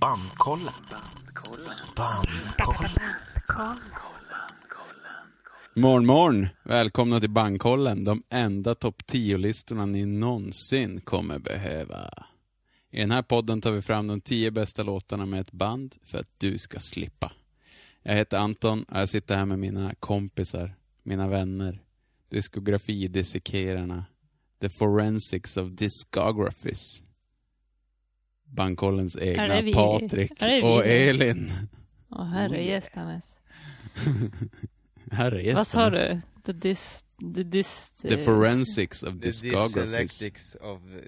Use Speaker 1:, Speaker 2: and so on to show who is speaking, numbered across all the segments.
Speaker 1: Bandkollen. Bandkollen.
Speaker 2: Morgon, morgon. Välkomna till Bankkollen. De enda topp 10-listorna ni någonsin kommer behöva. I den här podden tar vi fram de 10 bästa låtarna med ett band för att du ska slippa. Jag heter Anton och jag sitter här med mina kompisar, mina vänner, diskografidesekerarna, the forensics of discographies. Bankkollens
Speaker 3: Här är
Speaker 2: egna
Speaker 3: vi.
Speaker 2: Patrik
Speaker 3: Här är vi.
Speaker 2: och Elin.
Speaker 3: Åh herregästanes.
Speaker 2: Här är
Speaker 3: Vad sa du? The dis... The dis...
Speaker 2: The forensics of
Speaker 4: The
Speaker 2: discographies.
Speaker 4: dyslexics of... uh,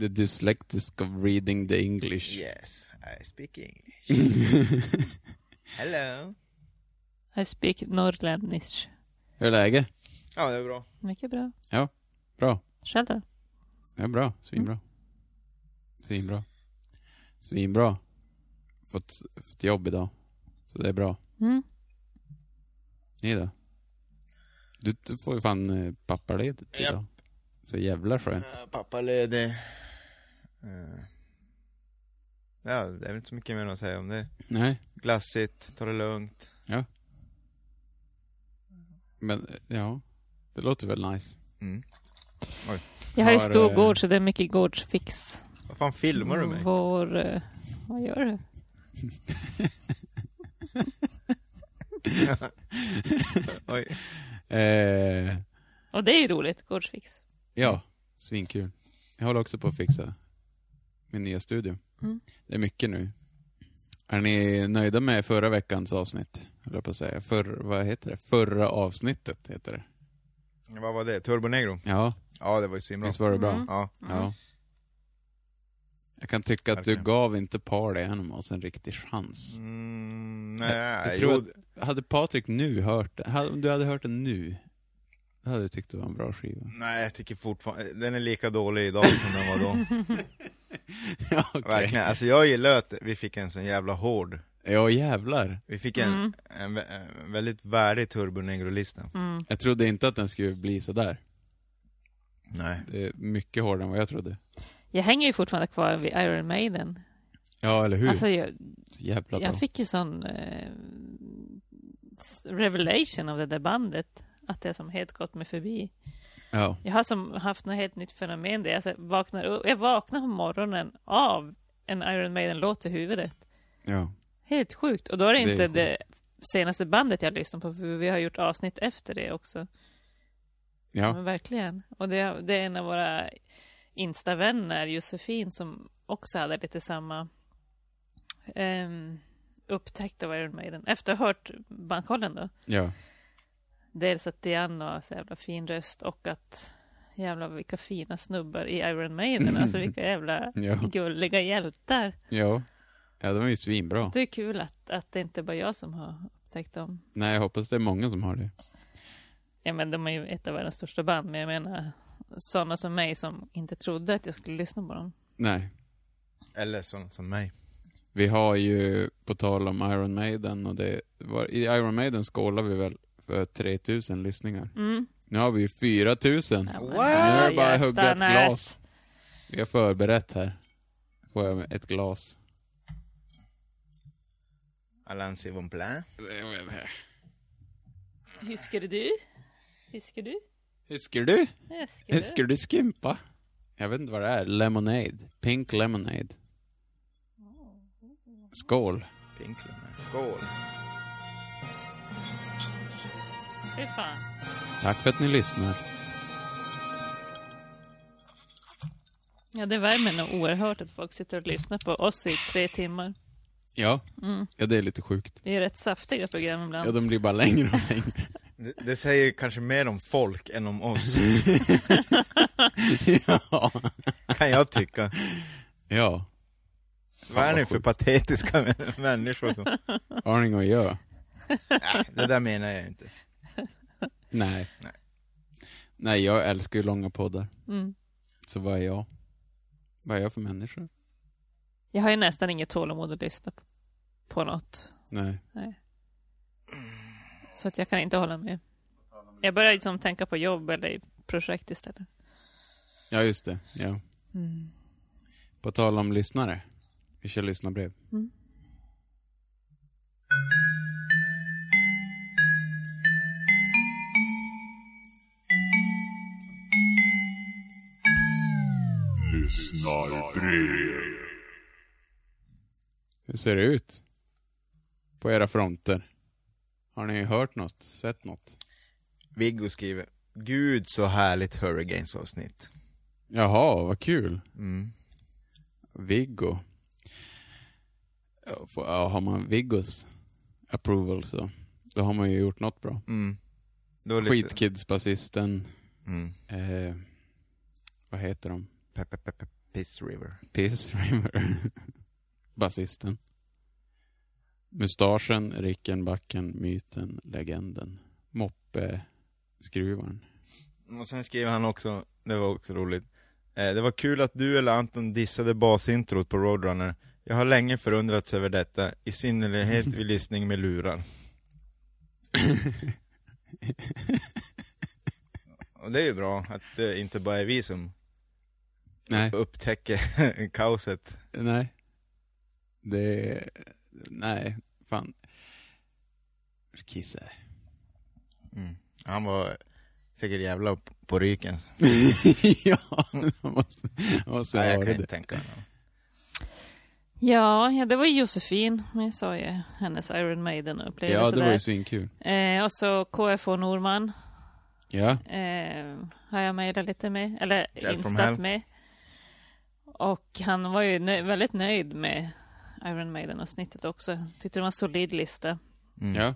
Speaker 2: The dyslexic of reading the English.
Speaker 4: Yes, I speak English. Hello.
Speaker 3: I speak norrländsk.
Speaker 2: Hur är läget?
Speaker 4: Ja, det är bra.
Speaker 3: Mycket bra.
Speaker 2: Bra.
Speaker 3: Själv då?
Speaker 2: Det är bra. Svinbra. Svinbra. Svinbra. Fått, fått jobb idag. Så det är bra.
Speaker 3: Mm.
Speaker 2: Ni då? Du, du får ju fan eh, pappaledigt
Speaker 4: Japp.
Speaker 2: idag. Så jävla skönt.
Speaker 4: Uh, pappa är ledig. Eh, Ja, det är väl inte så mycket mer att säga om det.
Speaker 2: Nej,
Speaker 4: Glassigt, ta det lugnt.
Speaker 2: men eh, ja. Det låter väl nice.
Speaker 4: Mm.
Speaker 3: Jag har ju
Speaker 2: Har, eh,
Speaker 3: stor gård så det är mycket gårdsfix.
Speaker 4: Vad fan filmar du mig?
Speaker 3: Vår... eh, Vad gör du?
Speaker 4: Oj.
Speaker 2: Eh,
Speaker 3: Och det är ju roligt, gårdsfix.
Speaker 2: Ja, svinkul. Jag håller också på att fixa min nya studio.
Speaker 3: Mm.
Speaker 2: Det är mycket nu. Är ni nöjda med förra veckans avsnitt? Höll jag på att säga. För, vad heter det? Förra avsnittet heter det.
Speaker 4: Vad var det? Turbo Negro?
Speaker 2: Ja,
Speaker 4: Ja, det var ju svinbra.
Speaker 2: visst var det bra?
Speaker 3: Mm.
Speaker 4: Ja.
Speaker 2: Ja. Jag kan tycka att du
Speaker 4: Verkligen.
Speaker 2: gav inte Party Animals en riktig chans.
Speaker 4: Mm,
Speaker 2: Jag,
Speaker 4: nej,
Speaker 2: jag tror
Speaker 4: jo,
Speaker 2: att, hade Patrik nu hört det, hade- om du hade hört den nu, då hade du tyckt det var en bra skiva.
Speaker 4: nej, jag tycker fortfarande... Den är lika dålig idag som den var då.
Speaker 2: ja, okej.
Speaker 4: Verkligen. Alltså jag gillar att vi fick en sån jävla hård.
Speaker 2: Ja, jävlar.
Speaker 4: Vi fick en,
Speaker 3: Mm.
Speaker 4: en, vä- en väldigt värdig Turbo Negro-lista.
Speaker 3: Mm.
Speaker 2: Jag trodde inte att den skulle bli sådär.
Speaker 4: Nej.
Speaker 2: Det är eh, mycket hårdare än vad jag trodde.
Speaker 3: Jag hänger ju fortfarande kvar vid Iron Maiden.
Speaker 2: Ja, eller hur?
Speaker 3: Alltså, jag,
Speaker 2: Jävla bra.
Speaker 3: jag fick ju sån eh, s- revelation av det där bandet. Att det är som helt gått mig förbi.
Speaker 2: Ja.
Speaker 3: Jag har som haft något helt nytt fenomen där jag så här vaknar upp, jag vaknar på morgonen av en Iron Maiden-låt i huvudet.
Speaker 2: ja.
Speaker 3: Helt sjukt. Och då är det,
Speaker 2: Det är
Speaker 3: inte
Speaker 2: sjukt.
Speaker 3: det senaste bandet jag lyssnat på, för vi har gjort avsnitt efter det också.
Speaker 2: Ja.
Speaker 3: Men verkligen. Och det, det är en av våra Insta-vänner, Josefin, som också hade lite samma um, upptäckt av Iron Maiden. Efter att ha hört Bankkollen då.
Speaker 2: ja.
Speaker 3: Dels att Diana har så jävla fin röst och att jävla vilka fina snubbar i Iron Maiden. Alltså vilka jävla
Speaker 2: Ja.
Speaker 3: gulliga hjältar.
Speaker 2: Ja. Ja, de är ju svinbra.
Speaker 3: Det är kul att, att det inte bara jag som har upptäckt dem.
Speaker 2: Nej, jag hoppas det är många som har det.
Speaker 3: Ja men de är ju ett av världens största band. Men jag menar sådana som mig som inte trodde att jag skulle lyssna på dem.
Speaker 2: Nej.
Speaker 4: Eller sån som mig.
Speaker 2: Vi har ju, på tal om Iron Maiden och det, var, i Iron Maiden skålar vi väl för 3000 lyssningar.
Speaker 3: Mm.
Speaker 2: Nu har vi ju 4000.
Speaker 3: Ja,
Speaker 4: What?
Speaker 3: men så
Speaker 2: Nu är det bara att
Speaker 3: jag
Speaker 2: hugga ett
Speaker 3: stannar.
Speaker 2: glas. Vi har förberett här. Får jag ett glas?
Speaker 4: Alain Sivon Plain.
Speaker 3: Fiskar du? Fiskar du?
Speaker 2: Fiskar du?
Speaker 3: Ja, Fiskar du?
Speaker 2: Fiskar du skimpa? Jag vet inte vad det är. Lemonade. Pink lemonade. Skål.
Speaker 4: Pinklerna. Skål.
Speaker 3: Fy fan.
Speaker 2: Tack för att ni lyssnar.
Speaker 3: Ja det värmer nog oerhört att folk sitter och lyssnar på oss i tre timmar.
Speaker 2: Ja,
Speaker 3: Mm.
Speaker 2: ja det är lite sjukt.
Speaker 3: Det är rätt saftiga program
Speaker 2: Ja,
Speaker 3: ibland.
Speaker 2: de blir bara längre och längre.
Speaker 4: Det, det säger kanske mer om folk än om oss,
Speaker 2: ja.
Speaker 4: kan jag tycka.
Speaker 2: ja,
Speaker 4: Vad är
Speaker 2: vad
Speaker 4: ni för
Speaker 2: sjukt.
Speaker 4: patetiska mä- människor? Som...
Speaker 2: aning och jag.
Speaker 4: Nej, det där menar jag inte.
Speaker 2: Nej.
Speaker 4: Nej.
Speaker 2: Nej, jag älskar ju långa poddar.
Speaker 3: Mm.
Speaker 2: Så vad är jag? Vad är jag för människa?
Speaker 3: Jag har ju nästan inget tålamod att lyssna på, på något.
Speaker 2: Nej.
Speaker 3: Så att jag kan inte hålla med. Jag börjar liksom tänka på jobb eller projekt istället.
Speaker 2: Ja, just det. Ja. På tal om lyssnare. Vi kör lyssnarbrev.
Speaker 3: Mm.
Speaker 2: Hur ser det ut? På era fronter? Har ni hört något? Sett något?
Speaker 4: Viggo skriver, Gud så härligt Hurricanes avsnitt.
Speaker 2: Jaha, vad kul.
Speaker 4: Mm.
Speaker 2: Viggo. Ja, får- ja, Har man Viggos approval så, då har man ju gjort något bra.
Speaker 4: Mm. Det var lite-
Speaker 2: Skitkids-basisten.
Speaker 4: Mm.
Speaker 2: Eh, vad heter de?
Speaker 4: Pe- pe- pe- pe- Piss River.
Speaker 2: Piss River. Basisten. Mustaschen, Ricken, Backen, Myten, Legenden. Moppe, Skruvaren.
Speaker 4: Och sen skriver han också, det var också roligt. Eh, det var kul att du eller Anton dissade basintrot på Roadrunner. Jag har länge förundrats över detta, i synnerhet vid lyssning med lurar. Och det är ju bra att det inte bara är vi som
Speaker 2: Nej,
Speaker 4: upptäcker kaoset.
Speaker 2: nej. Det... Nej, fan. Kissar.
Speaker 4: Mm. Han var säkert jävla p- på ryken.
Speaker 2: ja, jag måste, jag måste
Speaker 4: Nej,
Speaker 2: ha
Speaker 4: jag kan
Speaker 2: det.
Speaker 4: inte tänka mig.
Speaker 3: Ja, ja, det var ju Josefin. Jag sa ju hennes Iron Maiden-upplevelse
Speaker 2: Ja, det var
Speaker 3: där.
Speaker 2: ju svinkul.
Speaker 3: Eh, och så KFO Norman
Speaker 2: Ja,
Speaker 3: eh, har jag mejlat lite med, eller
Speaker 4: from
Speaker 3: instat
Speaker 4: hell.
Speaker 3: med. Och han var ju nö- väldigt nöjd med Iron Maiden-avsnittet också. Tyckte det var en solid lista.
Speaker 4: Mm.
Speaker 2: ja.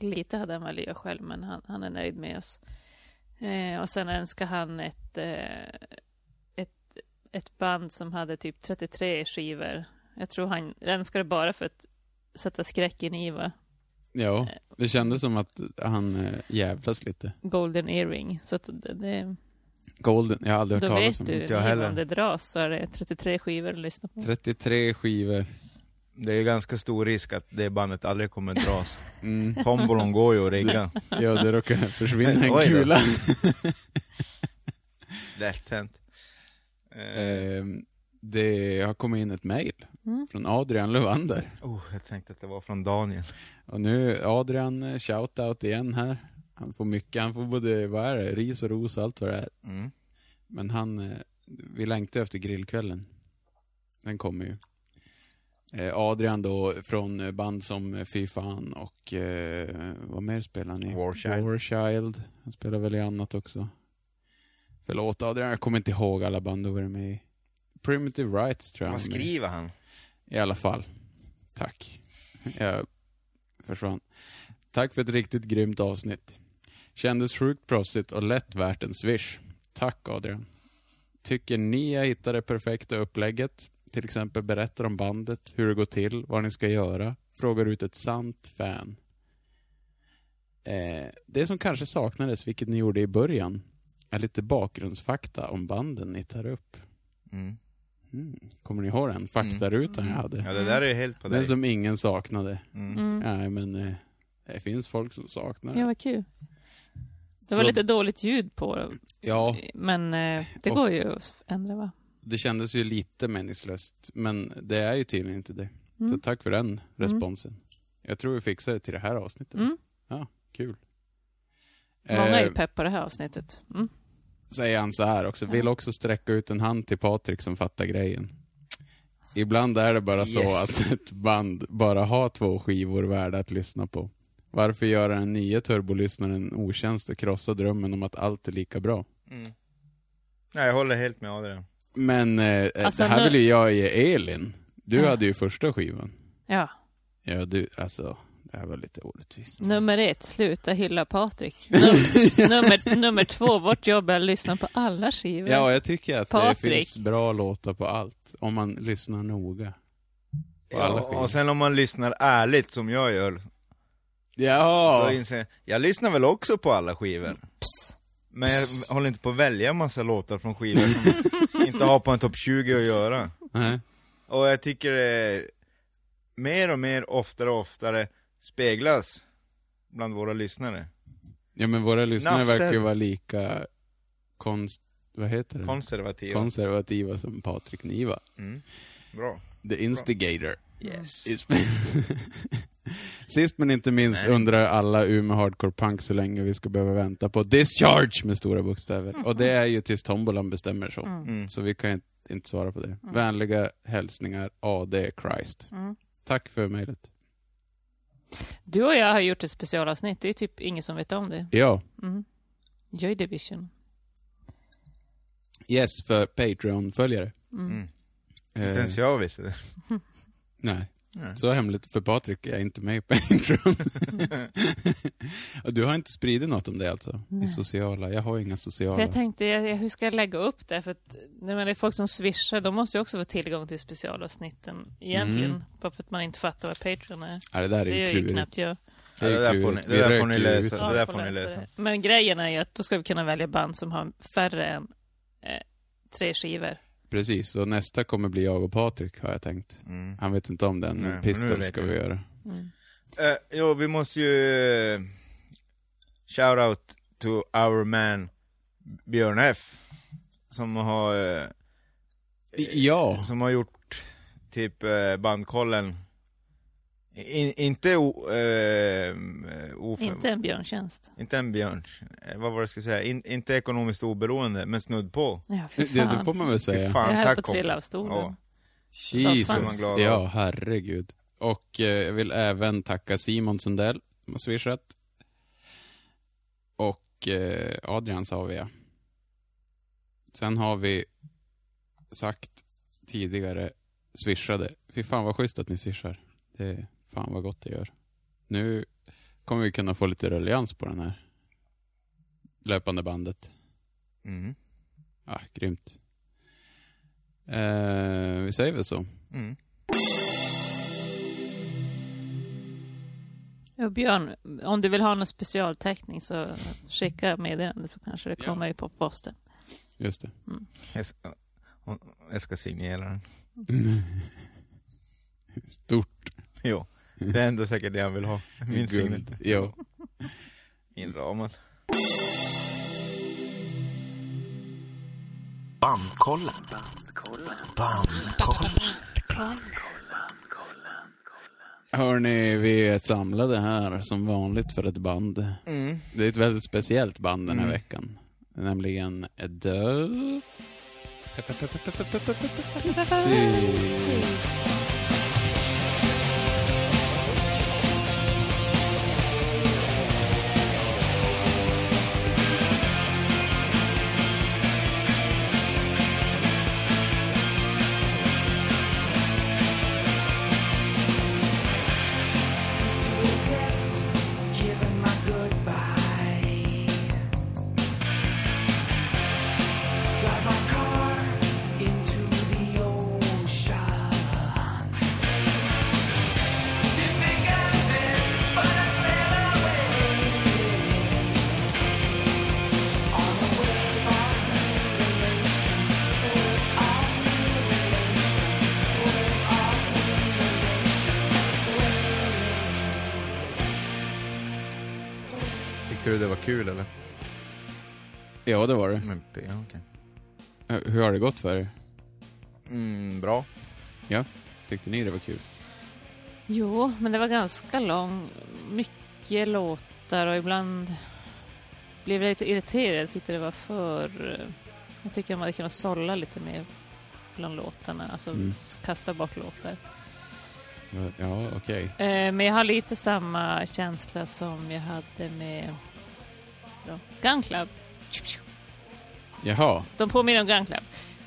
Speaker 3: Lite hade han väl gjort själv, men han, han är nöjd med oss. Eh, och sen önskar han ett, eh, ett, ett band som hade typ 33 skivor. Jag tror han önskade bara för att sätta skräcken i va?
Speaker 2: Ja, det kändes som att han eh, jävlas lite.
Speaker 3: Golden Earring. Så att det, det,
Speaker 2: Golden, jag har aldrig hört
Speaker 3: då
Speaker 2: talas
Speaker 3: vet
Speaker 2: om.
Speaker 3: du,
Speaker 4: inte jag
Speaker 3: nu
Speaker 4: heller.
Speaker 3: om det dras så är det 33 skivor att lyssna på.
Speaker 2: 33 skivor.
Speaker 4: Det är ganska stor risk att det bandet aldrig kommer dras.
Speaker 2: Mm.
Speaker 4: Tombolon går ju att rigga.
Speaker 2: Ja, det råkar försvinna en
Speaker 4: Oj då.
Speaker 2: kula.
Speaker 4: Lätt hänt. Eh,
Speaker 2: Ehm, det har kommit in ett mejl
Speaker 3: Mm.
Speaker 2: från Adrian Lövander.
Speaker 4: oh, jag tänkte att det var från Daniel.
Speaker 2: Och nu Adrian, eh, shout-out igen här. Han får mycket, han får både, vad är det, ris och ros och allt vad det är.
Speaker 4: Mm.
Speaker 2: Men han, eh, vi längtar efter grillkvällen. Den kommer ju. Eh, Adrian då från eh, band som eh, Fy fan och eh, vad mer spelar han i?
Speaker 4: Warchild.
Speaker 2: Warchild. Han spelar väl i annat också. Förlåt Adrian, jag kommer inte ihåg alla band du varit med i. Primitive Rights tror jag
Speaker 4: Vad
Speaker 2: han är med i.
Speaker 4: skriver han?
Speaker 2: I alla fall. Tack. Jag försvann. Tack för ett riktigt grymt avsnitt. Kändes sjukt proffsigt och lätt värt en swish. Tack Adrian. Tycker ni jag hittar det perfekta upplägget? Till exempel berättar om bandet, hur det går till, vad ni ska göra. Frågar ut ett sant fan. Eh, det som kanske saknades, vilket ni gjorde i början, är lite bakgrundsfakta om banden ni tar upp.
Speaker 4: Mm.
Speaker 2: Mm. Kommer ni ihåg den faktarutan jag hade?
Speaker 4: Ja, det där är ju helt på
Speaker 2: Den
Speaker 4: dig.
Speaker 2: som ingen saknade.
Speaker 4: Mm.
Speaker 3: Mm.
Speaker 2: Nej, men eh, det finns folk som saknar
Speaker 3: Ja,
Speaker 2: det.
Speaker 3: vad kul. Det var
Speaker 2: Så-
Speaker 3: lite dåligt ljud på det,
Speaker 2: Ja,
Speaker 3: men eh, det
Speaker 2: Och-
Speaker 3: går ju att ändra va?
Speaker 2: det kändes ju lite meningslöst, men det är ju tydligen inte det. Så
Speaker 3: Mm.
Speaker 2: tack för den responsen. Jag tror vi fixar det till det här avsnittet.
Speaker 3: Mm.
Speaker 2: Kul.
Speaker 3: Många är ju
Speaker 2: Eh,
Speaker 3: pepp på det här avsnittet. Mm.
Speaker 2: säger han så här också. Vill också sträcka ut en hand till Patrik som fattar grejen. Ibland är det bara så
Speaker 4: Yes.
Speaker 2: att ett band bara har två skivor värda att lyssna på. Varför göra den nya turbolyssnaren en otjänst och krossa drömmen om att allt är lika bra?
Speaker 4: Mm. Nej, jag håller helt med Adrian.
Speaker 2: Men eh,
Speaker 3: Alltså,
Speaker 2: det här
Speaker 3: nu-
Speaker 2: vill ju jag ge Elin. Du
Speaker 3: Ja.
Speaker 2: hade ju första skivan.
Speaker 3: Ja,
Speaker 2: Ja, du, alltså, det här var lite orättvist.
Speaker 3: nummer ett, sluta hylla Patrik. Num- nummer, nummer två, vårt jobb är att lyssna på alla skivor.
Speaker 2: Ja, jag tycker att det
Speaker 3: Patrik.
Speaker 2: finns bra låtar på allt, om man lyssnar noga. På alla
Speaker 4: Ja,
Speaker 2: skivor.
Speaker 4: och sen om man lyssnar ärligt som jag gör, så
Speaker 2: Ja!
Speaker 4: inser jag, jag lyssnar väl också på alla skivor.
Speaker 3: Psst.
Speaker 4: Men jag håller inte på att välja massa låtar från skivor som inte har på en topp 20 att göra.
Speaker 2: Nej.
Speaker 4: Och jag tycker det mer och mer, oftare och oftare speglas bland våra lyssnare.
Speaker 2: Ja, men våra lyssnare
Speaker 4: Nafsen.
Speaker 2: verkar ju vara lika konst... Vad heter det?
Speaker 4: Konservativa.
Speaker 2: Konservativa som Patrik Niva.
Speaker 4: Mm. Bra.
Speaker 2: The Instigator.
Speaker 3: Yes.
Speaker 2: Is- Sist men inte minst undrar alla Umeå Hardcore Punk så länge vi ska behöva vänta på Discharge med stora bokstäver. Och det är ju tills tombolan bestämmer
Speaker 4: Mm.
Speaker 2: så. Så vi kan inte- inte svara på det. Vänliga hälsningar AD Christ. Tack för mejlet.
Speaker 3: Mm. Du och jag har gjort ett specialavsnitt. Det är typ ingen som vet om det. Mm.
Speaker 2: Ja,
Speaker 3: Joy Division.
Speaker 2: yes för Patreon-följare.
Speaker 3: Mm.
Speaker 2: Eh,
Speaker 4: Inte ens jag visste det.
Speaker 2: Nej. Så hemligt för Patrik är inte med på Patreon. Och du har inte spridit något om det alltså? I sociala? Jag har inga sociala.
Speaker 3: Jag tänkte, jag, jag, hur ska jag lägga upp det? För att när det är folk som swishar, de måste ju också få tillgång till specialavsnitten egentligen. Bara för att man inte fattar vad Patreon är.
Speaker 2: Ja, Mm. det där är
Speaker 3: Det
Speaker 2: ju
Speaker 3: gör ju
Speaker 2: klurigt.
Speaker 3: knappt jag.
Speaker 4: Ja, det där får ni,
Speaker 2: klurigt.
Speaker 4: det där
Speaker 2: Vi
Speaker 4: får ni
Speaker 2: röker ju
Speaker 4: läsa.
Speaker 2: ut.
Speaker 4: Det där
Speaker 3: jag
Speaker 4: får ni
Speaker 3: läsa
Speaker 4: läsa.
Speaker 3: det. Men grejen är ju att då ska vi kunna välja band som har färre än eh, tre skivor.
Speaker 2: Precis, och nästa kommer bli jag och Patrik har jag tänkt.
Speaker 4: Mm.
Speaker 2: Han vet inte om den,
Speaker 4: Nej,
Speaker 2: men
Speaker 4: men
Speaker 2: Pistol
Speaker 4: nu vet
Speaker 2: ska
Speaker 4: jag.
Speaker 2: vi göra.
Speaker 3: Mm.
Speaker 4: Eh, jo, vi måste ju... eh, shout out to our man Björn F. Som har, eh,
Speaker 2: Ja,
Speaker 4: som har gjort typ eh, bandkollen. In, inte o, eh, of,
Speaker 3: Inte en björntjänst.
Speaker 4: inte en björn. Eh, vad var det jag ska säga? In, inte ekonomiskt oberoende, men snudd på.
Speaker 3: Ja, fy
Speaker 2: det, det
Speaker 3: fan.
Speaker 2: får man väl
Speaker 4: Fy
Speaker 2: säga.
Speaker 4: fan,
Speaker 3: Jag höll
Speaker 4: tack
Speaker 3: på att trilla
Speaker 4: kompis.
Speaker 3: av stolen.
Speaker 4: Ja.
Speaker 2: Jesus.
Speaker 3: Så fan.
Speaker 4: glad av.
Speaker 2: Ja, herregud. Och eh, jag vill även tacka Simon Sundell, som har swishat. Och eh, Adrian sa vi ja. Sen har vi sagt tidigare, swishade. Fy fan vad schysst att ni swishar. Det är fan vad gott det gör. Nu kommer vi kunna få lite ruljans på den här löpande bandet.
Speaker 4: Mm.
Speaker 2: Ah, grymt. Eh, vi säger väl så.
Speaker 4: Mm.
Speaker 3: Ja, Björn, om du vill ha någon specialteckning så skicka meddelande så kanske det
Speaker 2: Ja.
Speaker 3: kommer på posten.
Speaker 2: Just det.
Speaker 4: Jag, ska, jag ska signera den.
Speaker 2: Stort.
Speaker 4: Jo, det är ändå säkert det han vill ha. Min signal.
Speaker 2: guld. Ja.
Speaker 4: Inramat.
Speaker 1: Bandkollen. Bandkollen.
Speaker 2: Hörni, vi är samlade här som vanligt för ett band.
Speaker 4: Mm.
Speaker 2: Det är ett väldigt speciellt band den här veckan. Nämligen Dö... Pixies.
Speaker 5: Cease to resist, giving my goodbye. Drive my car into the ocean. You think I did, but I sail away. On the wave of new relation, wave of new relation, wave of new relation, wave.
Speaker 4: Tyckte du det var kul eller?
Speaker 2: Ja, det var det.
Speaker 4: Men, ja, okej.
Speaker 2: Hur- Hur har det gått för er?
Speaker 4: Mm, bra.
Speaker 2: Ja, tyckte ni det var kul?
Speaker 3: Jo, men det var ganska lång, mycket låtar och ibland blev jag lite irriterad. Jag tyckte det var för... eh, Jag tycker man hade kunnat sålla lite mer bland låtarna, alltså
Speaker 2: Mm.
Speaker 3: s- kasta bort låtar.
Speaker 2: Ja, okej.
Speaker 3: Eh, Men jag har lite samma känsla som jag hade med ja, Gun Club.
Speaker 2: Jaha.
Speaker 3: De påminner om Gun Club.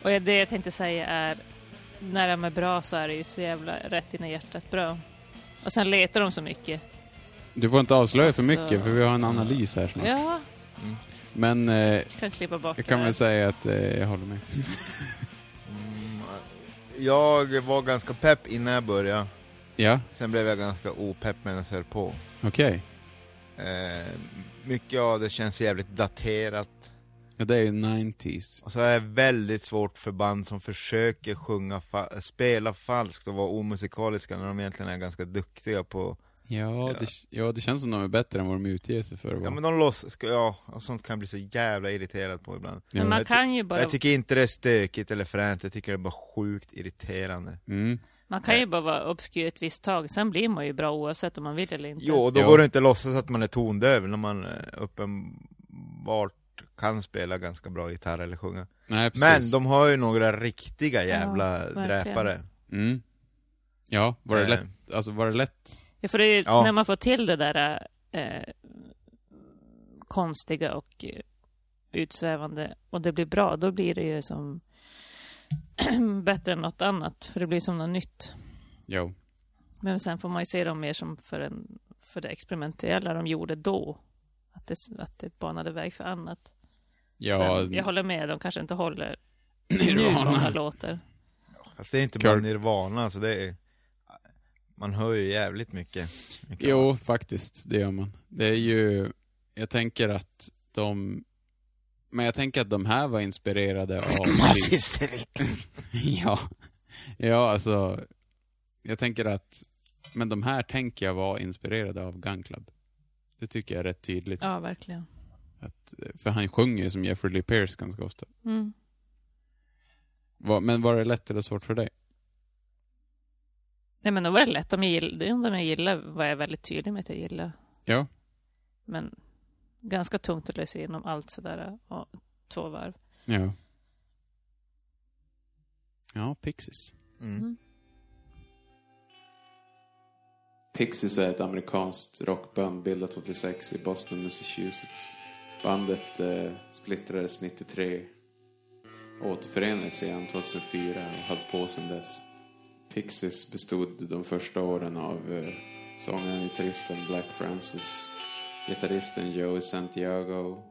Speaker 3: Och det jag tänkte säga är, när de är bra så är det ju så jävla rätt in i hjärtat bra. Och sen letar de så mycket.
Speaker 2: Du får inte avslöja för
Speaker 3: Alltså-
Speaker 2: mycket, för vi har en analys här
Speaker 4: Mm.
Speaker 2: snart.
Speaker 3: Ja,
Speaker 2: Men eh,
Speaker 3: kan klippa bort
Speaker 2: jag kan
Speaker 3: det.
Speaker 2: väl säga att eh, jag håller med.
Speaker 4: Jag var ganska pepp innan jag började.
Speaker 2: Ja,
Speaker 4: Sen blev jag ganska opepp medan jag höll på.
Speaker 2: okej.
Speaker 4: Eh, mycket av det känns jävligt daterat.
Speaker 2: Ja, det är ju 90s.
Speaker 4: Och så är det väldigt svårt för band som försöker sjunga fa- spela falskt och vara omusikaliska när de egentligen är ganska duktiga på
Speaker 2: Ja, det, ja, det känns som de är bättre än vad de utger sig för att
Speaker 4: Ja
Speaker 2: vara.
Speaker 4: men de låtsas, ja, och sånt kan jag bli så jävla irriterad på ibland.
Speaker 2: Ja.
Speaker 3: Men man
Speaker 4: Jag ty-
Speaker 3: kan ju bara,
Speaker 4: Jag tycker inte det är stökigt eller fränt, jag tycker det är bara sjukt irriterande.
Speaker 2: Mm.
Speaker 3: man kan ju bara vara obskyr ett visst tag, sen blir man ju bra oavsett om man vill eller inte.
Speaker 4: Jo, och då
Speaker 2: Ja.
Speaker 4: går det inte att låtsas att man är tondöv när man eh, uppenbart kan spela ganska bra gitarr eller sjunga.
Speaker 2: Nej, precis.
Speaker 4: Men de har ju några riktiga jävla
Speaker 3: verkligen.
Speaker 4: dräpare.
Speaker 2: Mm. Ja, var det
Speaker 4: Eh,
Speaker 2: lätt? Alltså var det lätt?
Speaker 3: Ja, för det är, ju-
Speaker 4: Ja.
Speaker 3: när man får till det där eh, konstiga och eh, utsvävande och det blir bra, då blir det ju som bättre än något annat, för det blir som något nytt.
Speaker 2: Jo.
Speaker 3: Men sen får man ju se dem mer som för, en, för det experimentella de gjorde då. Att det, att det banade väg för annat.
Speaker 2: Ja,
Speaker 3: sen, jag håller med, de kanske inte håller nu många
Speaker 2: Nirvana.
Speaker 3: låtar.
Speaker 4: Fast det är inte
Speaker 2: Kör.
Speaker 4: bara Nirvana, så det är... Man hör ju jävligt mycket. mycket
Speaker 2: Jo, faktiskt. Det gör man. Det är ju... Jag tänker att de... Men jag tänker att de här var inspirerade av...
Speaker 4: Nazisteri!
Speaker 2: ja. Ja, alltså... Jag tänker att... Men de här tänker jag var inspirerade av Gun Club. Det tycker jag är rätt tydligt.
Speaker 3: Ja, verkligen.
Speaker 2: Att, för han sjunger ju som Jeffrey Lee Pierce ganska ofta.
Speaker 3: Mm.
Speaker 2: Va- Men var det lätt eller svårt för dig?
Speaker 3: Nej, men då var det lätt. Om jag gillade, om jag gillade var jag väldigt tydlig med att jag gillade.
Speaker 2: Ja.
Speaker 3: Men ganska tungt att lösa igenom allt sådär och två varv.
Speaker 2: Ja. Ja, Pixies.
Speaker 4: Mm.
Speaker 2: Pixies är ett amerikanskt rockband bildat 86 i Boston, Massachusetts. Bandet eh, splittrades 93, återförenades igen 2004 och höll på sedan dess. Pixies bestod de första åren av eh, sångaren och gitarristen Black Francis, gitarristen Joey Santiago,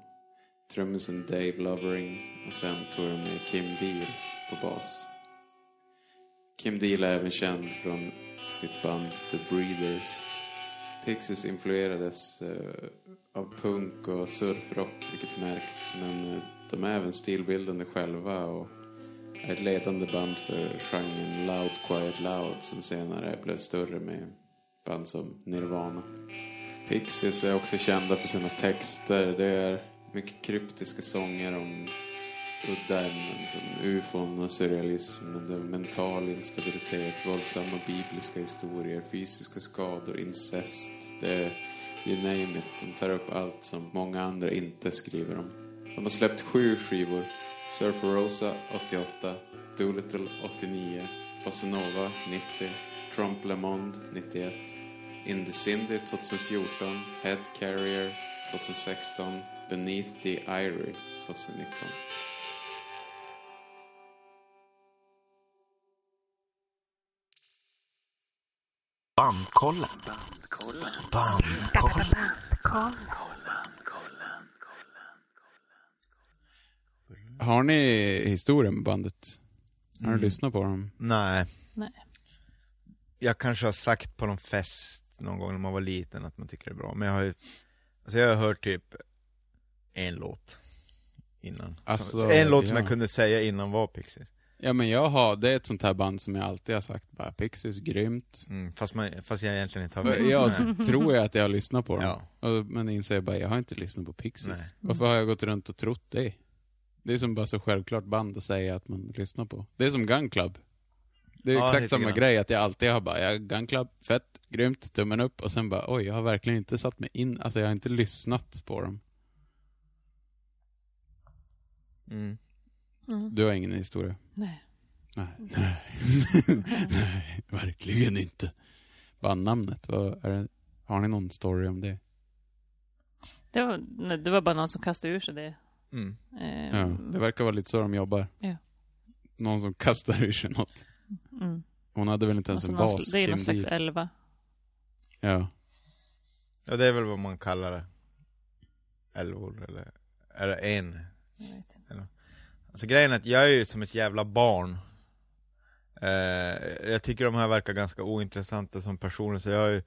Speaker 2: trummisen Dave Lovering och sen tog de med Kim Deal på bas. Kim Deal är även känd från sitt band The Breeders. Pixies influerades eh, av punk och surfrock, vilket märks, men eh, de är även stilbildande själva och är ett ledande band för genren Loud Quiet Loud som senare blev större med band som Nirvana. Pixies är också kända för sina texter. Det är mycket kryptiska sånger om udda ämnen som liksom, ufon och surrealism, det är mental instabilitet, våldsamma bibliska historier, fysiska skador, incest, det är, you name it. De tar upp allt som många andra inte skriver om. De har släppt sju skivor. Surferosa 88, Doolittle 89, Bossa Nova 90, Trump Lemond 91, In the Cindy 2014, Head Carrier 2016, Beneath the Irie 2019.
Speaker 1: Bandkollen. Bandkollen.
Speaker 2: Har ni historien med bandet? Har
Speaker 4: Mm.
Speaker 2: ni lyssnat på dem?
Speaker 4: Nej.
Speaker 3: Nej.
Speaker 4: Jag kanske har sagt på någon fest någon gång när man var liten att man tycker det är bra, men jag har ju... Alltså jag har hört typ en låt innan.
Speaker 2: Alltså,
Speaker 4: Så- en låt som
Speaker 2: ja.
Speaker 4: jag kunde säga innan var Pixies.
Speaker 2: Ja men jag har, det är ett sånt här band som jag alltid har sagt bara Pixies, grymt.
Speaker 4: Mm, fast, man, fast jag egentligen inte har med.
Speaker 2: Jag
Speaker 4: Mm. Nej.
Speaker 2: tror jag att jag har lyssnat på dem.
Speaker 4: Ja.
Speaker 2: Och, men inser jag bara, jag har inte lyssnat på Pixies.
Speaker 4: Nej.
Speaker 2: Varför har jag gått runt och trott det? Det är som bara så självklart band att säga att man lyssnar på. Det är som Gun Club. Det är
Speaker 4: Ja,
Speaker 2: exakt
Speaker 4: lite
Speaker 2: samma
Speaker 4: grann.
Speaker 2: grej, att jag alltid har bara, ja, Gun Club, fett, grymt, tummen upp och sen bara, oj, jag har verkligen inte satt mig in, alltså jag har inte lyssnat på dem.
Speaker 4: Mm.
Speaker 2: Du har ingen historia?
Speaker 3: Nej.
Speaker 2: Nej. Nej. Nej, verkligen inte. Bandnamnet, vad är det? Har ni någon story om det?
Speaker 3: Det, var, nej, det var bara någon som kastade ur sig det.
Speaker 4: Mm.
Speaker 3: Eh,
Speaker 2: Ja, det verkar vara lite så de jobbar.
Speaker 3: Ja.
Speaker 2: Någon som kastar ur sig något.
Speaker 3: mm.
Speaker 2: Hon hade väl inte ens
Speaker 3: Alltså
Speaker 2: en
Speaker 3: någon,
Speaker 2: bas?
Speaker 3: sl- det är någon
Speaker 2: Kim
Speaker 3: slags
Speaker 2: Dee.
Speaker 3: elva.
Speaker 2: Ja.
Speaker 4: Ja, det är väl vad man kallar det. Älvor eller, eller en.
Speaker 3: Jag vet inte.
Speaker 4: Alltså grejen är att jag är ju som ett jävla barn. Eh, jag tycker de här verkar ganska ointressanta som personer så jag har ju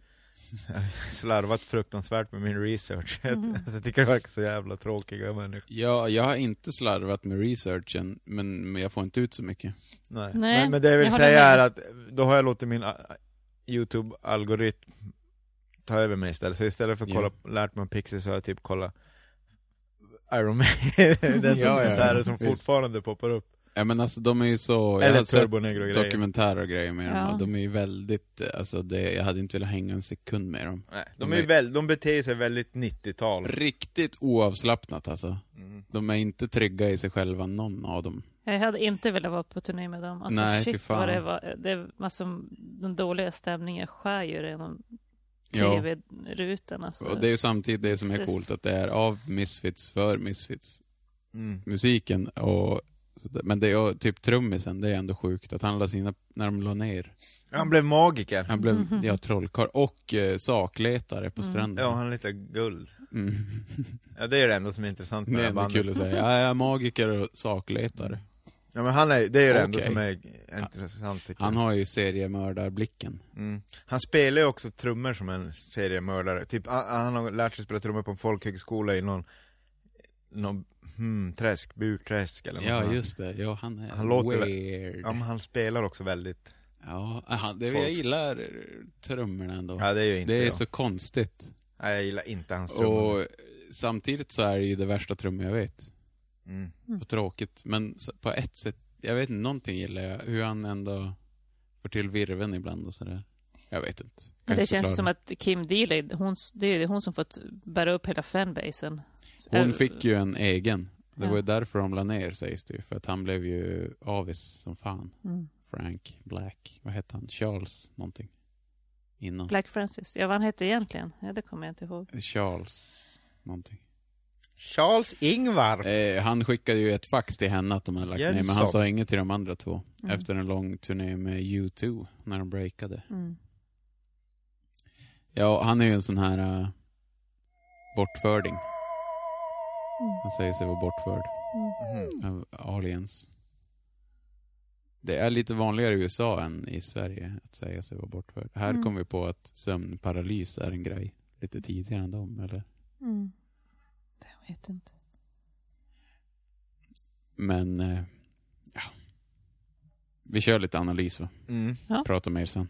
Speaker 4: jag har ju slarvat fruktansvärt med min research.
Speaker 2: Mm.
Speaker 4: alltså, jag tycker det verkar så jävla tråkiga människor.
Speaker 2: ja, jag har inte slarvat med researchen, men men jag får inte ut så mycket.
Speaker 4: Nej.
Speaker 3: Nej,
Speaker 4: men, men det jag vill
Speaker 3: jag håller
Speaker 4: säga
Speaker 3: med.
Speaker 4: är att då har jag låtit min eh, YouTube-algoritm ta över mig istället. Så istället för att
Speaker 2: Jo.
Speaker 4: kolla, lärt mig om Pixies så har jag typ kollat Iron Maiden, den
Speaker 2: ja,
Speaker 4: dokumentären som
Speaker 2: visst.
Speaker 4: fortfarande poppar upp.
Speaker 2: Ja men alltså de är ju så, jag
Speaker 4: Eller
Speaker 2: har sett
Speaker 4: Turbo Negro grejer.
Speaker 2: dokumentärer och grejer med dem
Speaker 3: Ja.
Speaker 2: och de är ju väldigt, eh, alltså det, jag hade inte velat hänga en sekund med dem.
Speaker 4: Nej, Mm. de,
Speaker 2: De
Speaker 4: är ju
Speaker 2: är-
Speaker 4: väl, de beter sig väldigt 90-tal.
Speaker 2: Riktigt oavslappnat alltså. De är inte trygga i sig själva, någon av dem.
Speaker 3: Jag hade inte velat vara på turné med dem. Alltså
Speaker 2: Nej, fy
Speaker 3: shit
Speaker 2: fan.
Speaker 3: vad det var. Det är alltså, den dåliga stämningen skär ju genom
Speaker 2: Ja.
Speaker 3: tv-rutan. Alltså.
Speaker 2: Och det är ju samtidigt det som är
Speaker 3: Jesus.
Speaker 2: coolt, att det är av Misfits för Misfits.
Speaker 4: Mm.
Speaker 2: Musiken och sådär. men det är ju- typ trummisen, det är ändå sjukt att han la sina, när de la ner.
Speaker 4: Han blev magiker.
Speaker 2: Han blev, ja trollkarl och eh, sakletare på stranden.
Speaker 4: Ja, han är lite guld.
Speaker 2: Mm.
Speaker 4: Ja, det är det enda som är intressant med det
Speaker 2: Det är
Speaker 4: här
Speaker 2: ändå
Speaker 4: bandet. Mm.
Speaker 2: kul att säga, jag är magiker och sakletare.
Speaker 4: Ja, men han är, det är ju det enda
Speaker 2: Okej.
Speaker 4: som är intressant tycker
Speaker 2: Han
Speaker 4: jag.
Speaker 2: har ju seriemördarblicken.
Speaker 4: Mm. Han spelar ju också trummor som en seriemördare. Typ, han, han har lärt sig spela trummor på en folkhögskola i någon, någon hmm, träsk, burträsk eller något
Speaker 2: Ja,
Speaker 4: sånt.
Speaker 2: just det. Ja, han är
Speaker 4: Han låter väl-
Speaker 2: weird.
Speaker 4: Ja, men han spelar också väldigt...
Speaker 2: Ja, han, det,
Speaker 4: Folk-
Speaker 2: jag gillar trummorna ändå.
Speaker 4: Ja, det är ju inte
Speaker 2: det är
Speaker 4: jag.
Speaker 2: så konstigt.
Speaker 4: Nej, jag gillar inte hans trummor.
Speaker 2: Och samtidigt så är det ju det värsta trummor jag vet.
Speaker 4: Mm.
Speaker 2: Och tråkigt. Men så- på ett sätt, jag vet inte, någonting gillar jag. Hur han ändå får till virven ibland och sådär. Jag vet inte. Kan
Speaker 3: Men det
Speaker 2: inte
Speaker 3: känns
Speaker 2: förklara.
Speaker 3: som att Kim Dealey, hon, det är ju hon som fått bära upp hela fanbasen.
Speaker 2: Hon fick ju en egen. Det
Speaker 3: Ja.
Speaker 2: var ju därför de la ner sägs det ju, För att han blev ju avis som fan.
Speaker 3: Mm.
Speaker 2: Frank Black. Vad hette han? Charles någonting. Innan.
Speaker 3: Black Francis. Ja, vad han hette egentligen? Ja, det kommer jag inte ihåg.
Speaker 2: Charles någonting.
Speaker 4: Charles Ingvar!
Speaker 2: Eh, han skickade ju ett fax till henne att de hade lagt ner, men
Speaker 4: Jensson.
Speaker 2: han sa inget till de andra två. Efter en lång turné med U2, när de breakade.
Speaker 3: Mm.
Speaker 2: Ja, han är ju en sån här eh, bortförding. Han säger sig vara bortförd av aliens. Det är lite vanligare i USA än i Sverige att säga sig vara bortförd. Här kom vi på att sömnparalys är en grej lite tidigare än dem, eller?
Speaker 3: Jag vet inte.
Speaker 2: Men, eh, ja. Vi kör lite analys va?
Speaker 4: Mm.
Speaker 3: Ja.
Speaker 2: Prata mer sen.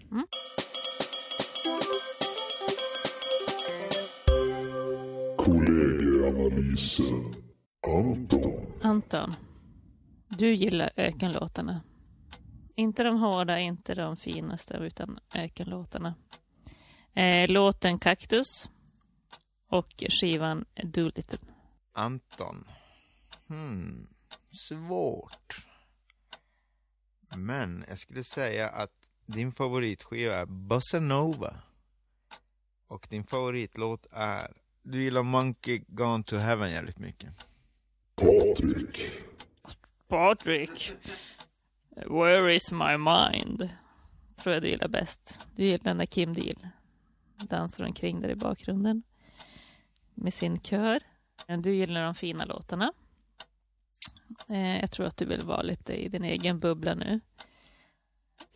Speaker 1: Kollegieanalysen. Anton.
Speaker 3: Anton, du gillar ökenlåtarna. Inte de hårda, inte de finaste, utan ökenlåtarna. Eh, låten Kaktus och skivan Doolittle.
Speaker 4: Anton. Hmm. Svårt. Men jag skulle säga att din favoritskiva är Bossa Nova. Och din favoritlåt är... Du gillar Monkey Gone to Heaven jävligt mycket.
Speaker 1: Patrik.
Speaker 3: Patrick, where is my mind? Tror jag du gillar bäst. Du gillar när Kim Deal dansar omkring där i bakgrunden med sin kör. Men Du gillar de fina låtarna. Eh, jag tror att du vill vara lite i din egen bubbla nu.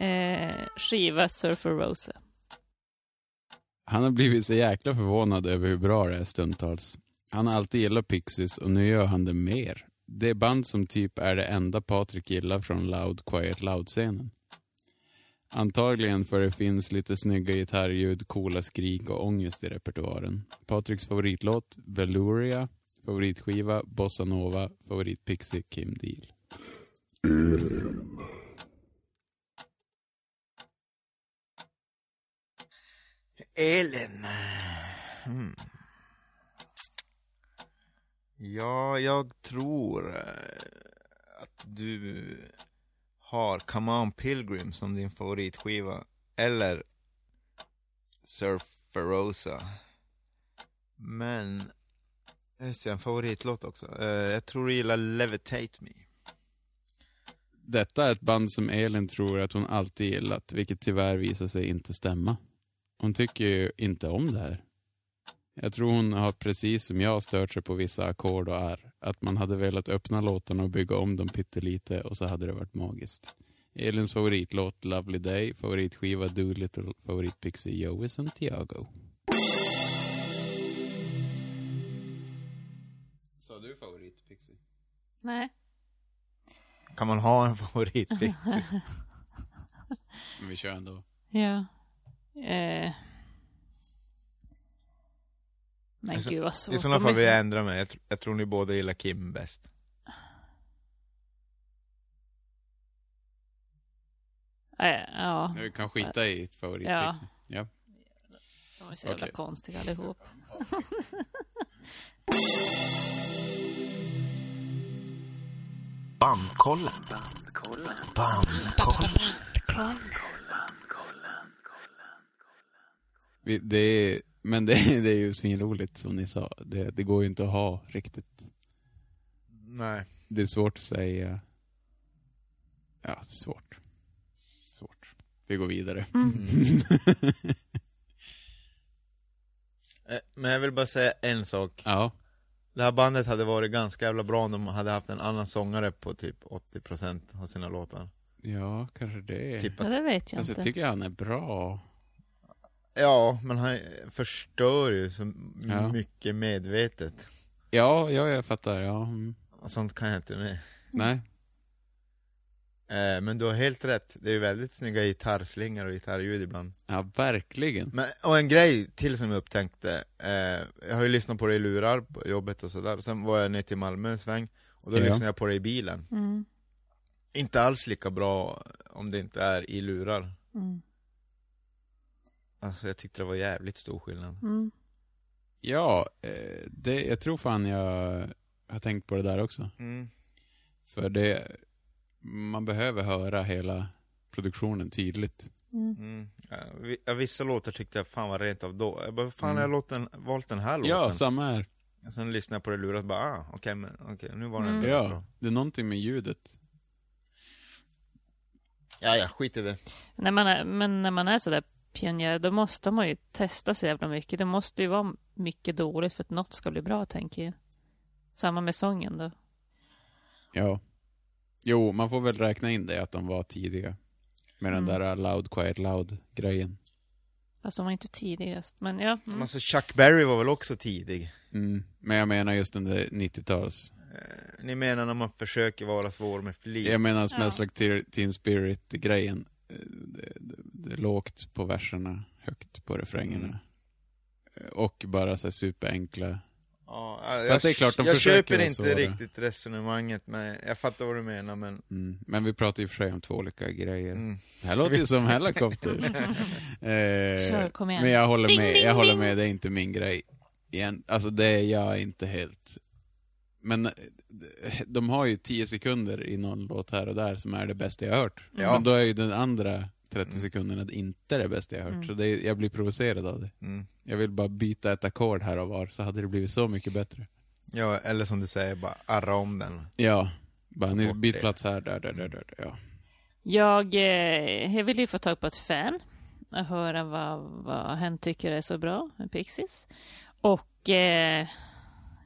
Speaker 3: Eh, skiva Surfer Rosa.
Speaker 2: Han har blivit så jäkla förvånad över hur bra det är stundtals. Han har alltid gillat Pixies och nu gör han det mer. Det band som typ är det enda Patrik gillar från Loud Quiet Loud-scenen. Antagligen för det finns lite snygga gitarrljud, coola skrik och ångest i repertoaren. Patriks favoritlåt, Velouria, favoritskiva, Bossa Nova, favoritpixie, Kim Deal.
Speaker 1: Elin.
Speaker 4: Elin. Hmm. Ja, jag tror eh, att du har Come On Pilgrim som din favoritskiva. Eller Surferosa. Men... Just det, en favoritlåt också. Eh, Jag tror du gillar Levitate Me.
Speaker 2: Detta är ett band som Elin tror att hon alltid gillat, vilket tyvärr visar sig inte stämma. Hon tycker ju inte om det här. Jag tror hon har precis som jag stört sig på vissa ackord och är Att man hade velat öppna låtarna och bygga om dem pyttelite och så hade det varit magiskt. Elins favoritlåt Lovely Day, favoritskiva Doolittle, favoritpixie Joey Santiago. Sa du favoritpixie?
Speaker 3: Nej,
Speaker 4: Kan man ha en favoritpixie?
Speaker 2: Men vi kör ändå.
Speaker 3: ja. Eh, Men
Speaker 4: så-
Speaker 3: gud vad svårt.
Speaker 4: I sådana
Speaker 3: De
Speaker 4: fall
Speaker 3: är-
Speaker 4: vill jag ändra mig. Jag, tr- jag tror ni båda gillar Kim bäst.
Speaker 3: Nej, Eh, Ja,
Speaker 2: Vi kan skita i favorit
Speaker 3: Ja.
Speaker 2: liksom. Ja.
Speaker 3: de är så jävla
Speaker 2: Okej.
Speaker 3: konstiga allihop.
Speaker 6: Bandkollen. Bandkollen.
Speaker 2: Vi, det är, men det, är- det är ju svinroligt som ni sa. Det, det går ju inte att ha riktigt.
Speaker 4: Nej.
Speaker 2: Det är svårt att säga. Ja, det är svårt. Svårt. Vi går vidare.
Speaker 4: Mm. Eh, Men jag vill bara säga en sak.
Speaker 2: Ja.
Speaker 4: Det här bandet hade varit ganska jävla bra om de hade haft en annan sångare på typ 80% av sina låtar. Typ
Speaker 2: Ja, kanske det.
Speaker 4: Tippat.
Speaker 3: Ja, det vet jag
Speaker 2: Alltså, jag
Speaker 3: inte.
Speaker 2: tycker han är bra.
Speaker 4: Ja, men han förstör ju så m-
Speaker 2: Ja.
Speaker 4: mycket medvetet.
Speaker 2: Ja, ja jag fattar. Ja. Mm.
Speaker 4: Och sånt kan jag inte med.
Speaker 2: Nej.
Speaker 4: Eh, men du har helt rätt. Det är ju väldigt snygga gitarrslingor och gitarrljud ibland.
Speaker 2: Ja, verkligen.
Speaker 4: Men, och en grej till som jag upptäckte, eh, jag har ju lyssnat på det i lurar på jobbet och sådär, sen var jag nere till Malmö en sväng, och då
Speaker 2: Ja.
Speaker 4: lyssnade jag på det i bilen.
Speaker 3: Mm,
Speaker 4: Inte alls lika bra om det inte är i lurar.
Speaker 3: mm,
Speaker 4: Alltså jag tyckte det var jävligt stor skillnad.
Speaker 3: mm.
Speaker 2: Ja, eh, det, jag tror fan jag har tänkt på det där också.
Speaker 4: Mm.
Speaker 2: För det, man behöver höra hela produktionen tydligt.
Speaker 4: Mm. Ja, vi- Ja, vissa låtar tyckte jag fan var rent av då. Jag bara, fan
Speaker 2: Mm.
Speaker 4: har jag låt den, valt den här låten?
Speaker 2: Ja, samma här.
Speaker 4: Och Sen lyssnade jag på det i lurar och bara, ah, okej, men okej, nu var den
Speaker 3: Mm.
Speaker 4: ändå bra.
Speaker 2: Ja, det är någonting med ljudet.
Speaker 4: Ja, ja, skit i det.
Speaker 3: När man är, men när man är sådär pionjär, då måste man ju testa så jävla mycket. Det måste ju vara mycket dåligt för att något ska bli bra, tänker jag. Samma med sången då.
Speaker 2: Ja. Jo, man får väl räkna in det att de var tidiga. Med den
Speaker 3: Mm.
Speaker 2: där loud, quiet, loud-grejen.
Speaker 3: Fast de var inte tidigast, men ja.
Speaker 4: Men
Speaker 3: Mm.
Speaker 4: alltså Chuck Berry var väl också tidig?
Speaker 2: Mm. Men jag menar just den där 90-tals...
Speaker 4: Eh, Ni menar när man försöker vara svår med flit?
Speaker 2: Jag menar Smells
Speaker 3: Ja.
Speaker 2: like Te- Teen Spirit-grejen. Eh, Det, det, det är lågt på verserna, högt på refrängerna.
Speaker 4: Mm.
Speaker 2: Eh, Och bara så här superenkla.
Speaker 4: Ja,
Speaker 2: Fast det är klart, de
Speaker 4: jag
Speaker 2: försöker
Speaker 4: köper
Speaker 2: vara
Speaker 4: inte
Speaker 2: svåra.
Speaker 4: riktigt resonemanget, men jag fattar vad du menar, men...
Speaker 2: Mm. Men vi pratar i och för sig om två olika grejer.
Speaker 4: Mm.
Speaker 2: Det här låter ju som Hellacopter. eh,
Speaker 3: Kör, kom igen.
Speaker 2: Men jag håller
Speaker 3: Ding,
Speaker 2: med,
Speaker 3: ding,
Speaker 2: jag håller
Speaker 3: ding.
Speaker 2: med, det är inte min grej. Igen. Alltså det är jag inte helt. Men eh, de har ju 10 sekunder i någon låt här och där som är det bästa jag har hört.
Speaker 4: Ja.
Speaker 2: Men då är ju den andra 30 sekunderna inte det bästa jag har hört.
Speaker 3: Mm.
Speaker 2: Så det, är- jag blir provocerad av det.
Speaker 4: Mm.
Speaker 2: Jag vill bara byta ett ackord här och var så hade det blivit så mycket bättre.
Speaker 4: Ja, eller som du säger, bara arra om den.
Speaker 2: Ja, bara ni
Speaker 4: bort det.
Speaker 2: byt plats här, där, där, där, där. där. Ja.
Speaker 3: Jag, eh, jag vill ju få tag på ett fan och höra vad, vad hen tycker är så bra med Pixies. Och eh,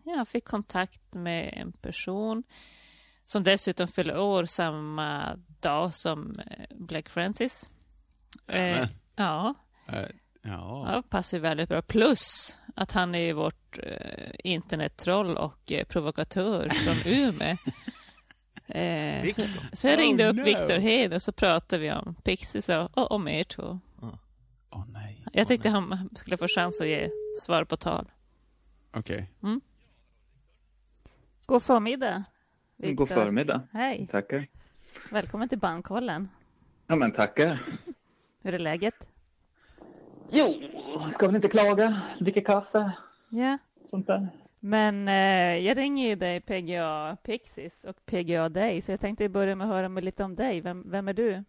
Speaker 3: jag fick kontakt med en person som dessutom fyller år samma dag som eh, Black Francis. Eh,
Speaker 2: Jajamän.
Speaker 3: ja,
Speaker 2: Eh, ja.
Speaker 3: ja, passar ju väldigt bra. Plus att han är ju vårt eh, internettroll och eh, provokatör från Umeå. Eh, så, så jag ringde
Speaker 2: Oh,
Speaker 3: upp
Speaker 2: no.
Speaker 3: Viktor Hed och så pratade vi om Pixies och, och om er två.
Speaker 2: Åh nej.
Speaker 3: Jag tyckte han skulle få chans att ge svar på tal.
Speaker 2: Okej.
Speaker 3: God förmiddag.
Speaker 2: Mm,
Speaker 7: God förmiddag.
Speaker 3: Hej.
Speaker 7: Tackar.
Speaker 3: Välkommen till Bandkollen.
Speaker 7: Ja, men tackar.
Speaker 3: Hur är läget?
Speaker 7: Jo, ska väl inte klaga. Dricker kaffe,
Speaker 3: Ja.
Speaker 7: sånt där.
Speaker 3: Men eh, jag ringer ju dig PGA Pixies och PGA dig, så jag tänkte börja med att höra med lite om dig. Vem, vem är du?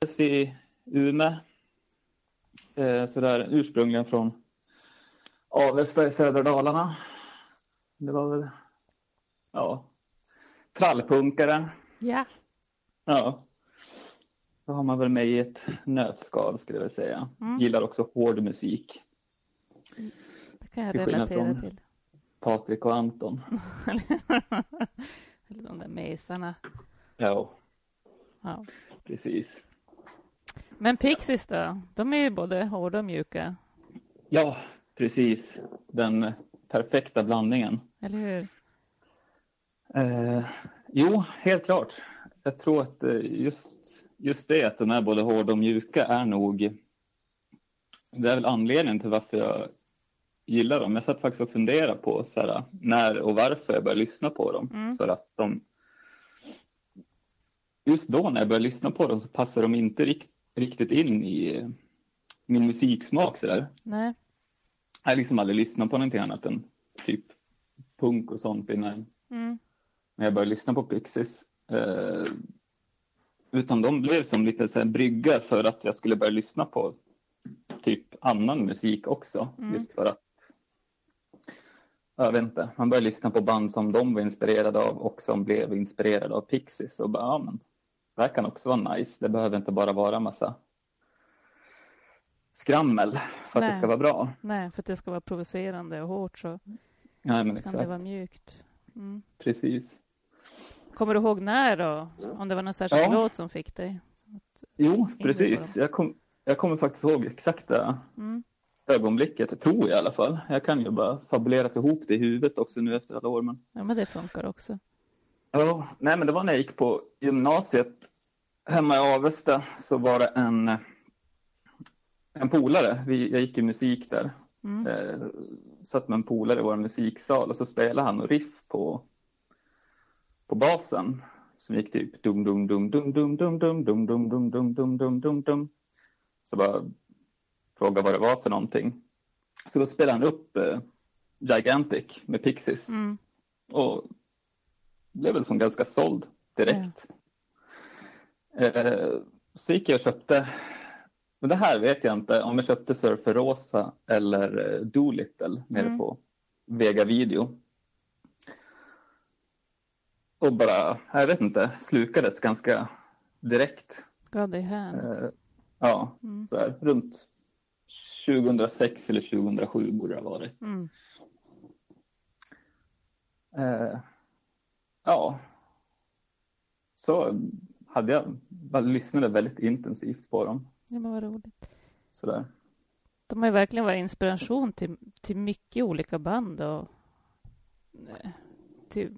Speaker 7: Föddes i Umeå. Eh, sådär ursprungligen från Avesta i södra Dalarna. Det var väl, ja, trallpunkare.
Speaker 3: Ja.
Speaker 7: Ja. Då har man väl mig i ett nötskal skulle jag vilja säga.
Speaker 3: Mm.
Speaker 7: Gillar också hård musik.
Speaker 3: Det kan jag
Speaker 7: Till skillnad
Speaker 3: relatera
Speaker 7: från-
Speaker 3: till.
Speaker 7: Patrik och Anton.
Speaker 3: Eller de där mesarna.
Speaker 7: Ja,
Speaker 3: Ja.
Speaker 7: precis.
Speaker 3: Men Pixies då? De är ju både hårda och mjuka,
Speaker 7: Ja, precis. Den perfekta blandningen.
Speaker 3: eller hur?
Speaker 7: Eh, jo, helt klart. Jag tror att eh, just, just det att de är både hårda och mjuka är nog Det är väl anledningen till varför jag gillar dem. Jag satt faktiskt och funderade på så här, när och varför jag började lyssna på dem.
Speaker 3: Mm.
Speaker 7: För att de... Just då när jag började lyssna på dem så passade de inte rikt, riktigt in i eh, min musiksmak så där.
Speaker 3: Nej.
Speaker 7: Jag har liksom aldrig lyssnat på någonting annat än typ punk och sånt innan
Speaker 3: Mm.
Speaker 7: när jag började lyssna på Pixies. Eh, utan de blev som lite så här brygga för att jag skulle börja lyssna på typ annan musik också.
Speaker 3: Mm.
Speaker 7: Just för att, jag vet inte, man började lyssna på band som de var inspirerade av och som blev inspirerade av Pixies. Och bara, ja men, det här kan också vara nice. Det behöver inte bara vara massa skrammel för att
Speaker 3: Nej.
Speaker 7: det ska vara bra.
Speaker 3: Nej, för att det ska vara provocerande och hårt så
Speaker 7: Nej men
Speaker 3: kan det
Speaker 7: exakt,
Speaker 3: vara mjukt. Mm.
Speaker 7: precis.
Speaker 3: Kommer du ihåg när då? Om det var någon särskild
Speaker 7: Ja.
Speaker 3: låt som fick dig?
Speaker 7: Jo,
Speaker 3: på
Speaker 7: precis.
Speaker 3: dem.
Speaker 7: Jag, kom, jag kommer faktiskt ihåg exakta
Speaker 3: Mm.
Speaker 7: ögonblicket, tror jag i alla fall. Jag kan ju bara fabulerat ihop det i huvudet också nu efter alla år. Men...
Speaker 3: Ja, men det funkar också.
Speaker 7: Ja, nej, men det var när jag gick på gymnasiet hemma i Avesta så var det en, en polare. Vi, jag gick i musik där.
Speaker 3: Mm.
Speaker 7: Eh, satt med en polare i vår musiksal och så spelade han och riff på, på basen. Som gick typ dum dum dum dum dum dum dum dum dum dum dum dum dum dum dum. Så bara frågade vad det var för någonting. Så då spelade han upp eh, Gigantic med Pixies
Speaker 3: Mm.
Speaker 7: och blev väl som ganska såld direkt. Eh, så gick jag och köpte, men det här vet jag inte, om jag köpte Surfer Rosa eller eh, Doolittle nere
Speaker 3: Mm.
Speaker 7: på Vega Video. Och bara, jag vet inte, slukades ganska direkt.
Speaker 3: Gav dig hän.
Speaker 7: Eh, ja,
Speaker 3: Mm.
Speaker 7: så här, runt 2006 eller 2007 borde det ha varit.
Speaker 3: Mm.
Speaker 7: Eh, ja. Så hade jag, jag lyssnade väldigt intensivt på dem.
Speaker 3: Ja, men vad roligt.
Speaker 7: Sådär.
Speaker 3: De har ju verkligen varit inspiration till, till mycket olika band och eh, till,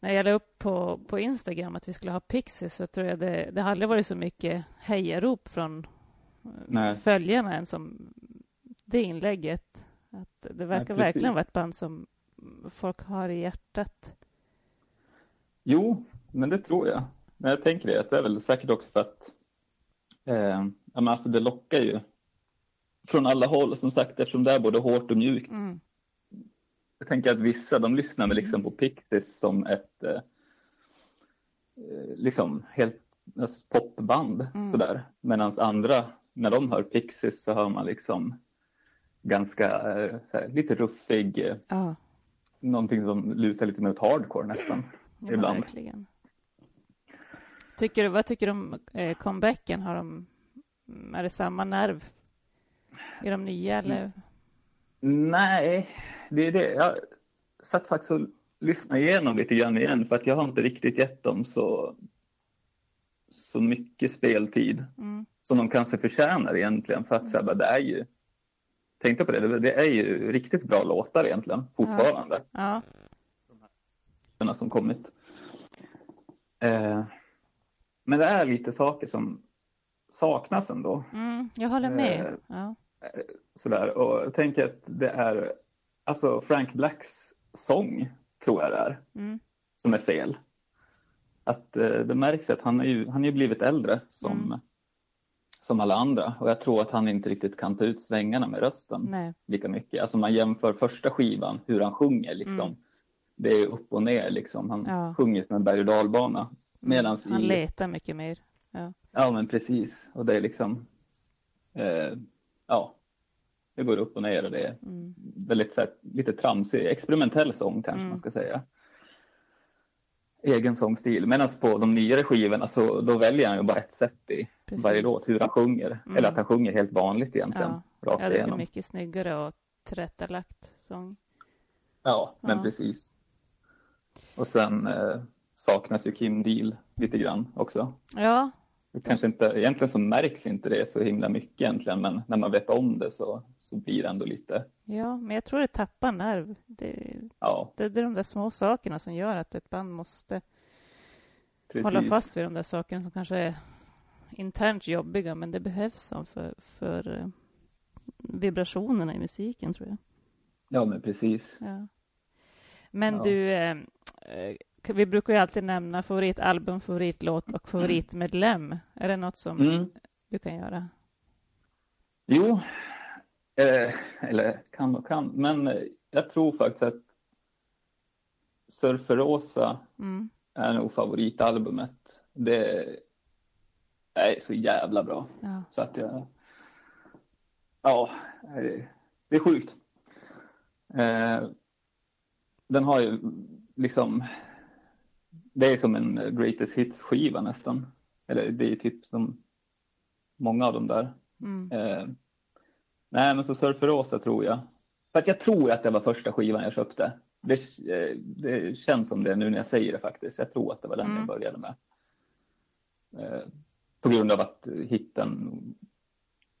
Speaker 3: när jag la upp på, på Instagram att vi skulle ha Pixies så tror jag det, det har aldrig varit så mycket hejarop från
Speaker 7: Nej.
Speaker 3: följarna än som det inlägget. Att det verkar
Speaker 7: precis.
Speaker 3: verkligen vara ett band som folk har i hjärtat.
Speaker 7: Jo, men det tror jag. Men jag tänker det, att det är väl säkert också för att eh, ja, men alltså det lockar ju från alla håll som sagt eftersom det är både hårt och mjukt.
Speaker 3: Mm.
Speaker 7: Jag tänker att vissa de lyssnar väl liksom på Pixies som ett eh, eh, liksom helt alltså, popband
Speaker 3: Mm.
Speaker 7: sådär. Medan andra, när de hör Pixies så hör man liksom ganska eh, så här, lite ruffig, eh,
Speaker 3: Ja,
Speaker 7: någonting som lutar lite mer åt hardcore nästan.
Speaker 3: ja men
Speaker 7: Ibland.
Speaker 3: verkligen. Tycker du, vad tycker du om eh, comebacken? Har de, mm, är det samma nerv? Är de nya
Speaker 7: Mm.
Speaker 3: eller?
Speaker 7: Nej, det är det. Jag satt faktiskt och lyssnade igenom lite grann igen för att jag har inte riktigt gett dem så, så mycket speltid.
Speaker 3: Mm.
Speaker 7: som de kanske förtjänar egentligen. För att så här, bara, det är ju, tänkte på det, det- det är ju riktigt bra låtar egentligen fortfarande.
Speaker 3: Ja,
Speaker 7: Ja. Som kommit. Eh, men det är lite saker som saknas ändå.
Speaker 3: mm, jag håller med.
Speaker 7: Eh,
Speaker 3: Ja.
Speaker 7: Sådär. Och jag tänker att det är, alltså Frank Blacks sång tror jag det är,
Speaker 3: Mm.
Speaker 7: som är fel. Att eh, det märks att han är ju, han är ju blivit äldre som,
Speaker 3: Mm.
Speaker 7: som alla andra. Och jag tror att han inte riktigt kan ta ut svängarna med rösten.
Speaker 3: Nej. Mm,
Speaker 7: lika mycket. Alltså man jämför första skivan, hur han sjunger liksom.
Speaker 3: Mm.
Speaker 7: Det är upp och ner liksom. Han
Speaker 3: Ja. Mm.
Speaker 7: sjunger som en berg och dalbana. Medans
Speaker 3: Han
Speaker 7: i-
Speaker 3: letar mycket mer.
Speaker 7: Ja men precis. Och det är liksom, eh, ja. Det går upp och ner och det är
Speaker 3: Mm.
Speaker 7: väldigt så här, lite tramsig, experimentell sång kanske
Speaker 3: Mm.
Speaker 7: man ska säga. Egen sångstil. Medan på de nyare skivorna så då väljer han ju bara ett sätt i
Speaker 3: Precis.
Speaker 7: varje låt hur han sjunger.
Speaker 3: Mm.
Speaker 7: Eller att han sjunger helt vanligt egentligen.
Speaker 3: Ja.
Speaker 7: Rakt
Speaker 3: Ja, det blir
Speaker 7: igenom.
Speaker 3: mycket snyggare och tillrättalagt sång.
Speaker 7: Ja, men
Speaker 3: Ja.
Speaker 7: precis. Och sen eh, saknas ju Kim Deal lite grann också.
Speaker 3: Ja,
Speaker 7: Det kanske inte, egentligen så märks inte det så himla mycket egentligen, men när man vet om det så, så blir det ändå lite,
Speaker 3: ja, men jag tror det tappar nerv. Det,
Speaker 7: ja,
Speaker 3: det, det är de där små sakerna som gör att ett band måste
Speaker 7: precis.
Speaker 3: hålla fast vid de där sakerna som kanske är internt jobbiga, men det behövs som för, för eh, vibrationerna i musiken tror jag.
Speaker 7: Ja, men precis.
Speaker 3: Ja. Men
Speaker 7: Ja.
Speaker 3: du, eh, eh, vi brukar ju alltid nämna favoritalbum, favoritlåt och favoritmedlem. Är det något som
Speaker 7: Mm.
Speaker 3: du kan göra?
Speaker 7: Jo, eh, eller kan och kan, men eh, jag tror faktiskt att Surferosa
Speaker 3: Mm.
Speaker 7: är nog favoritalbumet. Det är så jävla bra.
Speaker 3: Ja.
Speaker 7: Så att jag... Ja, det- det är sjukt. Eh, den har ju liksom... Det är som en greatest hits-skiva nästan. Eller det är ju typ som många av dem där.
Speaker 3: Mm.
Speaker 7: Eh, nej, men så Surferosa tror jag. För att jag tror att det var första skivan jag köpte. Det, eh, det känns som det nu när jag säger det faktiskt. Jag tror att det var den
Speaker 3: Mm.
Speaker 7: jag började med. Eh, på grund av att hitten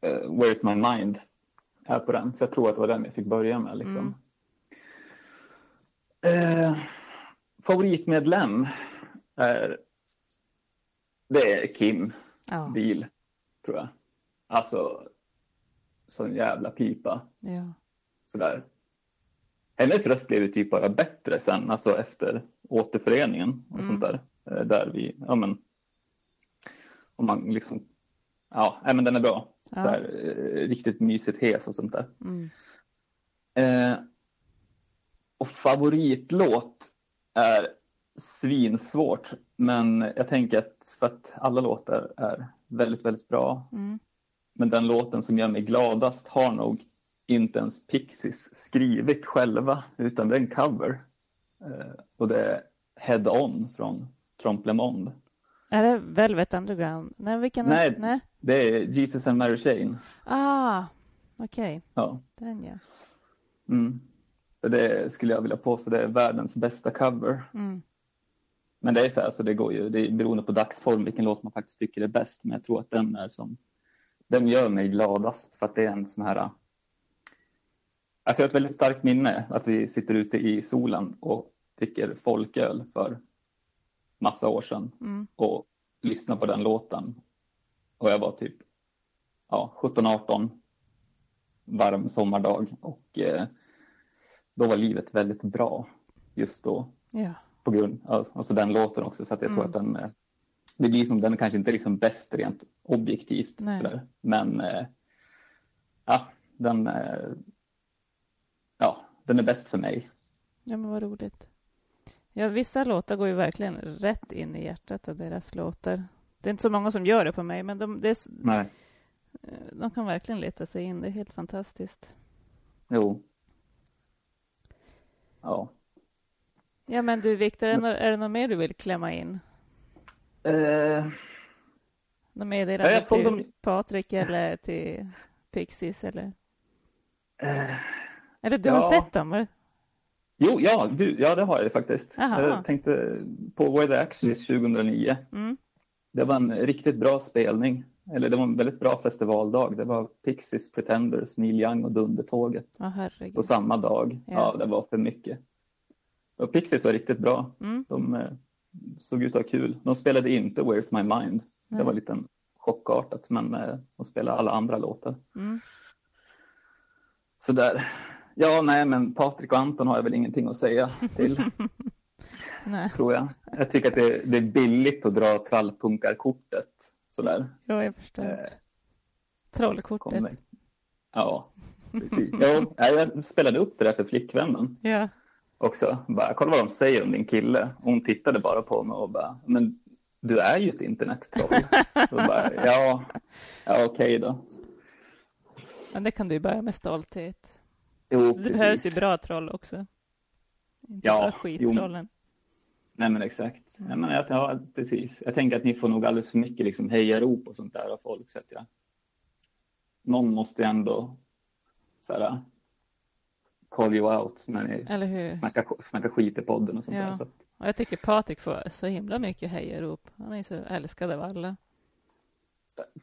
Speaker 7: eh, Where's My Mind är på den. Så jag tror att det var den jag fick börja med. Liksom.
Speaker 3: Mm.
Speaker 7: Eh, favoritmedlem är, det är Kim
Speaker 3: Ja.
Speaker 7: bil, tror jag. Alltså, sån jävla pipa.
Speaker 3: ja.
Speaker 7: Sådär. Hennes röst blev ju typ bara bättre sen, alltså efter återföreningen och
Speaker 3: Mm.
Speaker 7: sånt där. Eh, Där vi, ja men, om man liksom, ja, nej, men den är bra.
Speaker 3: Ja.
Speaker 7: Sådär, eh, riktigt mysigt hes och sånt där.
Speaker 3: Mm.
Speaker 7: Eh, och favoritlåt är svinsvårt, men jag tänker att för att alla låtar är väldigt, väldigt bra
Speaker 3: Mm.
Speaker 7: men den låten som gör mig gladast har nog inte ens Pixies skrivit själva, utan det är en cover. Eh, och det är Head On från Trompe Le Monde.
Speaker 3: Är det Velvet Underground? Nej, vilken?
Speaker 7: Nej.
Speaker 3: Nej.
Speaker 7: Det är Jesus and Mary Chain.
Speaker 3: Ah, okej.
Speaker 7: Ja.
Speaker 3: Den ja.
Speaker 7: Mm. Det skulle jag vilja påstå, det är världens bästa cover.
Speaker 3: Mm.
Speaker 7: Men det är så här, så det går ju, det är beroende på dagsform vilken låt man faktiskt tycker är bäst. Men jag tror att den är som, den gör mig gladast för att det är en sån här. Alltså jag har ett väldigt starkt minne att vi sitter ute i solen och dricker folköl för massa år sedan
Speaker 3: Mm.
Speaker 7: och lyssnar på den låten. Och jag var typ ja, 17-18, varm sommardag och eh, då var livet väldigt bra just då
Speaker 3: Ja.
Speaker 7: på grund av alltså den låten också. Så att jag tror
Speaker 3: Mm.
Speaker 7: att den, eh, det blir som den kanske inte är liksom bäst rent objektivt.
Speaker 3: Nej.
Speaker 7: Sådär. Men eh, ja, den, eh, ja, den är bäst för mig.
Speaker 3: Ja, men vad roligt. Ja, vissa låtar går ju verkligen rätt in i hjärtat av deras låtar. Det är inte så många som gör det på mig, men de, det är, s-
Speaker 7: Nej.
Speaker 3: de kan verkligen leta sig in. Det är helt fantastiskt.
Speaker 7: Jo. Ja.
Speaker 3: Ja, men du Viktor, är, det nå- är det något mer du vill klämma in?
Speaker 7: Eh,
Speaker 3: Något
Speaker 7: Ja,
Speaker 3: meddelande
Speaker 7: jag såg
Speaker 3: till
Speaker 7: dem-
Speaker 3: Patrik eller till Pixies eller?
Speaker 7: eh,
Speaker 3: Eller du
Speaker 7: Ja.
Speaker 3: har sett dem? eller?
Speaker 7: jo, ja, du, ja, det har jag faktiskt.
Speaker 3: Jaha.
Speaker 7: Jag tänkte på Where the Action is 2009.
Speaker 3: Mm.
Speaker 7: Det var en riktigt bra spelning. Eller det var en väldigt bra festivaldag. Det var Pixies, Pretenders, Neil Young och Dundertåget.
Speaker 3: Ja,
Speaker 7: på
Speaker 3: herregud.
Speaker 7: samma dag.
Speaker 3: Mm. Ja.
Speaker 7: Ja. det var för mycket. Och Pixies var riktigt bra.
Speaker 3: Mm.
Speaker 7: De eh, såg ut att ha kul. De spelade inte Where's My Mind. Det
Speaker 3: Nej.
Speaker 7: var lite chockartat, men eh, de spelade alla andra låtar.
Speaker 3: Mm.
Speaker 7: Så där. Ja, nej, men Patrik och Anton har jag väl ingenting att säga till,
Speaker 3: Nej,
Speaker 7: tror jag. Jag tycker att det, det är billigt att dra trallpunkarkortet sådär.
Speaker 3: jo, jag förstår.
Speaker 7: Eh,
Speaker 3: Trollkortet.
Speaker 7: kommer. Ja, precis. Jo, nej, jag spelade upp det där för flickvännen.
Speaker 3: Ja.
Speaker 7: också. Bara, kolla vad de säger om din kille. Och hon tittade bara på mig och bara, men du är ju ett internettroll. Och bara, ja, ja okej då.
Speaker 3: Men det kan du ju börja med stolthet.
Speaker 7: Jo,
Speaker 3: Det
Speaker 7: precis.
Speaker 3: behövs ju bra troll också. Inte
Speaker 7: Ja,
Speaker 3: bara
Speaker 7: jo.
Speaker 3: skittrollen.
Speaker 7: Nej men exakt. Nej, men jag, ja, precis. Jag tänker att ni får nog alldeles för mycket liksom hejarop och sånt där av folk. Så att jag, någon måste ju ändå så här, call you out när ni
Speaker 3: Eller hur?
Speaker 7: snackar, snackar skit i podden och sånt
Speaker 3: Ja.
Speaker 7: där. Så att,
Speaker 3: Och jag tycker Patrik får så himla mycket hejarop. Han är ju så älskad av alla.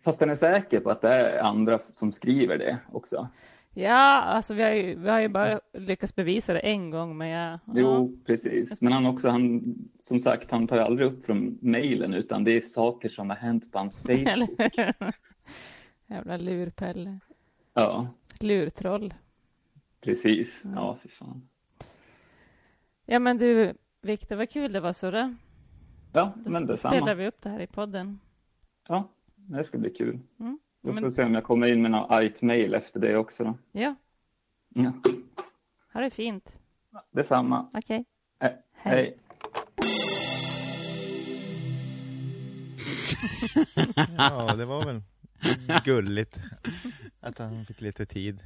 Speaker 7: fast den är säker på att det är andra som skriver det också.
Speaker 3: Ja, alltså vi har ju, vi har ju bara lyckats bevisa det en gång, men jag...
Speaker 7: Jo, precis. Men han också, han, som sagt, han tar aldrig upp från mejlen utan det är saker som har hänt på hans
Speaker 3: Ja.
Speaker 7: Facebook.
Speaker 3: Eller hur? Jävla lurpelle.
Speaker 7: Ja,
Speaker 6: Lurtroll.
Speaker 7: Precis. Ja, fy fan.
Speaker 6: Ja men du, Viktor, vad kul det var Surre.
Speaker 7: Ja,
Speaker 6: Då
Speaker 7: men
Speaker 6: spelar
Speaker 7: detsamma.
Speaker 6: vi upp det här i podden.
Speaker 7: Ja, det ska bli kul.
Speaker 6: Mm.
Speaker 7: Då ska
Speaker 6: Men-
Speaker 7: vi se om jag kommer in med något argt mail efter det också då.
Speaker 6: Ja,
Speaker 7: Ja,
Speaker 6: ha det fint.
Speaker 7: detsamma.
Speaker 6: Okej.
Speaker 7: Eh, Hej.
Speaker 4: Ja, det var väl gulligt att han fick lite tid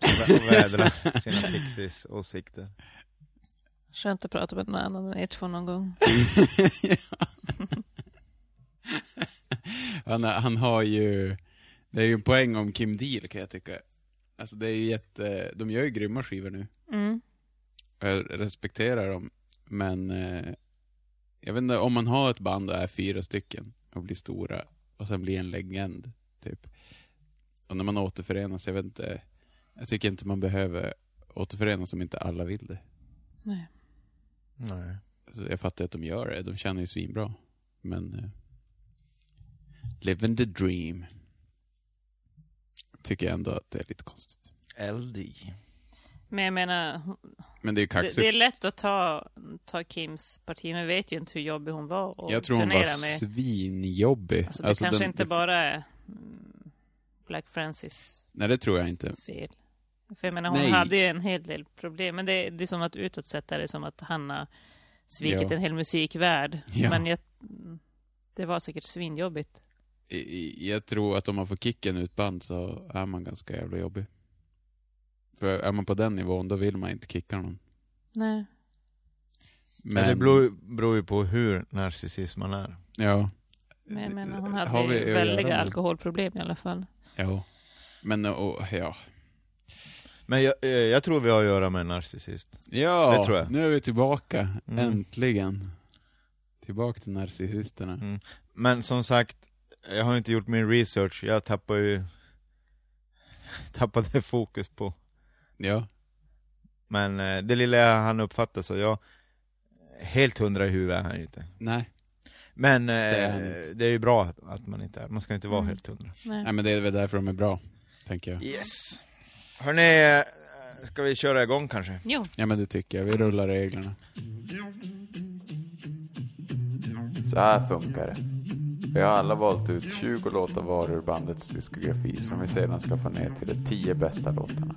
Speaker 4: att vädra sina Pixies åsikter.
Speaker 3: Skönt att prata med någon annan än er två någon gång.
Speaker 2: Han, han har ju... Det är ju en poäng om Kim Deal kan jag tycka. Alltså det är ju jätte... De gör ju grymma skivor nu.
Speaker 3: Mm.
Speaker 2: Jag respekterar dem. Men eh, jag vet inte, om man har ett band och är fyra stycken och blir stora och sen blir en legend, typ. Och när man återförenas, jag vet inte. Jag tycker inte man behöver återförenas om inte alla vill det.
Speaker 3: Nej.
Speaker 4: Nej.
Speaker 2: Alltså, jag fattar att de gör det, de tjänar ju svinbra. Men... Eh, living the dream. Tycker jag ändå att det är lite konstigt.
Speaker 4: LD.
Speaker 3: Men jag menar, hon-
Speaker 2: Men det är ju
Speaker 3: det,
Speaker 2: kaxigt.
Speaker 3: det är lätt att ta, ta Kims parti, men vi vet ju inte hur jobbig hon var och
Speaker 2: jag tror hon
Speaker 3: turnera
Speaker 2: var
Speaker 3: med.
Speaker 2: svinjobbig.
Speaker 3: Alltså, det
Speaker 2: Alltså,
Speaker 3: kanske
Speaker 2: den-
Speaker 3: inte bara är mm, Black Francis
Speaker 2: Nej, det tror jag inte.
Speaker 3: fel. För jag menar, hon
Speaker 2: Nej.
Speaker 3: hade ju en hel del problem. Men det, det är som att utåt sett är det som att Hanna svikit
Speaker 2: Ja.
Speaker 3: en hel musikvärld.
Speaker 2: Ja.
Speaker 3: Men jag, det var säkert svinjobbigt.
Speaker 2: I- i- Jag tror att om man får kicken ut band så är man ganska jävla jobbig. För är man på den nivån då vill man inte kicka någon.
Speaker 3: Nej.
Speaker 4: Men det beror, beror ju på hur narcissist man är.
Speaker 2: Ja.
Speaker 3: Men jag menar, hon
Speaker 2: Har
Speaker 3: hade
Speaker 2: vi att
Speaker 3: ju
Speaker 2: göra med?
Speaker 3: väldiga alkoholproblem i alla fall.
Speaker 2: Ja. Men och, ja.
Speaker 4: Men jag, eh, jag tror vi har att göra med en narcissist.
Speaker 2: Ja,
Speaker 4: Det tror jag.
Speaker 2: nu är vi tillbaka.
Speaker 4: Mm.
Speaker 2: Äntligen. Tillbaka till narcissisterna.
Speaker 4: Mm. Men som sagt, jag har inte gjort min research. Jag tappar ju... Tappade fokus på
Speaker 2: Ja.
Speaker 4: Men eh, det lilla jag han uppfattar så jag Helt hundra i huvudet är han ju inte
Speaker 2: Nej.
Speaker 4: Men eh,
Speaker 2: är han inte.
Speaker 4: det är ju bra att- att man inte är, man ska inte vara
Speaker 3: Mm.
Speaker 4: helt hundra
Speaker 3: Nej.
Speaker 2: Nej, men det är väl därför de är bra. Tänker jag.
Speaker 4: Yes Hörni, eh, ska vi köra igång kanske?
Speaker 3: Jo,
Speaker 2: Ja, men det tycker jag. Vi rullar reglerna.
Speaker 8: Så här funkar det. Vi har alla valt ut 20 låtar var ur bandets diskografi som vi sedan ska få ner till de 10 bästa låtarna.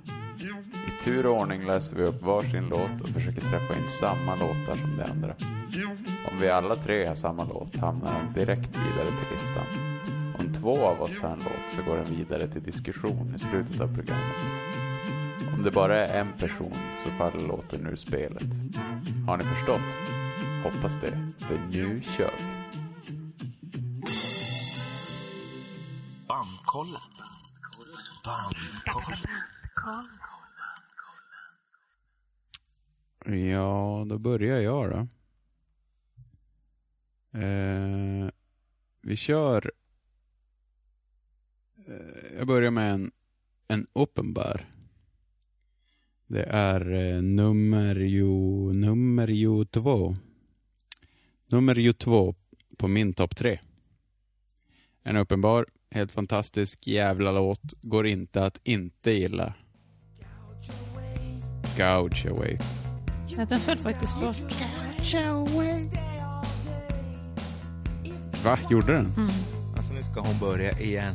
Speaker 8: I tur och ordning läser vi upp varsin låt och försöker träffa in samma låtar som de andra. Om vi alla tre har samma låt hamnar den direkt vidare till listan. Om två av oss har en låt så går den vidare till diskussion i slutet av programmet. Om det bara är en person så faller låten ur spelet. Har ni förstått? Hoppas det, för nu kör vi!
Speaker 2: Ja, då börjar jag då. Eh, vi kör... Eh, jag börjar med en, en uppenbar. Det är eh, nummer ju, nummer ju två. Nummer ju två på min topp tre. En uppenbar, helt fantastisk jävla låt. Går inte att inte gilla. Gouge away.
Speaker 3: Nej, den föll faktiskt bort.
Speaker 2: Va? Gjorde den?
Speaker 4: Alltså nu ska hon börja igen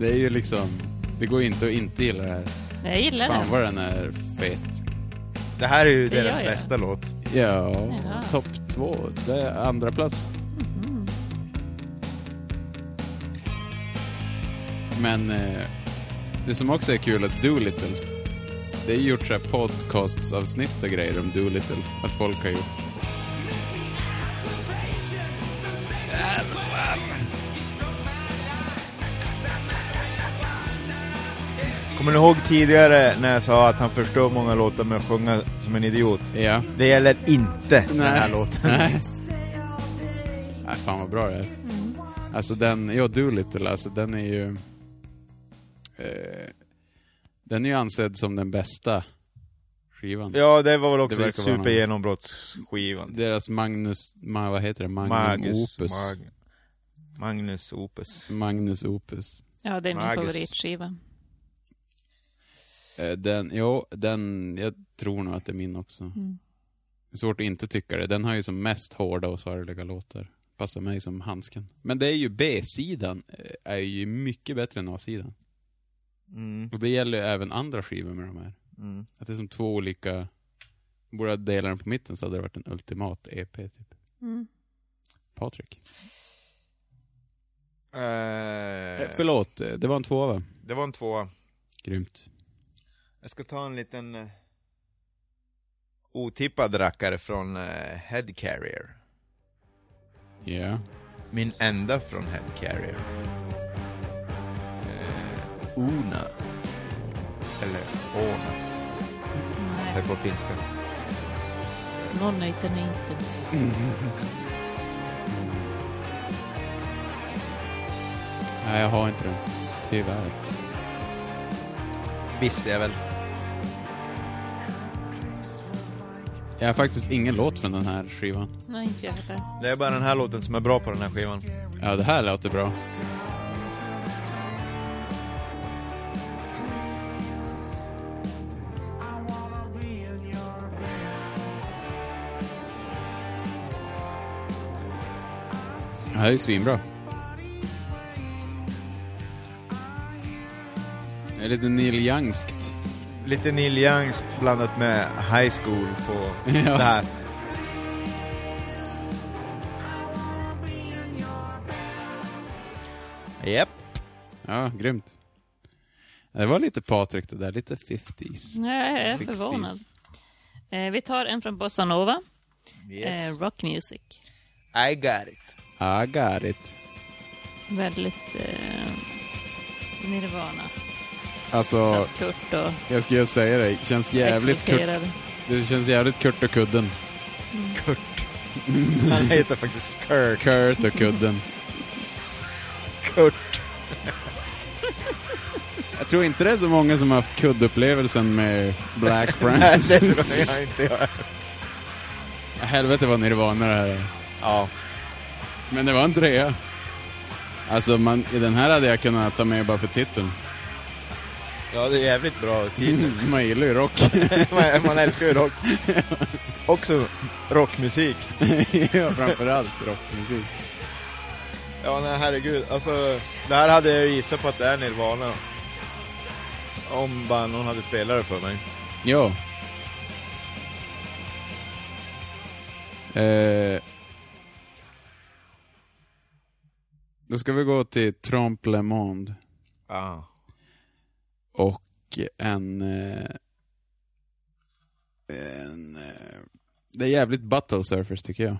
Speaker 2: Det är ju liksom... Det går ju inte att inte gilla det här.
Speaker 3: Nej, jag gillar
Speaker 2: Fan
Speaker 3: den.
Speaker 2: vad den är fet.
Speaker 4: Det här är ju
Speaker 3: Det
Speaker 4: deras
Speaker 3: gör jag.
Speaker 4: bästa låt
Speaker 2: Ja, Mm-hmm.
Speaker 3: Jaha.
Speaker 2: topp två. Det är andra plats. Men eh, det som också är kul att Doolittle, det är ju gjort så här podcasts-avsnitt och grejer om Doolittle. Att folk har gjort.
Speaker 4: Kommer ni ihåg tidigare när jag sa att han förstör många låtar med att sjunga som en idiot?
Speaker 2: Ja.
Speaker 4: Det gäller inte den här låten
Speaker 2: Nej. Nej, fan vad bra det är. Alltså den, ja Doolittle, alltså den är ju... Eh, den är ju ansedd som den bästa skivan.
Speaker 4: Ja, det var väl också
Speaker 2: Det verkar vara någon-
Speaker 4: supergenombrottsskivan
Speaker 2: Deras Magnus, ma, vad heter det, Magnum
Speaker 4: Magus,
Speaker 2: Opus.
Speaker 4: Mag... Magnus Opus.
Speaker 2: Magnus Opus.
Speaker 3: Ja, det är min
Speaker 4: Magus.
Speaker 3: favoritskiva.
Speaker 2: Eh, Den, jo, den, jag tror nog att det är min också.
Speaker 3: Mm.
Speaker 2: Det är svårt att inte tycka det. Den har ju som mest hårda och sorgliga låtar. Passar mig som handsken. Men det är ju B-sidan, eh, är ju mycket bättre än A-sidan.
Speaker 4: Mm.
Speaker 2: Och det gäller ju även andra skivor med de här.
Speaker 4: Mm.
Speaker 2: Att det är som två olika... Borde jag dela den på mitten så hade det varit en ultimat EP, typ.
Speaker 3: Mm.
Speaker 2: Patrik. Eh,
Speaker 4: Eh,
Speaker 2: förlåt, eh, det var en tvåa va?
Speaker 4: det var en tvåa.
Speaker 2: Grymt.
Speaker 4: Jag ska ta en liten eh, otippad rackare från eh, Head Carrier.
Speaker 2: Ja.
Speaker 4: Min enda från Head Carrier. Eh, Una. Eller Ona, som man säger på finska.
Speaker 3: Någon nöjt är inte med.
Speaker 2: Nej, jag har inte den. Tyvärr.
Speaker 4: Visste jag väl.
Speaker 2: Jag har faktiskt ingen låt från den här skivan.
Speaker 3: Nej, inte jag heller.
Speaker 4: Det är bara den här låten som är bra på den här skivan.
Speaker 2: Ja, det här låter bra. Det här är svinbra. Det är lite Neil Youngskt.
Speaker 4: Lite Neil Youngs blandat med High School på
Speaker 2: Ja.
Speaker 4: det här. Japp.
Speaker 2: Ja, grymt. Det var lite Patrik det där, lite 50s.
Speaker 3: Nej, jag är
Speaker 2: 60s.
Speaker 3: förvånad. Eh, vi tar en från Bossa Nova,
Speaker 4: Yes.
Speaker 3: eh, Rock Music.
Speaker 4: I got it.
Speaker 2: I got it.
Speaker 3: Väldigt eh, Nirvana. Så
Speaker 2: Alltså,
Speaker 3: att Kurt och
Speaker 2: jag skulle säga det, känns jävligt kurt,
Speaker 3: exalterad.
Speaker 2: det känns jävligt Kurt och kudden.
Speaker 4: Kurt. Han heter faktiskt Kirk.
Speaker 2: Kurt och kudden.
Speaker 4: Kurt.
Speaker 2: Jag tror inte det är så många som har haft kuddupplevelsen med Black
Speaker 4: Nej, det tror
Speaker 2: Francis.
Speaker 4: jag inte jag.
Speaker 2: Helvete vad Nirvana det här är.
Speaker 4: Ja.
Speaker 2: Men det var en trea. Alltså, man, i den här hade jag kunnat ta med bara för titeln.
Speaker 4: ja, det är jävligt bra titel.
Speaker 2: Man gillar ju rock.
Speaker 4: Man, man älskar ju rock. Också rockmusik.
Speaker 2: ja, framförallt rockmusik.
Speaker 4: Ja, nej herregud. Alltså, det här hade jag ju gissat på att det är Nirvana. Om bara någon hade spelat det för mig.
Speaker 2: Ja. Eh, då ska vi gå till Trompe Le Monde
Speaker 4: Ja.
Speaker 2: och en... Eh, en eh, det är jävligt battle surfers tycker jag.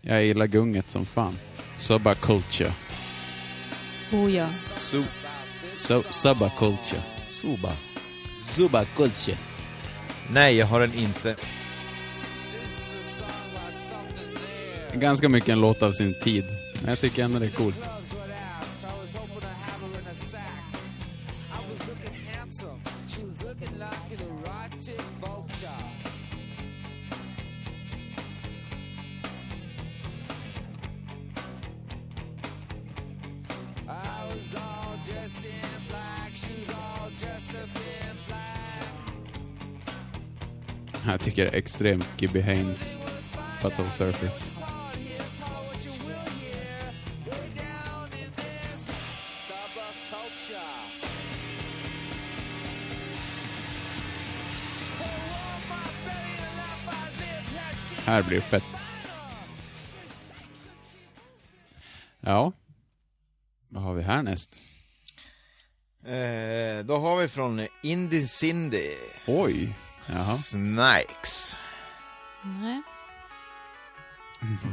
Speaker 2: Jag gillar gunget som fan. Subba culture.
Speaker 3: Oh ja.
Speaker 2: Su, su, subba culture. Suba. Suba culture.
Speaker 4: Nej, jag har den inte.
Speaker 2: Ganska mycket en låt av sin tid. Men jag tycker ändå det är coolt. Jag tycker det är extremt Gibby Haynes Battle Surfers. Här blir det fett. Ja. Vad har vi härnäst?
Speaker 4: Eh, då har vi från Indie Cindy.
Speaker 2: Oj. Jaha.
Speaker 4: Snakes.
Speaker 3: Nej.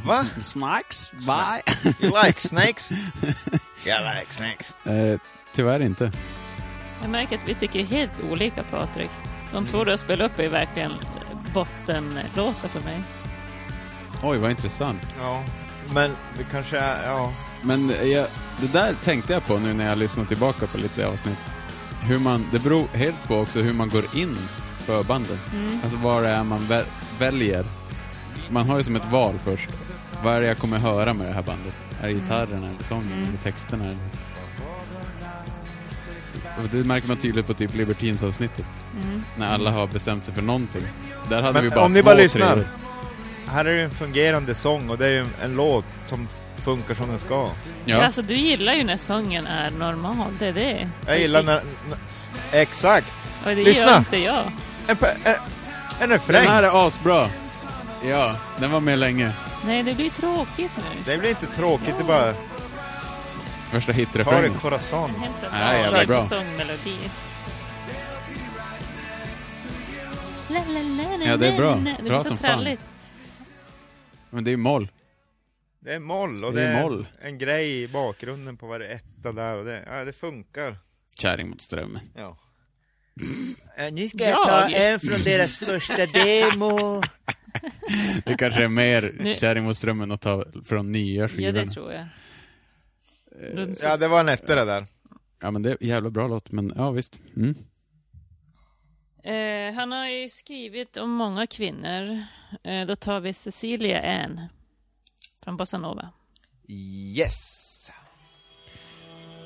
Speaker 4: Va?
Speaker 2: Snacks? Bye.
Speaker 4: You like snakes? Jag like snakes.
Speaker 2: Eh, tyvärr inte.
Speaker 3: Jag märker att vi tycker helt olika Patrik. De två du har spelat upp är verkligen bottenlåtar för mig.
Speaker 2: Oj, vad intressant.
Speaker 4: Ja, men det kanske är, ja.
Speaker 2: Men jag, det där tänkte jag på nu när jag lyssnade tillbaka på lite avsnitt. Hur man, det beror helt på också hur man går in för banden. Alltså vad det är man vä- väljer. Man har ju som ett val först. Vad är det jag kommer höra med det här bandet? Är det gitarren eller sången eller texterna? Eller? Och Det märker man tydligt på typ Libertines-avsnittet. När alla har bestämt sig för någonting. Där hade
Speaker 4: Men
Speaker 2: vi bara
Speaker 4: om ni
Speaker 2: två,
Speaker 4: bara lyssnar.
Speaker 2: treor.
Speaker 4: Här är det ju en fungerande sång och det är ju en, en låt som funkar som den ska.
Speaker 2: Ja,
Speaker 3: Alltså du gillar ju när sången är normal, det är det.
Speaker 4: Jag gillar när... när exakt!
Speaker 3: Och det
Speaker 4: Lyssna!
Speaker 3: gör inte jag.
Speaker 4: En, pe- en, en
Speaker 2: den
Speaker 4: refräng!
Speaker 2: här är asbra. Ja, den var med länge.
Speaker 3: Nej, det blir tråkigt nu.
Speaker 4: Det blir inte tråkigt, det bara
Speaker 2: Värsta
Speaker 4: tar
Speaker 2: hitrefrängen.
Speaker 4: ett corazon.
Speaker 3: Helt rätt.
Speaker 2: Nej,
Speaker 3: Jag
Speaker 4: jävla
Speaker 3: har
Speaker 2: bra.
Speaker 3: sångmelodi. La, la, la, la,
Speaker 2: Ja, det är bra.
Speaker 3: la, la.
Speaker 2: Bra
Speaker 3: Det blir så
Speaker 2: som fan.
Speaker 3: tralligt.
Speaker 2: Men det är ju moll.
Speaker 4: Det är moll och
Speaker 2: Det
Speaker 4: det
Speaker 2: är
Speaker 4: är
Speaker 2: moll.
Speaker 4: en grej i bakgrunden på varje etta där och det, ja, det funkar.
Speaker 2: Kärring mot strömmen.
Speaker 4: Ja. Nu ska
Speaker 3: jag ta
Speaker 4: en från deras första demo.
Speaker 2: Det kanske är mer
Speaker 3: Nu-
Speaker 2: Kärring mot strömmen att ta från nya
Speaker 3: Ja,
Speaker 2: skivorna.
Speaker 3: det tror jag. Runt
Speaker 4: Ja, det var en etta det där.
Speaker 2: Ja, men det är en jävla bra låt, men ja visst. Mm.
Speaker 3: Eh, han har ju skrivit om många kvinnor. Eh, då tar vi Cecilia Ann från Bossa Nova.
Speaker 4: Yes!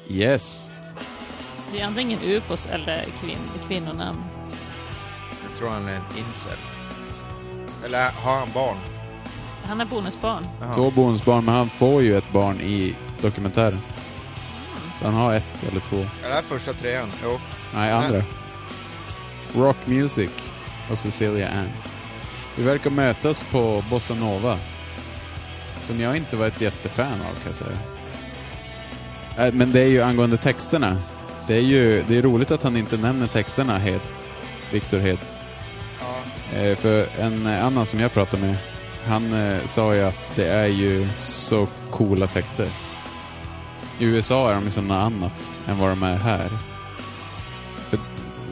Speaker 2: Yes.
Speaker 3: Det är antingen ufos eller kvin- kvinnonamn.
Speaker 4: Jag tror han är en incel. Eller har han barn?
Speaker 3: Han är bonusbarn.
Speaker 4: Ja.
Speaker 2: Två bonusbarn, men han får ju ett barn i dokumentären. Så han har ett eller två.
Speaker 4: Är det här första trean? Jo.
Speaker 2: Nej, andra. Rock Music och Cecilia Ann. Vi verkar mötas på Bossa Nova. Som jag inte var ett jättefan av kan jag säga. Äh, Men det är ju angående texterna. Det är ju det är roligt att han inte nämner texterna, Hed. Viktor Hed. Eh, För en eh, annan som jag pratade med, han eh, sa ju att det är ju så coola texter. I USA är de ju som något annat än vad de är här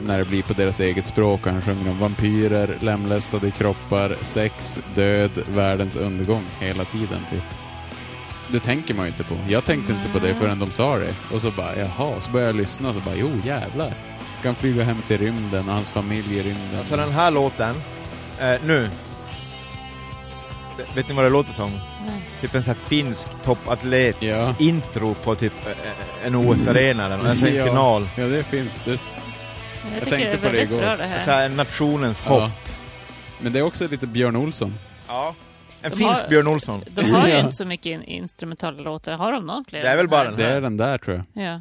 Speaker 2: när det blir på deras eget språk. Han sjunger om vampyrer, lemlästade kroppar, sex, död, världens undergång hela tiden typ. Det tänker man ju inte på. Jag tänkte inte på det förrän de sa det. Och så bara, jaha. Så började jag lyssna och så bara, jo jävlar. Ska han flyga hem till rymden och hans familj i rymden?
Speaker 4: Alltså den här låten, eh, nu. Vet ni vad det låter som?
Speaker 3: Nej.
Speaker 4: Typ en sån här finsk topatlets
Speaker 2: Ja.
Speaker 4: intro på typ eh, en OS-arena eller nåt. alltså en
Speaker 2: Ja.
Speaker 4: final.
Speaker 2: Ja, det finns. Det...
Speaker 3: Jag,
Speaker 2: Jag
Speaker 3: tycker
Speaker 2: tänkte
Speaker 3: det
Speaker 2: på
Speaker 3: är
Speaker 2: det
Speaker 3: väldigt
Speaker 2: igår.
Speaker 3: bra det här.
Speaker 4: Så här, Alltså, en nationens hopp.
Speaker 2: Ja. Men det är också lite Björn Olsson.
Speaker 4: Ja. En
Speaker 3: De
Speaker 4: finsk
Speaker 3: har-
Speaker 4: Björn Olsson.
Speaker 3: De har ju inte så mycket in- instrumentala låtar. Har de någon fler?
Speaker 4: Det är väl bara den
Speaker 2: Det är
Speaker 4: här.
Speaker 2: den där tror jag.
Speaker 3: Ja.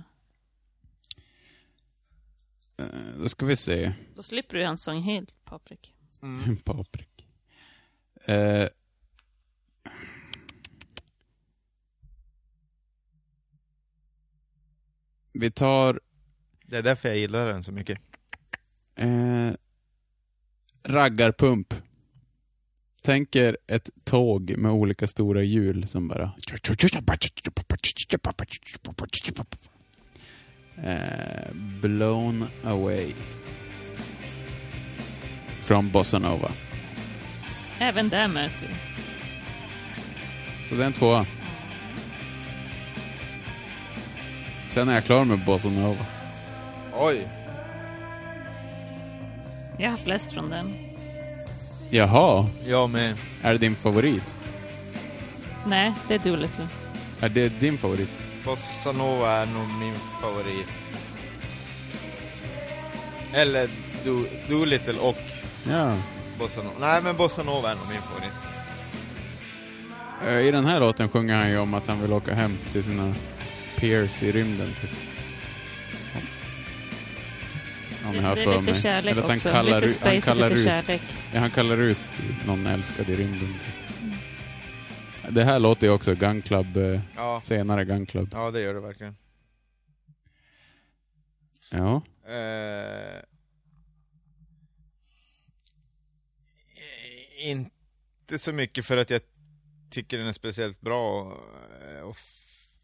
Speaker 2: Eh, Då ska vi se.
Speaker 3: Då slipper du hans sång helt, Patrik.
Speaker 2: Paprik. Mm. Eh. Vi tar
Speaker 4: Det är därför jag gillar den så mycket.
Speaker 2: eh, raggarpump. Tänk er ett tåg med olika stora hjul som bara... Eh, blown away. Från Bossanova.
Speaker 3: Även där möts vi.
Speaker 2: Så det är en tvåa. Sen är jag klar med Bossa Nova.
Speaker 4: Oj.
Speaker 3: Jag har flest från den.
Speaker 2: Jaha,
Speaker 4: Ja men
Speaker 2: är det din favorit?
Speaker 3: Nej, det är Doolittle.
Speaker 2: Är det din favorit?
Speaker 4: Bossa Nova är nog min favorit. Eller Do- Doolittle och
Speaker 2: Ja.
Speaker 4: Bossa Nova. Nej men Bossa Nova är nog min favorit.
Speaker 2: Eh, I den här låten sjunger han ju om att han vill åka hem till sina peers i rymden, typ. Om jag har
Speaker 3: det är
Speaker 2: för
Speaker 3: lite
Speaker 2: mig.
Speaker 3: kärlek
Speaker 2: Eller att han
Speaker 3: också.
Speaker 2: Kallar,
Speaker 3: Lite
Speaker 2: ut- han
Speaker 3: space och
Speaker 2: kallar
Speaker 3: lite
Speaker 2: ut,
Speaker 3: kärlek.
Speaker 2: Ja, han kallar ut någon älskad i rymden, typ.
Speaker 3: Mm.
Speaker 2: Det här låter ju också Gun Club, eh,
Speaker 4: Ja,
Speaker 2: senare Gun Club.
Speaker 4: ja det gör det verkligen.
Speaker 2: Ja.
Speaker 4: Eh, inte så mycket för att jag tycker den är speciellt bra. eh, Och f-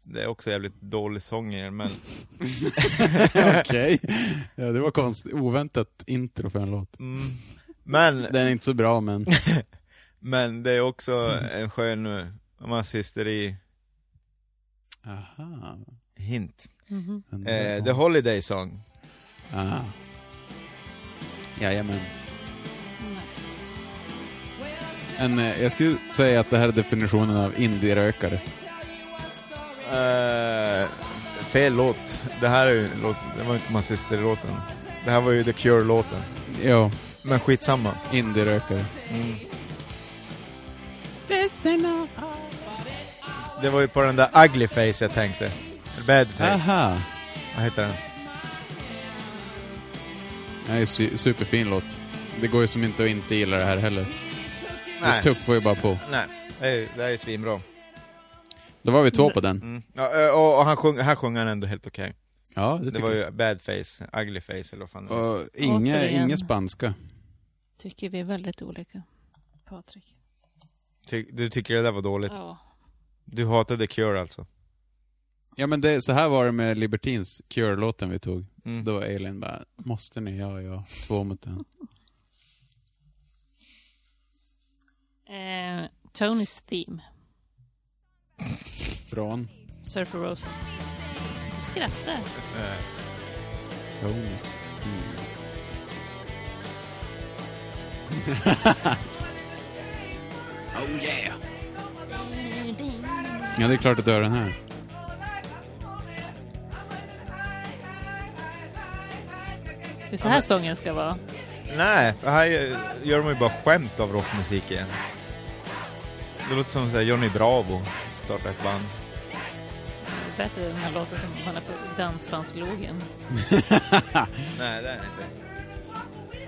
Speaker 4: det är också jävligt dålig sång i den, men
Speaker 2: Okej. Ja, det var konstigt. Oväntat intro för en låt.
Speaker 4: Mm. Men,
Speaker 2: Den är inte så bra, men...
Speaker 4: men det är också en skön eh, massysteri
Speaker 2: Aha.
Speaker 4: hint.
Speaker 3: Mhm.
Speaker 2: Men
Speaker 4: Eh, The Holiday Song.
Speaker 2: Ah. Jajamän. En, eh, jag skulle säga att det här är definitionen av indierökare.
Speaker 4: Eh, fel låt. Det här är ju låt, det var inte Manchester-låten. Det här var ju The Cure-låten.
Speaker 2: Jo,
Speaker 4: Men skitsamma.
Speaker 2: indie-rökare.
Speaker 4: Det var ju på den där Ugly Face jag tänkte. Eller Bad Face.
Speaker 2: Aha.
Speaker 4: Vad heter den?
Speaker 2: Det är su- superfin låt. Det går ju som inte att inte gilla det här heller. Det tuffar ju bara på.
Speaker 4: Nej. Det är, det här är svinbra.
Speaker 2: Då var vi två på den.
Speaker 4: Mm. Ja, ö, och, och han sjung, här sjunger han ändå helt okej.
Speaker 2: Ja, det
Speaker 4: Det
Speaker 2: tycker
Speaker 4: var
Speaker 2: jag.
Speaker 4: ju Bad Face, Ugly Face eller vad fan det var.
Speaker 2: Och inge,
Speaker 3: Återigen.
Speaker 2: inge spanska.
Speaker 3: Tycker vi är väldigt olika. Patrik.
Speaker 4: Ty, Du tycker det där var dåligt?
Speaker 3: Ja.
Speaker 4: Du hatade The Cure alltså?
Speaker 2: Ja men det, så här var det med Libertines Cure-låten vi tog.
Speaker 4: Mm.
Speaker 2: Då var Elin bara, måste ni? Ja, ja. Två mot en.
Speaker 3: Eh, Tonys theme.
Speaker 2: Från
Speaker 3: Surfer Rosen. Du skrattar.
Speaker 2: Tones. Mm. oh yeah! Ja, det är klart att du hör den här.
Speaker 3: Det är så här sången ska vara.
Speaker 4: Nej, för här gör- gör de ju bara skämt av rockmusik igen. Det låter som såhär Johnny Bravo startar ett band.
Speaker 3: Bättre än den här låten som man är på dansbandslogen.
Speaker 4: Nej, det är det inte.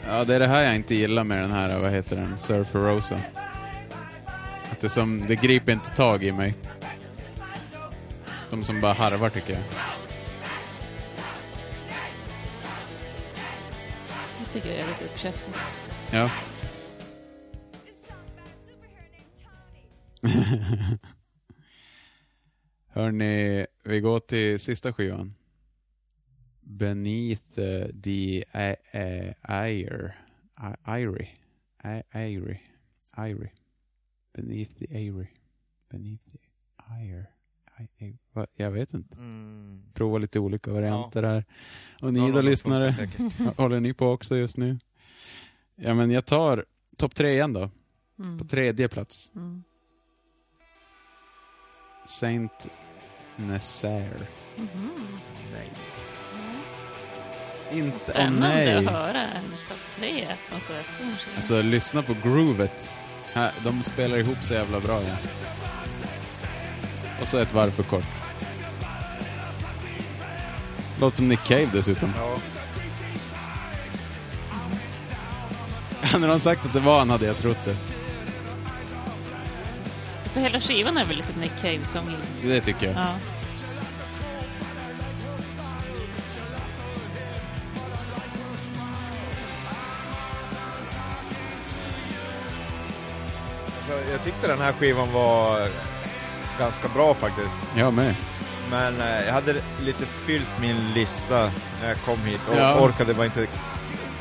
Speaker 2: Ja, det är det här jag inte gillar med den här, vad heter den, Surfer Rosa. Att det är som, det griper inte tag i mig. De som bara harvar tycker jag.
Speaker 3: Jag tycker det är lite uppkäftigt.
Speaker 2: Ja. Hörni, vi går till sista skivan. Beneath eh, the I- I- Ire. I- Ire. I- Ire. Ire. Beneath the Ire. Beneath the Ire. I- I- vad- Jag vet inte.
Speaker 4: Mm.
Speaker 2: Prova lite olika varianter här. Och ni
Speaker 4: Någon
Speaker 2: då
Speaker 4: av dem
Speaker 2: lyssnare.
Speaker 4: funkar säkert.
Speaker 2: Håller ni på också just nu? Ja, men jag tar topp tre igen då.
Speaker 3: Mm.
Speaker 2: På tredje plats.
Speaker 3: Mm.
Speaker 2: Saint Nazaire.
Speaker 3: Mhm.
Speaker 4: Nej.
Speaker 2: Inte, åh
Speaker 3: Mm. Spännande
Speaker 2: nej.
Speaker 3: att höra en topp tre från sådär Sunshine.
Speaker 2: Alltså, lyssna på groovet. Här, De spelar ihop så jävla bra. Ja. Och så ett varv för kort. Låter som Nick Cave dessutom.
Speaker 4: Ja.
Speaker 2: Hade de sagt att det var han hade jag trott det.
Speaker 3: För hela skivan är väl lite Nick Cave-sång i.
Speaker 2: Det tycker jag.
Speaker 3: Ja.
Speaker 4: Så Alltså, jag tyckte den här skivan var ganska bra faktiskt.
Speaker 2: Jag med.
Speaker 4: Men eh, jag hade lite fyllt min lista när jag kom hit och
Speaker 2: Ja.
Speaker 4: orkade bara inte,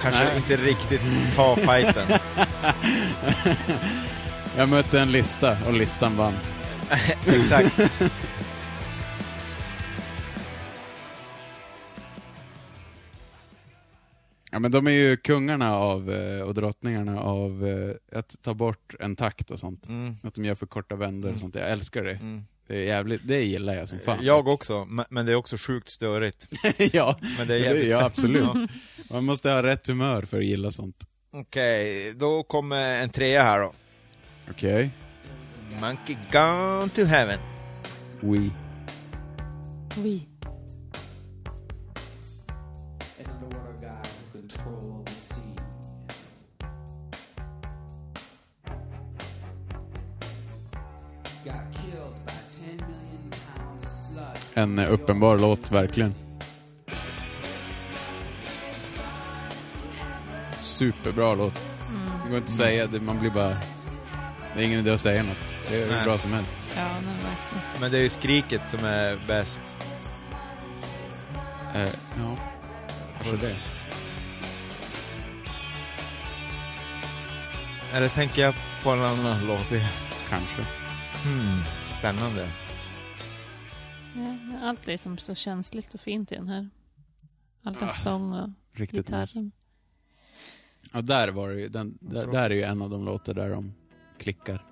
Speaker 4: kanske
Speaker 2: Nej.
Speaker 4: inte riktigt ta fighten.
Speaker 2: Jag mötte en lista och listan vann.
Speaker 4: Exakt.
Speaker 2: Ja, men de är ju kungarna av eh, och drottningarna av eh, att ta bort en takt och sånt.
Speaker 4: Mm.
Speaker 2: Att de gör för korta vändor och sånt. Jag älskar det.
Speaker 4: Mm.
Speaker 2: Det, är jävligt, det gillar jag som fan.
Speaker 4: Jag också, men- men det är också sjukt störigt.
Speaker 2: ja,
Speaker 4: Men det
Speaker 2: det
Speaker 4: är
Speaker 2: är
Speaker 4: jävligt
Speaker 2: ja,
Speaker 4: fett.
Speaker 2: absolut. Man måste ha rätt humör för att gilla sånt.
Speaker 4: Okej, då kommer en trea här då.
Speaker 2: Okej.
Speaker 4: Monkey gone to heaven.
Speaker 2: Oui.
Speaker 3: Oui.
Speaker 2: En eh, uppenbar låt, verkligen. Superbra låt. Det går inte att säga, det, man blir bara... Det är ingen idé att säga något. Det är hur
Speaker 4: Nej.
Speaker 2: bra som helst.
Speaker 3: Ja, men verkligen.
Speaker 4: Men det är ju skriket som är bäst.
Speaker 2: Eh, ja, kanske det.
Speaker 4: Eller tänker jag på en annan låt igen?
Speaker 2: Kanske.
Speaker 4: Hmm, spännande.
Speaker 3: Ja, Allt är som så känsligt och fint i den här. All den sång och
Speaker 2: Riktigt nice.
Speaker 3: gitarren.
Speaker 2: Ja, där var det ju. Den, där, där är Mm. ju en av de låtar där de klickar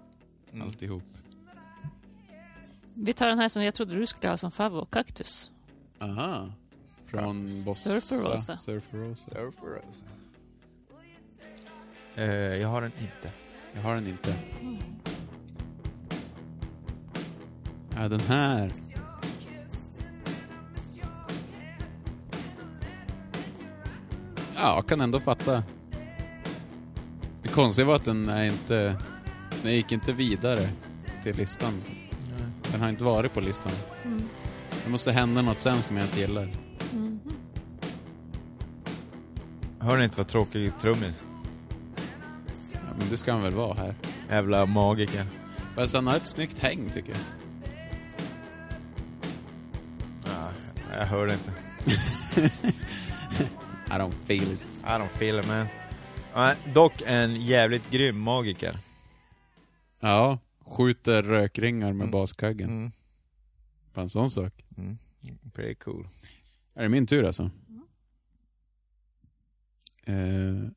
Speaker 4: Mm.
Speaker 2: alltihop.
Speaker 3: Vi tar den här som jag trodde du skulle ha som favvo, Kaktus.
Speaker 2: Aha. Från Bossa.
Speaker 3: Surferosa.
Speaker 2: Surferosa.
Speaker 8: Surferosa.
Speaker 4: Eh, jag har den inte.
Speaker 2: Jag har den inte. Ja, den här. Ja, kan ändå fatta. Det konstiga var att den är inte... Den gick inte vidare till listan. Den har inte varit på listan. Det måste hända något sen som jag inte gillar.
Speaker 4: Hör ni inte vad tråkig trummis?
Speaker 2: Ja, men det ska han väl vara här.
Speaker 4: Jävla magiker.
Speaker 2: Fast han har ett snyggt häng tycker jag.
Speaker 4: Ja, jag hör det inte.
Speaker 2: I don't feel it.
Speaker 4: I don't feel it man. Nej, dock en jävligt grym magiker.
Speaker 2: Ja, skjuter rökringar med baskaggen.
Speaker 4: Mm.
Speaker 2: Bara en sån sak.
Speaker 4: Pretty cool.
Speaker 2: Är det min tur alltså?
Speaker 4: Mm.
Speaker 2: Eh,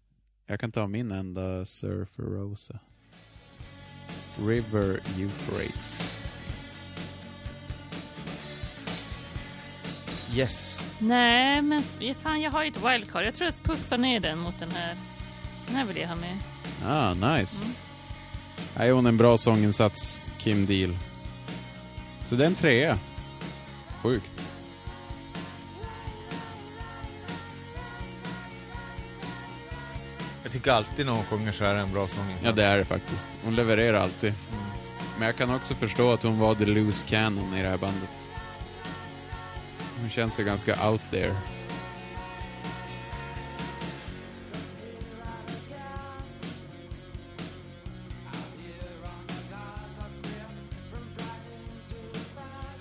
Speaker 2: jag kan ta min enda Surferosa. River Euphrates.
Speaker 4: Yes.
Speaker 3: Nej, men f- fan jag har ju ett wildcard. Jag tror att puffa ner den mot den här. Den här vill jag ha med.
Speaker 2: Ah, nice.
Speaker 4: Mm.
Speaker 2: Här är hon en bra sånginsats, Kim Deal. Så det är en trea. Sjukt.
Speaker 4: Jag tycker alltid när hon sjunger så här är en bra sång.
Speaker 2: Ja, det är det faktiskt. Hon levererar alltid. Men jag kan också förstå att hon var the loose cannon i det här bandet. Hon känns ju ganska out there.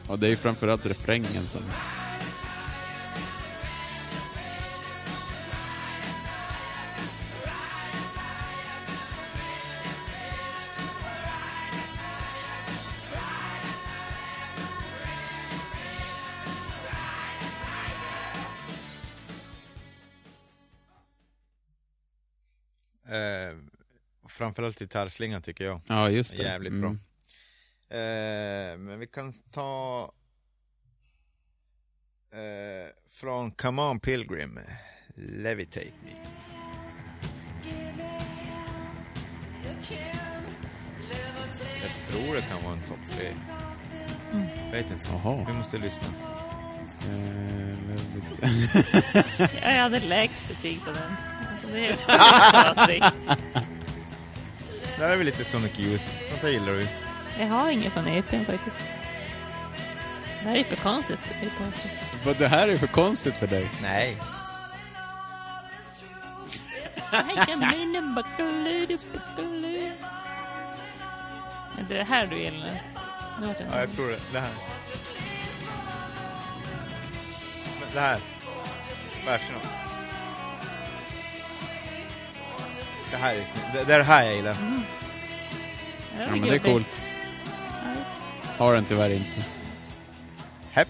Speaker 2: Och det är ju framförallt refrängen som...
Speaker 4: Eh, framförallt gitarrslingan tycker jag.
Speaker 2: Ja, just det. Mm.
Speaker 4: Jävligt bra. Eh, men vi kan ta... Eh, från Come On Pilgrim. Levitate Me. Jag tror det kan vara en topp tre.
Speaker 2: Mm.
Speaker 4: Vet inte.
Speaker 2: Jaha.
Speaker 4: Vi måste lyssna. Mm.
Speaker 2: Eh, väldigt-
Speaker 3: Jag hade lägst betyg på den. Alltså, det är ett sjukt bra trick.
Speaker 4: Där är vi lite Sonic Youth. Sånt här gillar vi.
Speaker 3: Jag har ingen från EPn faktiskt. Det här är ju för konstigt för E dig Patrik.
Speaker 2: Vad det här är för konstigt för dig.
Speaker 4: Nej.
Speaker 3: Är det det här du gillar? Nu vart det
Speaker 4: Ja, jag tror det. Det här. Men Det här. Verserna. Det här är snyggt. Det, det är det här jag gillar.
Speaker 2: Ja, men det är coolt. Har den tyvärr inte.
Speaker 4: Hepp.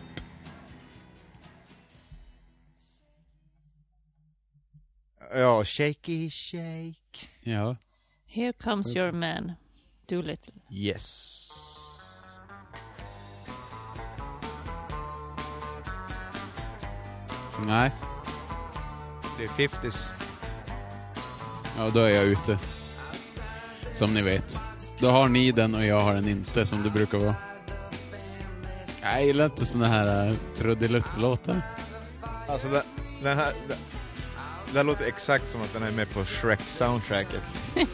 Speaker 4: Ja, shaky shake.
Speaker 2: Ja.
Speaker 3: Here comes your man. Do little.
Speaker 4: Yes.
Speaker 2: Nej.
Speaker 4: Det är 50s.
Speaker 2: Ja, då är jag ute. Som ni vet. Då har ni den och jag har den inte, som det brukar vara. Jag gillar inte såna här äh, trudeluttlåtar.
Speaker 4: Alltså den, den här... Den, den här låter exakt som att den är med på Shrek-soundtracket.
Speaker 2: Mm,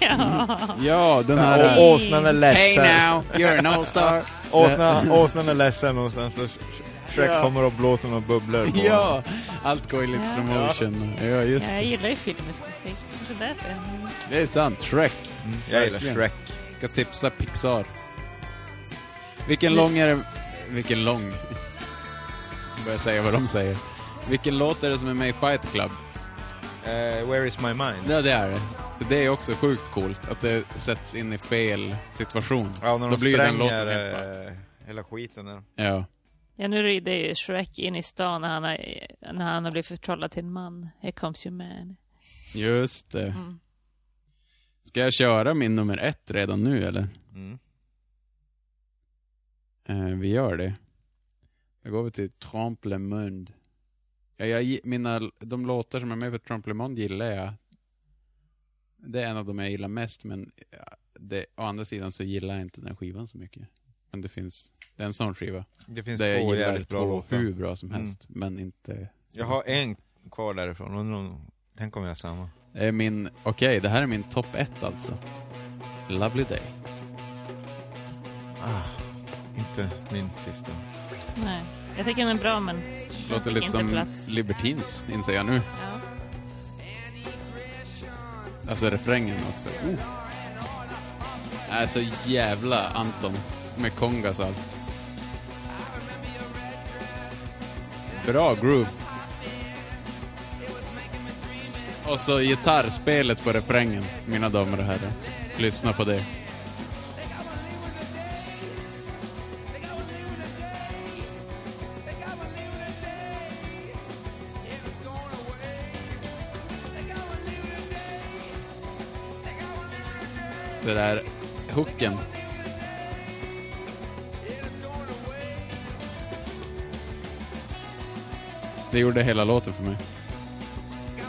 Speaker 2: Ja, den här... eh,
Speaker 4: Och åsnan är
Speaker 2: hey
Speaker 4: ledsen.
Speaker 2: now, you're no star. Eh,
Speaker 4: Åsnan, åsnan är ledsen och sen så Sh- Sh- Shrek kommer och blåser några bubblor på honom.
Speaker 2: Ja, allt går i lite slow motion. Ja, just
Speaker 3: Jag
Speaker 2: det.
Speaker 3: gillar ju filmisk musik. Kanske därför Mm. jag har
Speaker 2: Det är sant. Shrek.
Speaker 4: Jag gillar
Speaker 2: Verkligen.
Speaker 4: Shrek.
Speaker 2: Ska tipsa Pixar. Vilken lång är det... Vilken lång? Jag börjar säga vad de säger. Vilken låt är det som är med i Fight Club?
Speaker 4: Eh, where is my mind?
Speaker 2: Ja, det är det. För det är också sjukt coolt att det sätts in i fel situation.
Speaker 4: Ja, när
Speaker 2: Då
Speaker 4: de
Speaker 2: blir ju den
Speaker 4: spränger
Speaker 2: låten helt bara...
Speaker 4: eh, hela skiten där.
Speaker 2: Ja.
Speaker 3: Ja, nu rider ju Shrek in i stan när han har, när han har blivit förtrollad till en man. Here comes your
Speaker 2: Mm.
Speaker 3: man. Mm.
Speaker 2: Just det. Ska jag köra min nummer ett redan nu eller?
Speaker 4: Mm.
Speaker 2: Eh, vi gör det. Då går vi till Tromplemund. Ja, jag, gi- mina, de låtar som är med på Tromplemund gillar jag. Det är en av de jag gillar mest, men ja, det, å andra sidan så gillar jag inte den skivan så mycket. Men det finns, det är en sån skiva.
Speaker 4: Det finns
Speaker 2: Där jag
Speaker 4: två
Speaker 2: gillar
Speaker 4: jävligt bra
Speaker 2: två
Speaker 4: låtar. Mm.
Speaker 2: hur bra som helst, men inte...
Speaker 4: Jag har en kvar därifrån, undrar om... Tänk om jag har samma.
Speaker 2: Det är min, okej, det här är min topp ett alltså. Lovely Day.
Speaker 4: Inte min sista.
Speaker 3: Nej. Jag tycker den är bra, men
Speaker 2: Låter
Speaker 3: fick
Speaker 2: lite
Speaker 3: inte
Speaker 2: som
Speaker 3: plats.
Speaker 2: Libertines, inser jag nu.
Speaker 3: Ja.
Speaker 2: Alltså refrängen också. Oh. Äh, så jävla Anton med kongas och allt. Bra groove. Och så gitarrspelet på refrängen, mina damer och herrar. Lyssna på det. Det där hooken. Det gjorde hela låten för mig.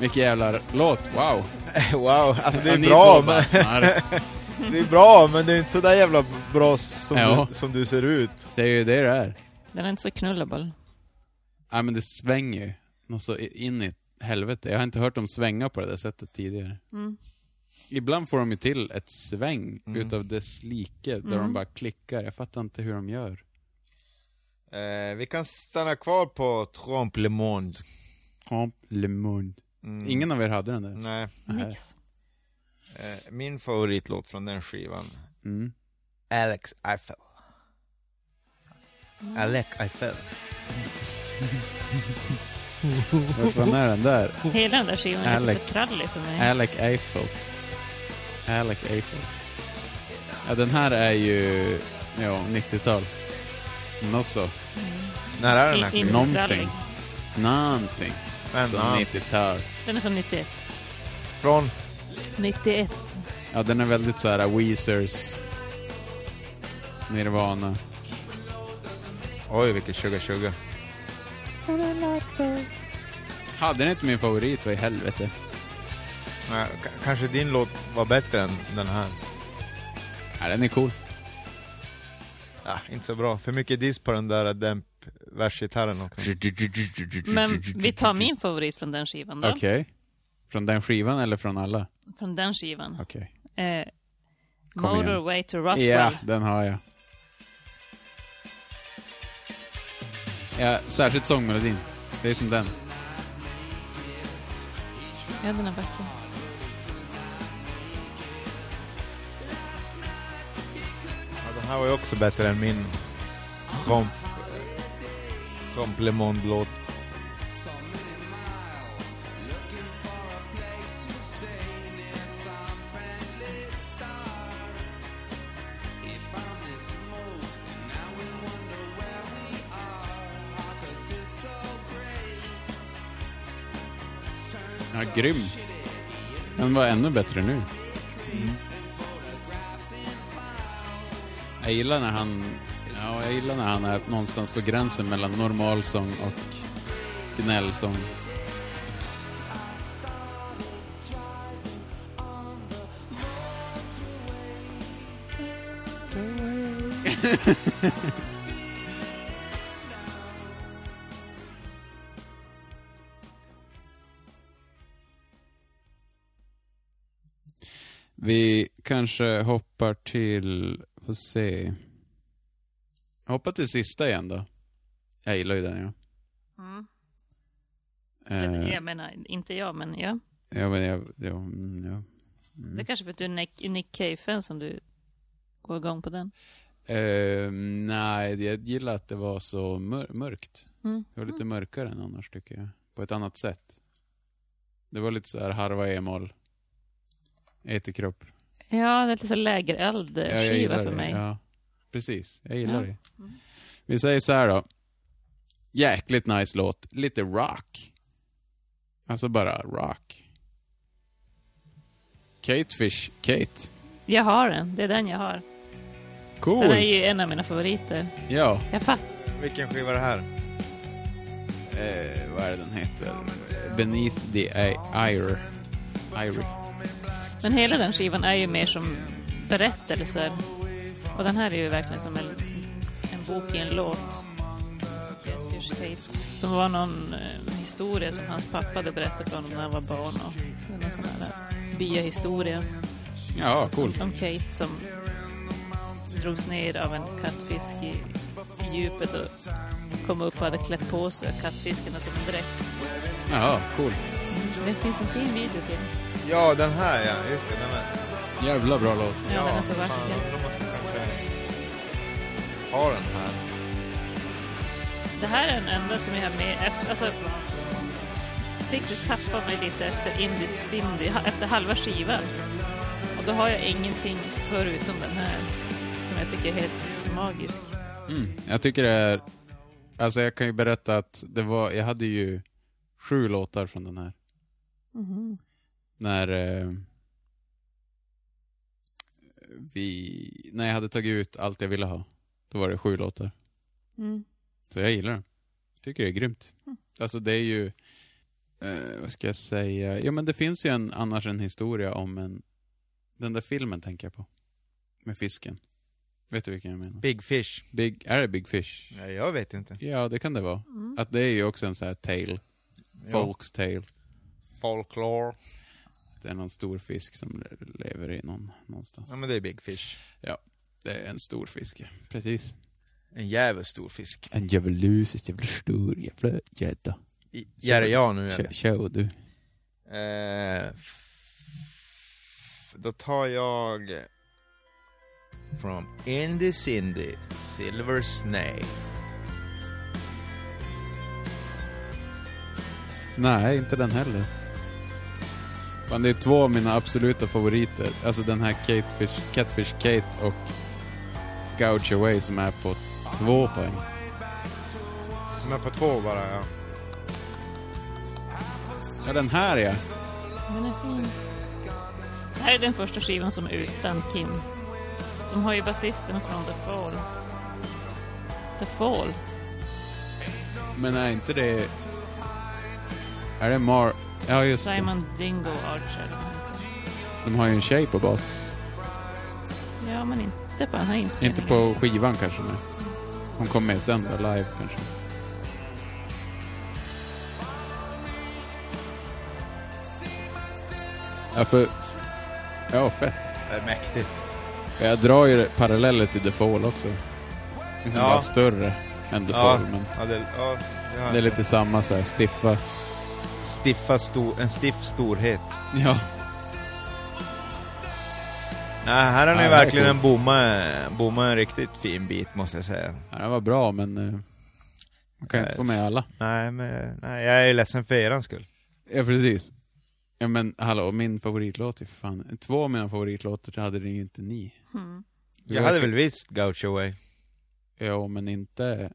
Speaker 2: Vilken jävla låt, wow!
Speaker 4: wow, alltså det är
Speaker 2: Ja, ni
Speaker 4: bra
Speaker 2: två bara
Speaker 4: men...
Speaker 2: snarr.
Speaker 4: det är bra men det är inte så där jävla bra som,
Speaker 2: Ja.
Speaker 4: du, som du ser ut.
Speaker 2: Det är ju det det är.
Speaker 3: Den är inte så knullable.
Speaker 2: Ja, men det svänger ju. Något så in i helvete. Jag har inte hört dem svänga på det där sättet tidigare.
Speaker 3: Mm.
Speaker 2: Ibland får de ju till ett sväng
Speaker 4: Mm.
Speaker 2: utav dess like, där de
Speaker 3: Mm.
Speaker 2: bara klickar. Jag fattar inte hur de gör.
Speaker 4: Eh, vi kan stanna kvar på Trompe le Monde.
Speaker 2: Compliment.
Speaker 4: Mm.
Speaker 2: Ingen av er hade den där?
Speaker 4: Nej.
Speaker 2: Nej.
Speaker 3: Nix.
Speaker 4: Eh, min favoritlåt från den skivan.
Speaker 2: Mm.
Speaker 4: Alex Eiffel. Alec Eiffel.
Speaker 2: Vad fan är den där?
Speaker 3: Hela den där skivan är
Speaker 2: Alec.
Speaker 3: lite för trallig för mig.
Speaker 2: Alec Eiffel. Alec Eiffel. Ja, den här är ju ja, 90-tal. Något så.
Speaker 4: När är den här
Speaker 3: I- in-
Speaker 4: skivan?
Speaker 2: Någonting.
Speaker 3: trallig.
Speaker 2: Någonting.
Speaker 4: Men,
Speaker 2: Som
Speaker 4: ja,
Speaker 2: 90-tal.
Speaker 3: Den är från 91.
Speaker 4: Från
Speaker 3: 91.
Speaker 2: Ja, den är väldigt så här Weezers, Nirvana.
Speaker 4: Oj, vilket sugar sugar.
Speaker 2: Hade ni inte min favorit, vad i helvete?
Speaker 4: Nej, k- kanske din låt var bättre än den här.
Speaker 2: Ja, den är cool.
Speaker 4: Ja, inte så bra. För mycket diss på den där dämpversgitarren också.
Speaker 3: Men vi tar min favorit från den skivan då.
Speaker 2: Okej. Från den skivan eller från alla?
Speaker 3: Från den skivan.
Speaker 2: Okej.
Speaker 3: Eh,
Speaker 2: Kom igen.
Speaker 3: Motorway to Roswell.
Speaker 2: Ja, den har jag. Ja, särskilt sångmelodin. Det är som den.
Speaker 3: Ja, den är vacker.
Speaker 4: Ja, den här var ju också bättre än min komp... Komplemond-låt.
Speaker 2: Ja, grym. Den var ännu bättre nu. Jag gillar när han... Ja, jag gillar när han är någonstans på gränsen mellan normalsång och gnällsång. Vi kanske hoppar till... Får se. Hoppa till sista igen då. Jag gillar ju den ja.
Speaker 3: Mm.
Speaker 2: Eh,
Speaker 3: Jag menar, inte jag, men
Speaker 2: Mm.
Speaker 3: ja.
Speaker 2: ja, men jag, ja, mm, ja.
Speaker 3: Det är kanske för att du är Nick, Nick Cave-fan som du går igång på den.
Speaker 2: Eh, nej, jag gillar att det var så mör- mörkt.
Speaker 3: Mm.
Speaker 2: Det var lite mörkare än annars tycker jag. På ett annat sätt. Det var lite så här harva e-moll. E Eterkropp.
Speaker 3: Ja, det är lite så
Speaker 2: Ja, jag
Speaker 3: lägereld-skiva
Speaker 2: gillar
Speaker 3: för
Speaker 2: det.
Speaker 3: mig.
Speaker 2: Ja, precis. Jag gillar
Speaker 3: Ja.
Speaker 2: det. Vi säger så här då. Jäkligt nice låt. Lite rock. Alltså bara rock. Katefish, Kate.
Speaker 3: Jag har den, det är den jag har. Den är
Speaker 2: Coolt!
Speaker 3: ju en av mina favoriter.
Speaker 2: Ja.
Speaker 3: Jag fattar.
Speaker 4: Vilken skiva är det här?
Speaker 2: Eh, vad är det den heter? Beneath the I- Ire. Ire.
Speaker 3: Men hela den skivan är ju mer som berättelser. Och den här är ju verkligen som en, en bok i en låt. Shakespeare's Fate. Som var någon eh, historia som hans pappa hade berättat för honom när han var barn. Och någon sån här eh, byahistoria
Speaker 2: Ja, coolt.
Speaker 3: om Kate som drogs ner av en kattfisk i i djupet och kom upp och hade klätt på sig kattfisken som en dräkt.
Speaker 2: Ja, coolt.
Speaker 3: Det finns en fin video till.
Speaker 4: Ja, den här ja, just det, den här.
Speaker 2: Jävla bra låt.
Speaker 3: Ja, den är så
Speaker 4: fan,
Speaker 3: vacker.
Speaker 4: då måste jag kanske ha den här.
Speaker 3: Det här är den enda som jag har med efter, alltså Pixies tappar mig lite efter Indie Cindy, ha- efter halva skivan. Och då har jag ingenting förutom den här som jag tycker är helt magisk.
Speaker 2: Mm. Jag tycker det är... Alltså jag kan ju berätta att det var... Jag hade ju sju låtar från den här. När... Eh, vi... När jag hade tagit ut allt jag ville ha. Då var det sju låtar.
Speaker 3: Mm.
Speaker 2: Så jag gillar den. Tycker det är grymt. Alltså det är ju... Eh, vad ska jag säga? Ja men det finns ju en, annars en historia om en... Den där filmen tänker jag på. Med fisken. Vet du vilken jag menar?
Speaker 4: Big Fish.
Speaker 2: Big, är det Big Fish?
Speaker 4: Nej, jag vet inte.
Speaker 2: Ja, det kan det vara. Att det är ju också en sån här tale. Folks tale.
Speaker 4: Folklore.
Speaker 2: Det är någon stor fisk som le- lever i någon någonstans.
Speaker 4: Ja, men det är Big Fish.
Speaker 2: Det är en stor fisk, ja. precis.
Speaker 4: En jävligt stor fisk.
Speaker 2: En djävulus, jävla stor jävla gädda.
Speaker 4: I- Gärde jag nu
Speaker 2: Kör
Speaker 4: eller?
Speaker 2: kör du.
Speaker 4: Eh, f- då tar jag... From Indie Cindy, Silver Snake.
Speaker 2: Nej, inte den heller. Fan, det är två av mina absoluta favoriter. Alltså den här Catefish, Catfish Kate och Gouge Away som är på två poäng.
Speaker 4: Som är på två bara, ja.
Speaker 2: Ja, den här ja.
Speaker 3: Den är fin. Det här är den första skivan som är utan Kim. De har ju basisten från The Fall. The Fall?
Speaker 2: Men är inte det... Är det Mar... Ja, just det.
Speaker 3: Simon Dingo Archer.
Speaker 2: De har ju en tjej på bas.
Speaker 3: Ja, men inte på den här inspelningen.
Speaker 2: Inte på skivan kanske, men hon kom med sen då, live kanske. Ja, för... Ja, fett.
Speaker 4: Det är mäktigt.
Speaker 2: Jag drar ju paralleller till The Fall också. Den är
Speaker 4: Ja.
Speaker 2: bara större än The
Speaker 4: Ja,
Speaker 2: Fall, men
Speaker 4: ja, det, ja, det, har
Speaker 2: det är
Speaker 4: jag.
Speaker 2: lite samma så här stiffa...
Speaker 4: Stiffa stor, en stiff storhet.
Speaker 2: Ja,
Speaker 4: Nej, här har
Speaker 2: Nej,
Speaker 4: ni
Speaker 2: det är
Speaker 4: verkligen en bomma, bomma en riktigt fin bit måste jag säga.
Speaker 2: ja, den var bra, men... eh, Man kan ju inte
Speaker 4: Nej.
Speaker 2: få med alla.
Speaker 4: Nej, men nej, jag är ledsen för eran skull.
Speaker 2: Ja, precis. Ja, men hallå, min favoritlåt är för fan... Två av mina favoritlåtar hade det ju inte ni.
Speaker 3: Mm.
Speaker 4: Jag hade väl visst Gaucho Way.
Speaker 2: Ja, men inte...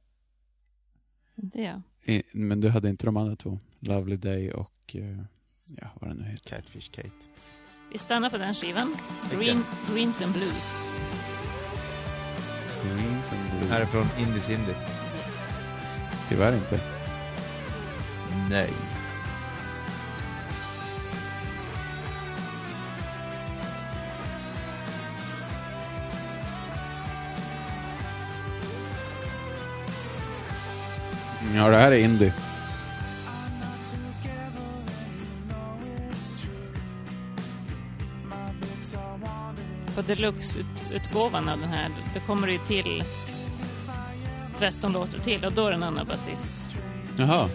Speaker 3: Inte jag.
Speaker 2: i- Men du hade inte de andra två. Lovely Day och... eh, Ja, vad den nu heter.
Speaker 4: Catfish Kate.
Speaker 3: Vi stannar på den skivan. Green, Greens and Blues.
Speaker 2: Greens and Blues.
Speaker 4: Här är från Indies Indie.
Speaker 2: Tyvärr inte.
Speaker 4: Nej.
Speaker 2: Ja, det här är indie.
Speaker 3: På deluxe-utgåvan av den här, då kommer det ju till 13 låtar till och då är det en annan basist
Speaker 2: Jaha.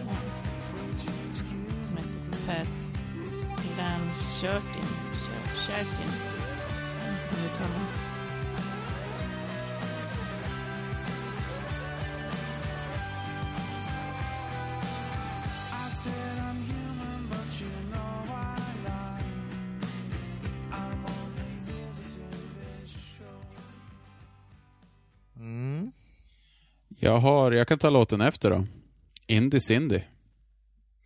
Speaker 3: som heter Pass Lanshurtin. Shurtin. Jag vet inte hur man uttalar det.
Speaker 4: Mm.
Speaker 2: Jag har... Jag kan ta låten efter då. Indie Cindy.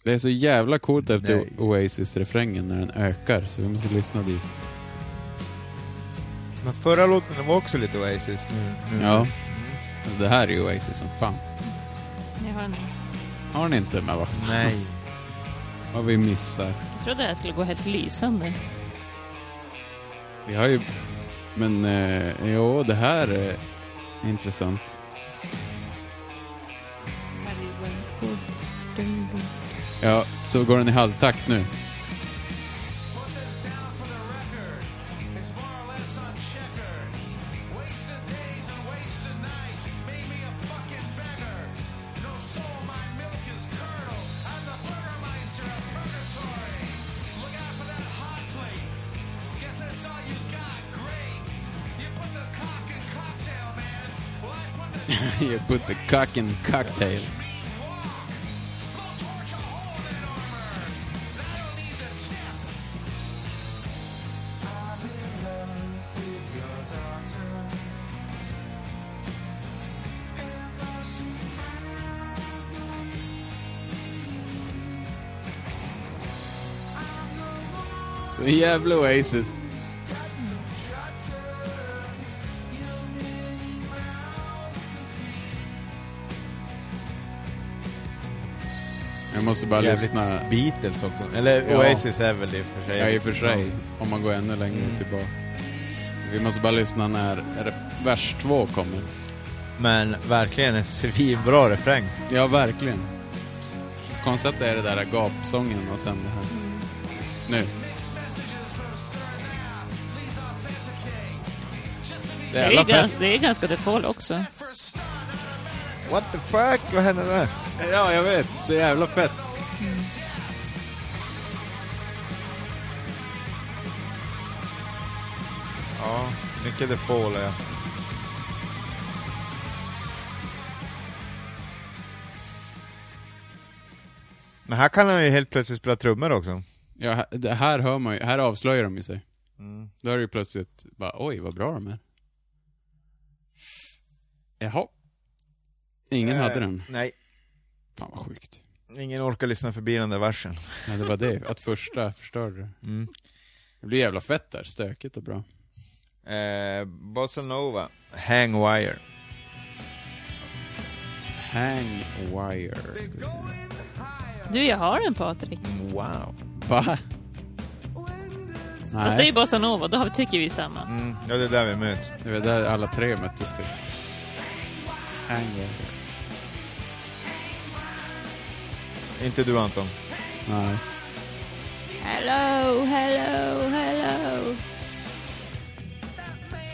Speaker 2: Det är så jävla coolt efter
Speaker 4: Nej.
Speaker 2: Oasis-refrängen när den ökar, så vi måste lyssna dit.
Speaker 4: Men förra låten den var också lite Oasis nu. nu.
Speaker 2: Ja. Alltså, det här är ju Oasis som fan.
Speaker 3: Jag, har en,
Speaker 2: Har ni inte? Men vad fan,
Speaker 4: Nej.
Speaker 2: vad vi missar.
Speaker 3: jag trodde det här skulle gå helt lysande.
Speaker 2: Vi har ju... Men eh, jo, det här är intressant. Ja, så går den i halvtakt nu. you put the cock in cocktail. Så en jävla Oasis. Jag måste bara
Speaker 4: Jävligt
Speaker 2: lyssna.
Speaker 4: Beatles också. Eller
Speaker 2: Ja.
Speaker 4: Oasis är väl det i och för sig.
Speaker 2: Ja, i och för sig. Om man går ännu längre tillbaka. Vi måste bara lyssna när ref- vers två kommer.
Speaker 4: Men verkligen en svinbra refräng.
Speaker 2: Ja, verkligen. Konstigt att det är det där gapsången och sen det här. Nu.
Speaker 3: Det är,
Speaker 2: Jävla
Speaker 3: ju
Speaker 2: fett.
Speaker 3: gans- det är ganska default också.
Speaker 4: What the fuck? Vad hände där?
Speaker 2: Ja, jag vet. Så jävla fett.
Speaker 4: Ja, mycket The Fall ja. Men här kan han ju helt plötsligt spela trummor också.
Speaker 2: Ja, här- det här hör man ju. Här avslöjar de ju sig. Då är det ju plötsligt bara, oj, vad bra de är. Jaha. Ingen hade den.
Speaker 4: Eh, Nej,
Speaker 2: Fan vad sjukt.
Speaker 4: ingen orkar lyssna förbi den där versen.
Speaker 2: Ja, det var det. Att första förstörde det.
Speaker 4: Mm.
Speaker 2: Det blir jävla fett där. Stökigt och bra.
Speaker 4: Eh, Bossa Nova, Hang Wire.
Speaker 2: Hang wire, ska vi se.
Speaker 3: Du, jag har en Patrik.
Speaker 4: Wow.
Speaker 2: Va?
Speaker 3: Fast det är
Speaker 2: Nej,
Speaker 3: ju bossanova, då har- tycker vi samma.
Speaker 4: Mm, ja, det är där vi möts.
Speaker 2: det var där alla tre möttes typ. Hang wire.
Speaker 4: Inte du Anton.
Speaker 2: Nej.
Speaker 6: Hello, hello, hello.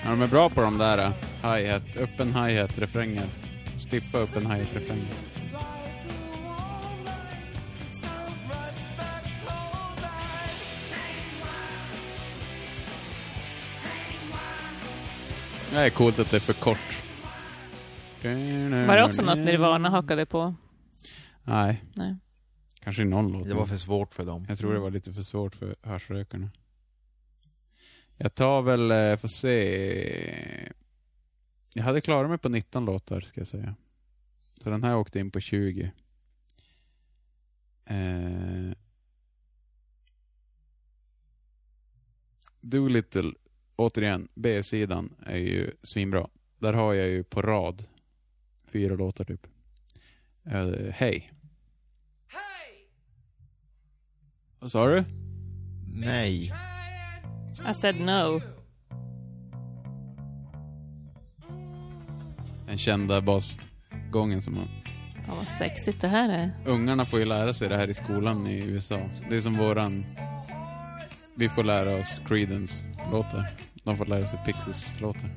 Speaker 2: Ja, de är bra på de där. eh, Hi-hat. Öppen hi-hat refränger. Stiffa öppen hi-hat refränger. Det är coolt att det är för kort.
Speaker 3: Var
Speaker 2: Mm.
Speaker 3: det också något Nirvana hakade på?
Speaker 2: Nej.
Speaker 3: Nej.
Speaker 2: Kanske i någon låt.
Speaker 4: Det var för svårt för dem.
Speaker 2: Jag tror det var lite för svårt för hörsrökarna. Jag tar väl, eh, får se. Jag hade klarat mig på 19 låtar ska jag säga. Så den här åkte in på 20. Eh... Doolittle, återigen, B-sidan är ju svinbra. Där har jag ju på rad fyra låtar typ. Eh, Hej. Vad sa du?
Speaker 4: Nej.
Speaker 3: I said no.
Speaker 2: Den kända basgången som man
Speaker 3: Ja, vad sexigt det här är.
Speaker 2: ungarna får ju lära sig det här i skolan i USA. Det är som våran... Vi får lära oss Creedence-låtar. De får lära sig Pixies-låtar.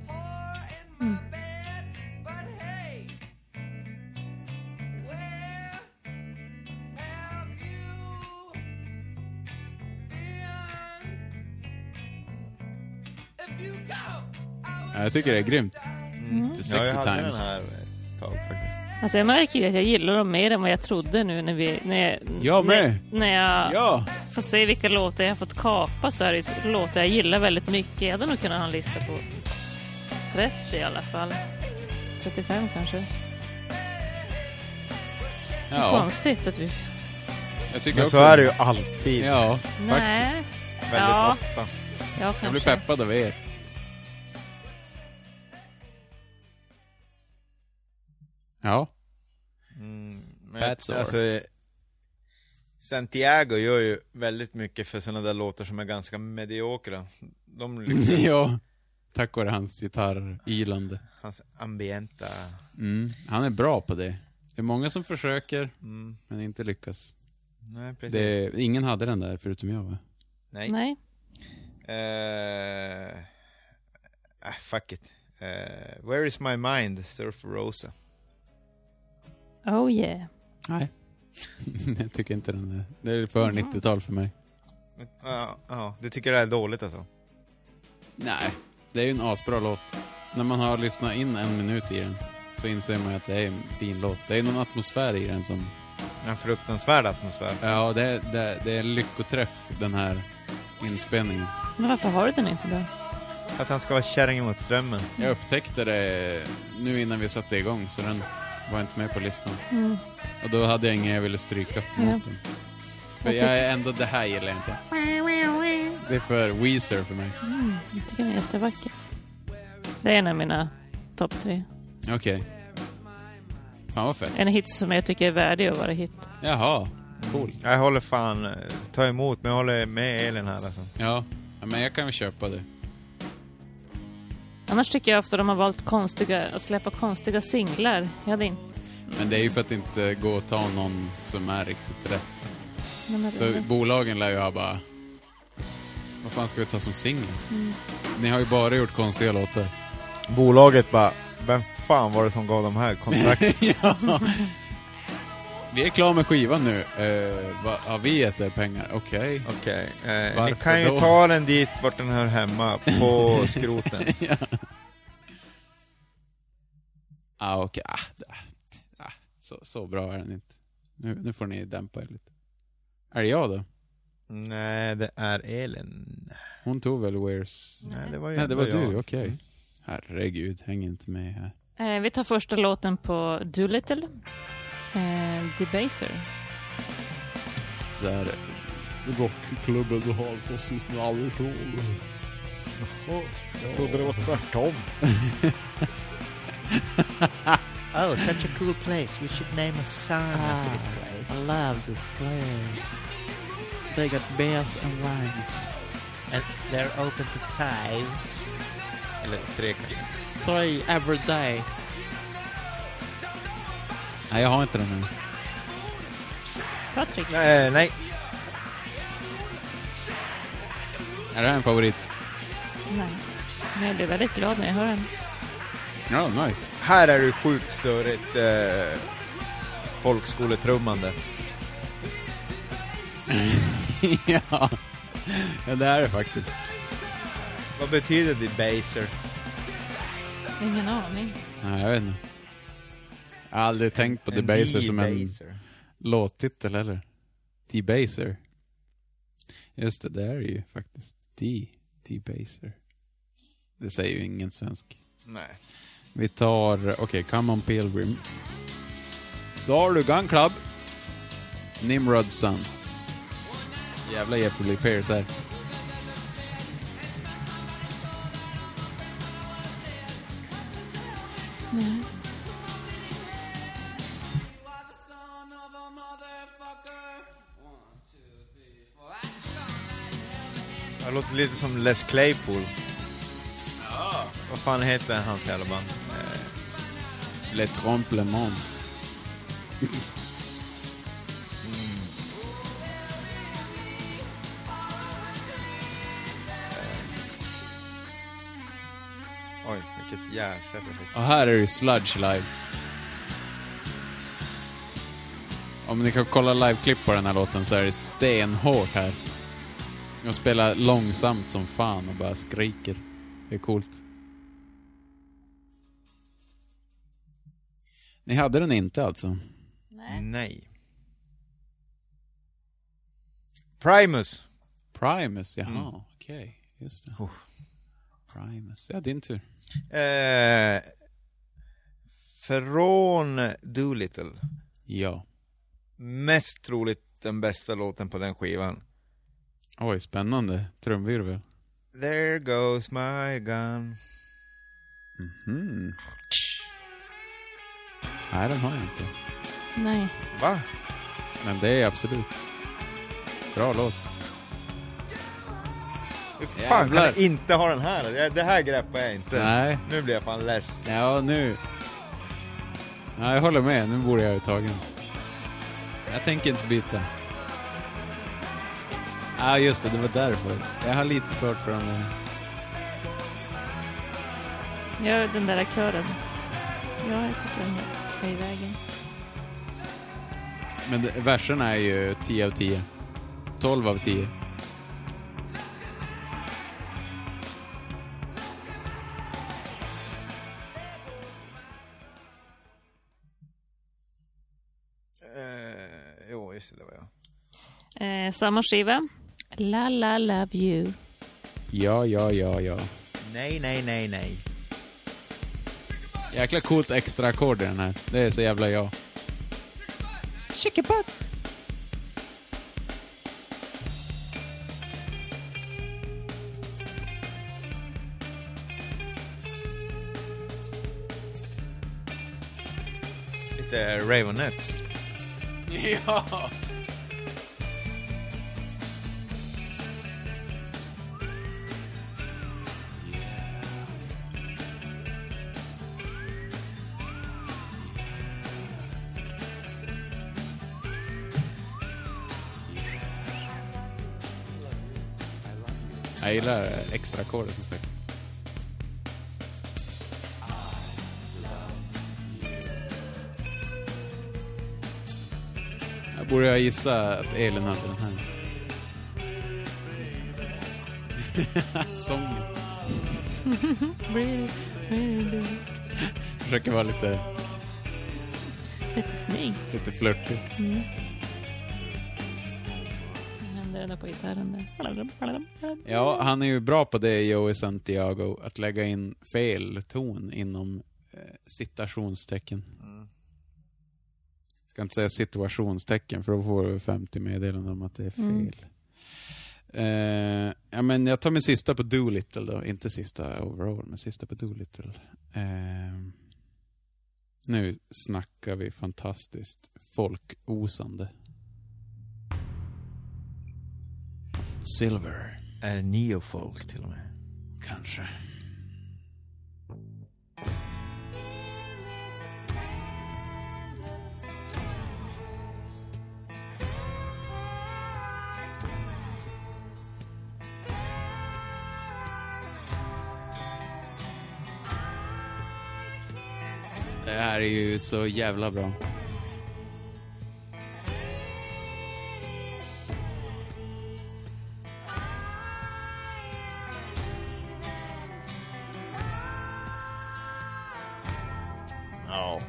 Speaker 2: Ja, Jag tycker det är grymt. Lite
Speaker 4: Ja, jag
Speaker 2: sexy
Speaker 4: hade
Speaker 2: times.
Speaker 4: den här ett tag faktiskt.
Speaker 3: Alltså jag märker ju att jag gillar dem mer än vad jag trodde nu när vi... När jag,
Speaker 2: Jag med.
Speaker 3: När, när jag
Speaker 2: Ja!
Speaker 3: får se vilka låtar jag har fått kapa så är det ju låtar jag gillar väldigt mycket. Jag hade nog kunnat ha en lista på 30 i alla fall. 35 kanske.
Speaker 2: ja.
Speaker 3: Konstigt att vi...
Speaker 2: Jag tycker
Speaker 4: Men
Speaker 2: också...
Speaker 4: så är det ju alltid.
Speaker 2: Ja,
Speaker 3: Nej.
Speaker 4: Väldigt
Speaker 3: Ja.
Speaker 4: ofta.
Speaker 3: Ja,
Speaker 2: jag blir
Speaker 3: kanske.
Speaker 2: peppad av er. Ja.
Speaker 4: Mm, men
Speaker 2: Bats
Speaker 4: jag,
Speaker 2: are.
Speaker 4: alltså, eh, Santiago gör ju väldigt mycket för sådana där låtar som är ganska mediokra. De liksom,
Speaker 2: ja. Tack vare hans gitarrilande.
Speaker 4: hans ambienta...
Speaker 2: Mm. Han är bra på det. Det är många som försöker,
Speaker 4: Mm,
Speaker 2: men inte lyckas.
Speaker 4: nej, precis.
Speaker 2: Det, ingen hade den där förutom jag va?
Speaker 4: Nej.
Speaker 6: Nej.
Speaker 4: Eh, ah, fuck it. Eh, where is my mind? Surf Rosa.
Speaker 6: Oh yeah.
Speaker 2: Nej. jag tycker inte den är... Det är för 90-tal för mig.
Speaker 4: Men, Ja, ja, du tycker det här är dåligt alltså?
Speaker 2: Nej, det är ju en asbra låt. När man har lyssnat in en minut i den så inser man ju att det är en fin låt. Det är någon atmosfär i den som...
Speaker 4: En fruktansvärd atmosfär.
Speaker 2: Ja, det är, det är, det är en lyckoträff den här inspelningen.
Speaker 3: Men varför har du den inte då?
Speaker 4: Att han ska vara kärring mot strömmen.
Speaker 2: Jag upptäckte det nu innan vi satte igång så den var inte med på listan. Och då hade jag ingen jag ville stryka mot den. För
Speaker 6: Jag tycker-
Speaker 2: jag är ändå, det här gillar jag inte. Det är för Weezer för mig.
Speaker 3: Jag tycker den är jättevacker. Det är en av mina topp tre.
Speaker 2: Okej. Fan vad fett.
Speaker 3: En hit som jag tycker är värdig att vara hit.
Speaker 2: Jaha, coolt.
Speaker 4: Jag håller fan, eh, ta emot, men jag håller med Elin här alltså.
Speaker 2: Ja. ja, men jag kan väl köpa det.
Speaker 3: Annars tycker jag ofta de har valt konstiga, att släppa konstiga singlar. Jag hade inte...
Speaker 2: Men det är ju för att inte gå och ta någon som är riktigt rätt.
Speaker 3: Nej, men-
Speaker 2: Så bolagen lär ju ha bara... Vad fan ska vi ta som singel? Ni har ju bara gjort konstiga låtar.
Speaker 4: Bolaget bara, vem fan var det som gav de här kontrakten?
Speaker 2: ja. Vi är klara med skivan nu. Eh, vad, har vi gett er pengar? Okej.
Speaker 4: Okej, eh, ni
Speaker 2: Varför
Speaker 4: kan ju
Speaker 2: då?
Speaker 4: ta den dit vart den hör hemma, på skroten.
Speaker 2: Ah, okej. Ah, det- ah, så, så bra är den inte. Nu, nu får ni dämpa er lite. Är det jag då?
Speaker 4: Nej, det är Elin.
Speaker 2: Hon tog väl Where's...
Speaker 4: Nej, det var ju
Speaker 2: Nej, det var
Speaker 4: ändå
Speaker 2: du.
Speaker 4: jag. Mm.
Speaker 2: Okej. Herregud, häng inte med här.
Speaker 3: Eh, vi tar första låten på Doolittle. Eh, Debaser.
Speaker 2: Där
Speaker 1: Rockklubben har fått sin knall ifrån.
Speaker 4: Jag trodde det var tvärtom.
Speaker 9: Oh, such a cool place. We should name a song after this place. I love this place. They got bears and lions. And they're open to five.
Speaker 4: Eller tre kanske.
Speaker 9: Three every day.
Speaker 2: Nej, jag har inte den nu.
Speaker 3: Patrik.
Speaker 4: Nej, nej.
Speaker 2: Är det här en favorit?
Speaker 3: Nej. Men jag blir väldigt glad när jag hör den.
Speaker 2: Ja, nice.
Speaker 4: Här är det sjukt störigt eh, folkskoletrummande.
Speaker 2: ja. ja, det är det faktiskt.
Speaker 4: Vad betyder debaser?
Speaker 3: Ingen aning.
Speaker 2: Nej, jag vet inte. Jag har aldrig tänkt på Debaser som en
Speaker 4: debaser.
Speaker 2: låttitel heller. Debaser. Just det, det är det ju faktiskt. D. Debaser. Det säger ju ingen svensk.
Speaker 4: Nej.
Speaker 2: Vi tar, okej, Come On Pilgrim. Zardu Gun Club. Nimrod Sun. Jävla Jeffrey Lee Pierce här.
Speaker 4: Det låter lite som Les Claypool. Vad fan heter hans jävla band? Eh,
Speaker 2: Le Tremplement.
Speaker 4: oj, vilket jävla
Speaker 2: Och här är det Sludge live. Om ni kan kolla liveklipp på den här låten så är det stenhårt här. De spelar långsamt som fan och bara skriker. Det är coolt. Ni hade den inte alltså?
Speaker 4: Nej. Primus.
Speaker 2: Primus, jaha, okej. Just det. Primus. Ja, din tur.
Speaker 4: Eh, från Doolittle.
Speaker 2: Ja.
Speaker 4: Mest troligt den bästa låten på den skivan.
Speaker 2: Oj, spännande. Trumvirvel.
Speaker 4: There goes my gun.
Speaker 2: Mm. Nej, den har jag inte.
Speaker 6: Nej.
Speaker 4: Va?
Speaker 2: Men det är absolut. Bra låt.
Speaker 4: Hur fan kan
Speaker 2: Jävlar.
Speaker 4: jag inte ha den här? Det- Det här greppar jag inte.
Speaker 2: Nej.
Speaker 4: Nu blir jag fan less.
Speaker 2: Ja, nu... Ja, jag håller med. Nu borde jag ju tagen. Jag tänker inte byta. Ja, just det. Det var därför. Jag har lite svårt för den där.
Speaker 6: Ja, den där kören. Ja, jag tycker den är i vägen.
Speaker 2: Men det- verserna är ju 10 av 10. 12 av 10.
Speaker 4: Eh, jo, just det, det var jag.
Speaker 3: Eh, samma skiva. La La Love You.
Speaker 2: Ja, ja, ja, ja.
Speaker 9: Nej, nej, nej, nej.
Speaker 2: Jäkla coolt extra ackord i den här. Det är så jävla jag.
Speaker 4: Lite Ravenettes.
Speaker 2: Ja! Jag gillar eh, extra ackordet som sagt. Jag borde jag gissa att Elin hade den här. Sången.
Speaker 6: Blir
Speaker 2: Försöker vara lite,
Speaker 6: lite snygg.
Speaker 2: lite flörtig.
Speaker 6: Händer den där på gitarren där.
Speaker 2: Ja, han är ju bra på det, Joey Santiago, att lägga in fel ton inom eh, citationstecken.
Speaker 4: Mm.
Speaker 2: Ska inte säga situationstecken, för då får vi 50 meddelanden om att det är fel.
Speaker 6: Mm.
Speaker 2: Eh, ja, men jag tar min sista på Doolittle då. Inte sista overall, men sista på Doolittle. Eh, nu snackar vi fantastiskt folkosande. Silver.
Speaker 4: Är det neofolk till och med?
Speaker 2: Kanske. Det här är ju så jävla bra.
Speaker 4: Ja.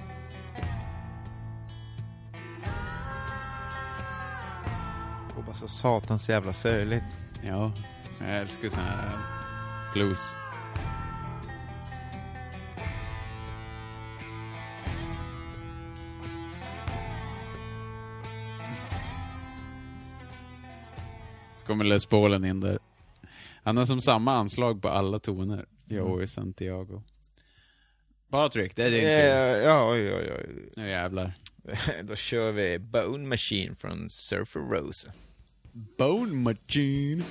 Speaker 4: Det går bara så satans jävla söligt.
Speaker 2: Ja, jag älskar ju sån här eh, blues. Så kommer Les Paulen in där. Han har som samma anslag på alla toner. Joey Santiago. Patrik, det är din tur.
Speaker 4: Eh, ja, oj, oj, oj.
Speaker 2: Nu jävlar.
Speaker 4: Då kör vi Bone Machine från Surfer Rose.
Speaker 2: Bone Machine.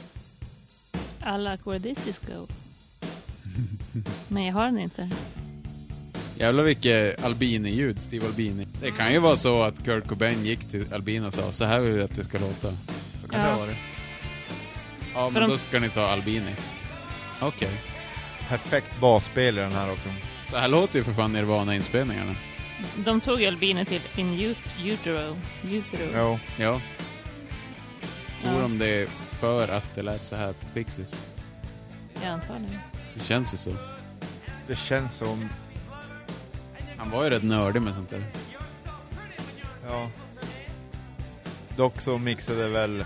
Speaker 3: Alla ackord i Cisco. Men jag har den inte.
Speaker 2: Jävlar vilket Albini-ljud, Steve Albini. Det kan ju vara så att Kurt Cobain gick till Albini och sa så här vill jag att det ska låta. Så kan
Speaker 3: Ja.
Speaker 2: det vara. Ja,
Speaker 3: För
Speaker 2: men
Speaker 3: de-
Speaker 2: då ska ni ta Albini. Okej.
Speaker 4: Perfekt basspel i den här också.
Speaker 2: Så här låter ju för fan Nirvana-inspelningarna.
Speaker 3: De tog ju albiner till In ut- Utero. utero.
Speaker 4: Jo.
Speaker 2: Ja. Tror
Speaker 3: Ja.
Speaker 2: de det för att det lät så här på Pixies?
Speaker 3: Jag antar det.
Speaker 2: Det känns ju så.
Speaker 4: Det känns som...
Speaker 2: Han var ju rätt nördig med sånt där.
Speaker 4: Ja. Dock så mixade väl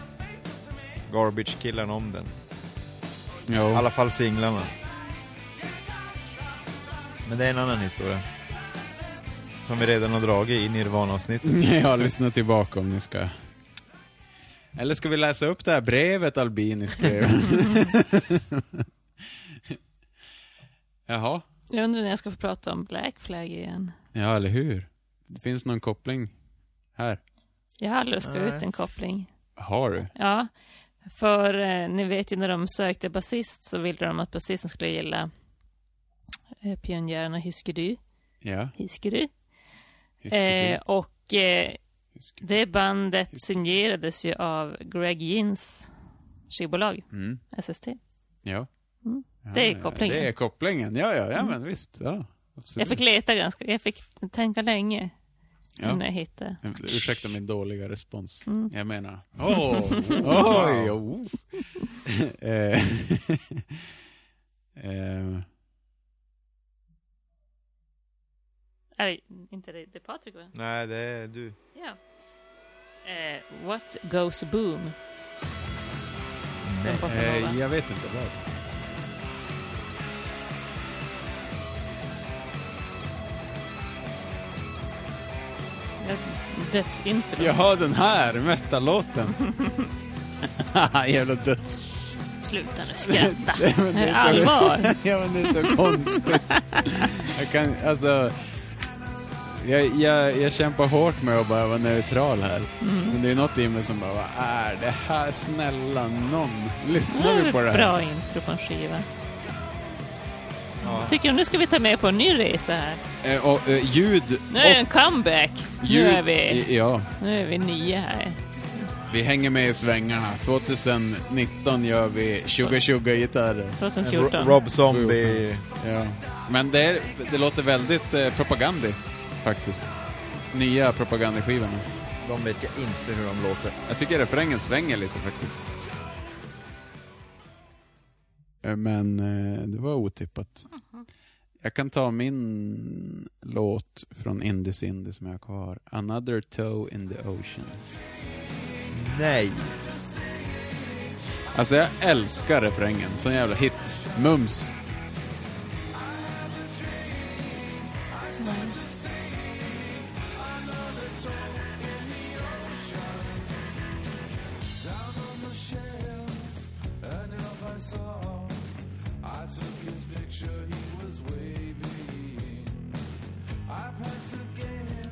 Speaker 4: Garbage-killen om den. I
Speaker 2: Jo.
Speaker 4: alla fall singlarna. Men det är en annan historia. Som vi redan har dragit i Nirvana-avsnittet.
Speaker 2: Ja, lyssna Mm, tillbaka om ni ska. Eller ska vi läsa upp det här brevet Albini skrev? Jaha.
Speaker 3: Jag undrar när jag ska få prata om Black Flag igen.
Speaker 2: Ja, eller hur? Det finns någon koppling här.
Speaker 3: Jag har luskat
Speaker 4: Nej.
Speaker 3: ut en koppling.
Speaker 2: Har du?
Speaker 3: Ja, för eh, ni vet ju när de sökte basist så ville de att basisten skulle gilla eh, pionjärerna Hyskedy.
Speaker 2: Ja.
Speaker 3: Hyskedy.
Speaker 2: Hyskeby.
Speaker 3: Eh, och eh,
Speaker 2: Hyskeby.
Speaker 3: det bandet signerades ju av Greg Gins skivbolag,
Speaker 2: Mm.
Speaker 3: SST.
Speaker 2: Ja.
Speaker 3: Mm.
Speaker 2: Ja,
Speaker 3: Det är
Speaker 2: ja,
Speaker 3: kopplingen.
Speaker 2: Det är kopplingen, ja, ja, ja men visst. Ja,
Speaker 3: Jag
Speaker 2: absolut.
Speaker 3: fick leta ganska, jag fick tänka länge
Speaker 2: Ja.
Speaker 3: innan jag hittade.
Speaker 2: Ursäkta min dåliga respons.
Speaker 3: Mm.
Speaker 2: Jag menar, oh, oj, oh. Eh, eh,
Speaker 3: Är det inte det, det är Patrik va?
Speaker 4: Nej, det är du.
Speaker 3: Ja. Eh, what goes boom? Den bossanova.
Speaker 2: eh, jag vet inte vad.
Speaker 3: Dödsintro.
Speaker 2: Jag hör den här metal-låten. Jävla döds...
Speaker 3: Sluta nu skratta.
Speaker 2: Men
Speaker 3: Det är
Speaker 2: så-
Speaker 3: allvar.
Speaker 2: ja men det är så konstigt. Jag kan, alltså... Jag, jag, jag kämpar hårt med att bara vara neutral här. Men det är något i mig som bara, vad är det här? Snälla någon,
Speaker 3: Det
Speaker 2: lyssnar
Speaker 3: är
Speaker 2: vi på det
Speaker 3: ett
Speaker 2: här?
Speaker 3: bra intro på en skiva. Tycker du nu ska vi ta med på en ny resa här?
Speaker 2: Eh, och, eh, ljud
Speaker 3: Nu är det
Speaker 2: och...
Speaker 3: en comeback! Nu
Speaker 2: Ljud,
Speaker 3: är, vi,
Speaker 2: i- Ja,
Speaker 3: nu är vi nya här.
Speaker 2: vi hänger med i svängarna. 2019 gör vi 2020-gitarrer.
Speaker 3: 2014.
Speaker 4: Rob Zombie.
Speaker 2: Ja. Men det, är, det låter väldigt eh, propagandi, faktiskt. Nya propagandaskivorna.
Speaker 4: De vet jag inte hur de låter.
Speaker 2: Jag tycker refrängen svänger lite faktiskt. Eh, Men eh, det var otippat. Jag kan ta min låt från Indies Indie som jag har kvar. Another Toe in the Ocean.
Speaker 4: Nej.
Speaker 2: Alltså jag älskar refrängen. Sån jävla hit. Mums.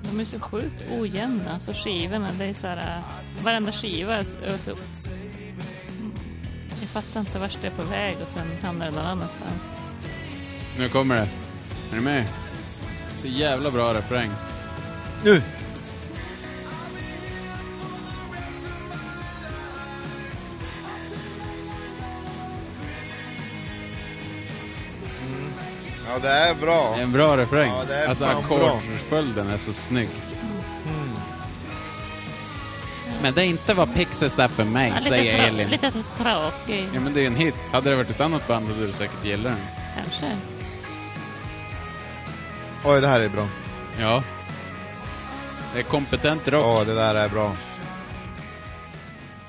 Speaker 3: De är så sjukt ojämna, alltså skivorna. Det är så här, äh, varenda skiva är så... är så- Mm. Jag fattar inte vart det är på väg och sen hamnar det någon annanstans.
Speaker 2: Nu kommer det. Är ni med? Så jävla bra refräng.
Speaker 4: Nu! Ja, det är bra.
Speaker 2: En bra refräng.
Speaker 4: Ja, det är
Speaker 2: alltså
Speaker 4: fan bra. Mm.
Speaker 2: ackordsföljden är så snygg. Men det är inte vad Pixies är för mig,
Speaker 3: Ja, lite,
Speaker 2: säger
Speaker 3: tra-
Speaker 2: Elin.
Speaker 3: lite tråkig,
Speaker 2: Ja, men det är en hit. Hade det varit ett annat band hade du säkert gillat den.
Speaker 3: kanske.
Speaker 4: Oj, det här är bra.
Speaker 2: Ja. Det är kompetent rock.
Speaker 4: Ja, det där är bra.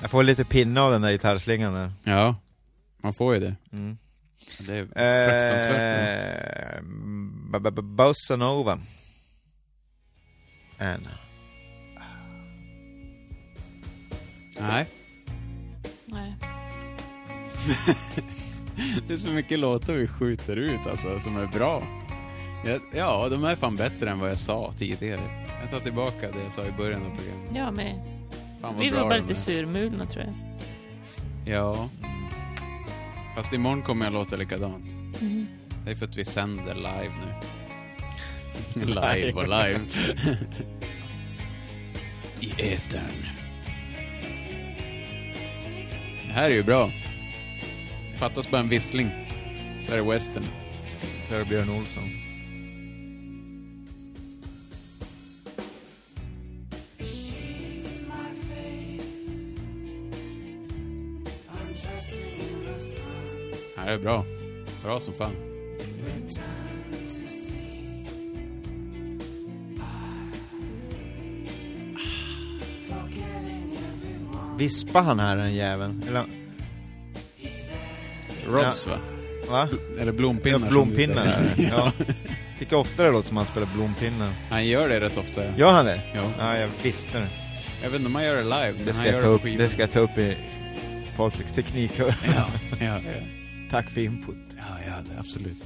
Speaker 4: Jag får lite pinne av den där gitarrslingan där.
Speaker 2: Ja. Man får ju det.
Speaker 4: Mm.
Speaker 2: Det är fruktansvärt.
Speaker 4: Eh, b- b- b- Bossa Nova. And Eh.
Speaker 2: Nej.
Speaker 3: Nej.
Speaker 2: Det är så mycket låtar vi skjuter ut alltså, som är bra. Ja, Ja, de är fan bättre än vad jag sa tidigare. Jag tar tillbaka det jag sa i början av programmet.
Speaker 3: Jag med.
Speaker 2: Fan vad
Speaker 3: Vi
Speaker 2: bra
Speaker 3: var bara
Speaker 2: de
Speaker 3: lite
Speaker 2: är.
Speaker 3: surmulna tror jag.
Speaker 2: Ja. Fast imorgon kommer jag låta likadant.
Speaker 3: Mm.
Speaker 2: Det är för att vi sänder live nu. live och live. I etern. Det här är ju bra. Fattas bara en vissling. Så är det western.
Speaker 4: Björn Olsson.
Speaker 2: Det här är bra. Bra som fan.
Speaker 4: Vispar han här den jäveln? Eller,
Speaker 2: Rods va?
Speaker 4: va?
Speaker 2: Eller
Speaker 4: Ja,
Speaker 2: blompinnar som du
Speaker 4: blompinnar.
Speaker 2: säger.
Speaker 4: här. Ja. Tycker ofta det låter som att han spelar blompinnar.
Speaker 2: Han gör det rätt ofta. Ja.
Speaker 4: Gör han det?
Speaker 2: Ja.
Speaker 4: Ja, jag visste det.
Speaker 2: Jag vet inte om han gör det live, men
Speaker 4: Det ska,
Speaker 2: han
Speaker 4: jag
Speaker 2: gör
Speaker 4: ta
Speaker 2: på
Speaker 4: upp,
Speaker 2: skivan.
Speaker 4: det ska jag ta upp i Patriks teknikhör.
Speaker 2: Ja, ja, ja.
Speaker 4: Tack för input.
Speaker 2: ja, ja det- absolut.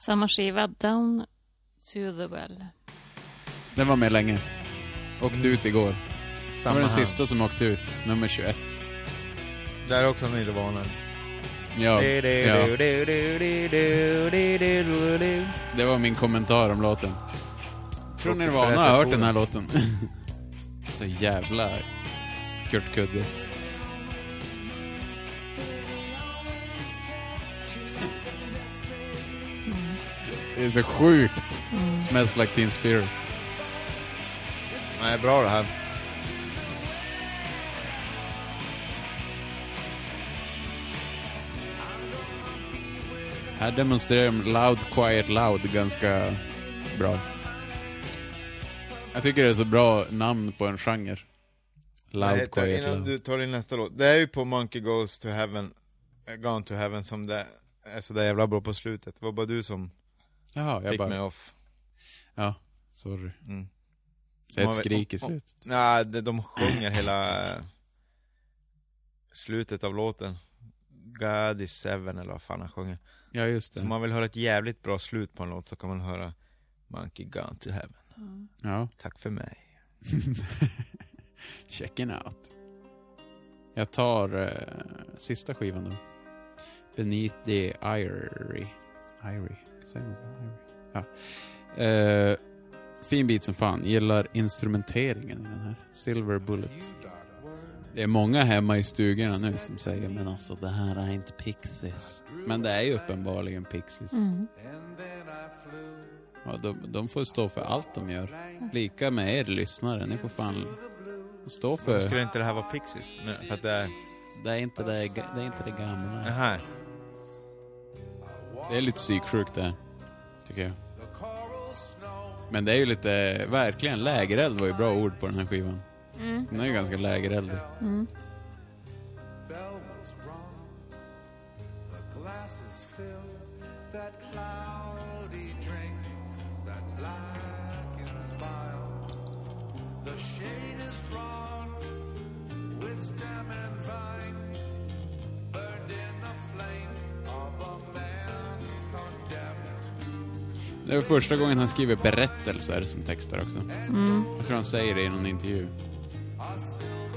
Speaker 3: Samma skiva, Down to the Well.
Speaker 2: Den var med länge. Åkte ut igår. Det
Speaker 4: Mm. Samma
Speaker 2: var den
Speaker 4: här.
Speaker 2: sista som åkte ut, nummer 21.
Speaker 4: Där är också Nirvana.
Speaker 2: Ja,
Speaker 4: Du, du,
Speaker 2: ja,
Speaker 4: du, du, du, du, du, du, du, du, du.
Speaker 2: det var min kommentar om låten. Tror
Speaker 4: Tråkigt
Speaker 2: Nirvana
Speaker 4: för att
Speaker 2: har
Speaker 4: jag
Speaker 2: hört
Speaker 4: tror
Speaker 2: den här
Speaker 4: det.
Speaker 2: låten. Så jävla Kurt Kudde. Det är så sjukt. Smells like teen spirit.
Speaker 4: Nej, bra det här.
Speaker 2: Här demonstrerar de Loud Quiet Loud ganska bra. Jag tycker det är så bra namn på en genre.
Speaker 4: Vad
Speaker 2: Loud
Speaker 4: heter det?
Speaker 2: Quiet
Speaker 4: Innan
Speaker 2: Loud.
Speaker 4: du tar din nästa låt. Det är ju på Monkey Goes to Heaven, eh, Gone to Heaven som det är så där jävla bra på slutet. Det var bara du som
Speaker 2: Jaha, jag
Speaker 4: fick mig
Speaker 2: bara...
Speaker 4: off.
Speaker 2: Ja, sorry.
Speaker 4: Mm.
Speaker 2: Det är
Speaker 4: Man
Speaker 2: ett
Speaker 4: vet-
Speaker 2: skrik i slutet.
Speaker 4: Nej, de, de sjunger hela eh, slutet av låten. God is seven eller vad fan han sjunger.
Speaker 2: Ja, just
Speaker 4: Så om
Speaker 2: det.
Speaker 4: man vill höra ett jävligt bra slut på en låt så kan man höra Monkey Gone to Heaven.
Speaker 2: Ja.
Speaker 4: Tack för mig.
Speaker 2: Checking out. Jag tar eh, sista skivan då. Beneath the Irie. Irie? Säger man så? Irie? Ja. Eh, fin bit som fan. Gillar instrumenteringen i den här. Silver Bullet. Det är många hemma i stugorna nu som säger men alltså det här är inte Pixies. Men det är ju uppenbarligen Pixies. Ja, de, de får stå för allt de gör. Lika med er lyssnare. Ni får fan stå för...
Speaker 4: Skulle inte det här vara Pixies? Men, för att det är...
Speaker 2: Det är inte det, det, är inte det gamla.
Speaker 4: Aha.
Speaker 2: Det är lite psyksjukt det här, tycker jag. Men det är ju lite, verkligen, lägereld var ju bra ord på den här skivan. Den är ju ganska lägereld. Det var första gången han skriver berättelser som texter också. Jag tror han säger det i någon intervju.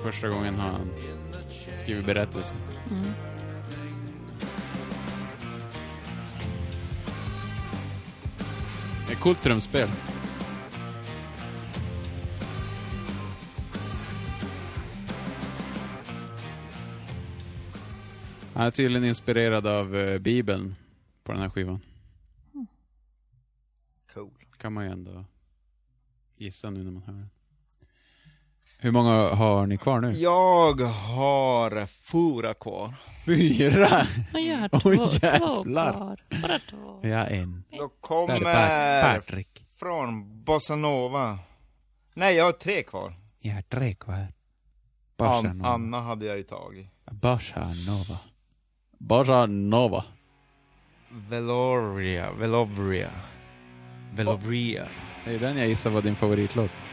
Speaker 2: Första gången har han skrivit berättelser. Det är coolt trumspel. Han är tydligen inspirerad av eh, Bibeln på den här skivan
Speaker 4: Cool.
Speaker 2: kan man ju ändå gissa nu när man hör den. Hur många har ni kvar nu?
Speaker 4: Jag har fyra kvar.
Speaker 2: Fyra!
Speaker 3: Och jag har
Speaker 2: Oj,
Speaker 3: två, två
Speaker 2: jävlar.
Speaker 3: kvar. Bara två.
Speaker 2: Ja, en.
Speaker 4: Då
Speaker 2: Där är
Speaker 4: kommer
Speaker 2: Pat- Patrik.
Speaker 4: från bossanova. Nej, jag har tre kvar.
Speaker 2: Jag har tre kvar.
Speaker 4: An-
Speaker 2: Barsanova.
Speaker 4: Anna hade jag ju tagit.
Speaker 2: Barsanova. Barsanova.
Speaker 4: Veloria, Velovria. Velovria.
Speaker 2: Det är den jag gissar var din favoritlåt.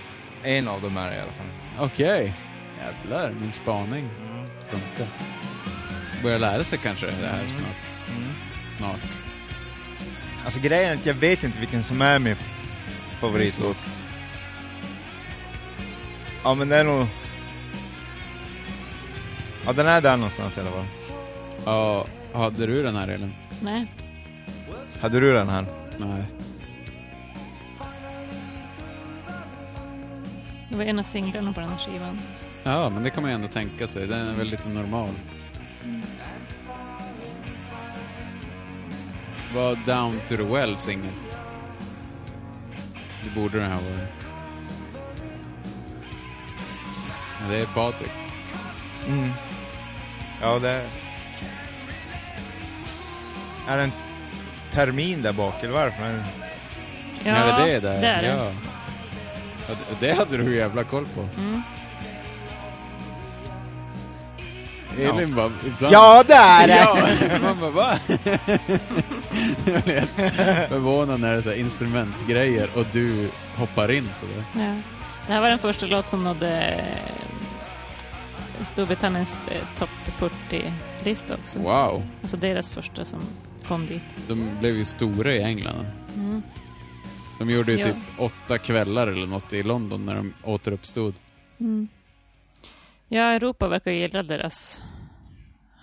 Speaker 4: En av dem är det i alla fall.
Speaker 2: Okej. Jävlar, min spaning funkar. Börjar lära sig kanske det här snart. Snart.
Speaker 4: Alltså grejen är att jag vet inte vilken som är min favoritlåt. Ja men det är nog... Ja den är där någonstans i alla fall.
Speaker 2: Ja, hade du den här Elin?
Speaker 3: Nej.
Speaker 4: Hade du den här?
Speaker 2: Nej.
Speaker 3: Det var en av singlarna på den här skivan.
Speaker 2: Ja, men det kan man ju ändå tänka sig. Den är väl lite normal. Var Down to the Well singel? Det borde den här vara. Ja, det är Patrik.
Speaker 4: Ja det är... Är det en termin där bak eller varför? Men...
Speaker 3: Ja,
Speaker 2: är det det där?
Speaker 3: är det.
Speaker 2: ja. Ja, det- det hade du jävla koll på.
Speaker 3: Mm.
Speaker 2: Elin bara, ibland...
Speaker 4: det är
Speaker 2: Ja, man bara va? Jag blir helt förvånad när det är så här instrumentgrejer och du hoppar in sådär.
Speaker 3: Ja. Det här var den första låt som nådde eh, Storbritanniens eh, topp 40-lista också.
Speaker 2: Wow.
Speaker 3: Alltså deras första som kom dit.
Speaker 2: De blev ju stora i England.
Speaker 3: Mm.
Speaker 2: De gjorde ju
Speaker 3: Ja.
Speaker 2: typ åtta kvällar eller något i London när de återuppstod.
Speaker 3: Mm. Ja, Europa verkar ju gilla deras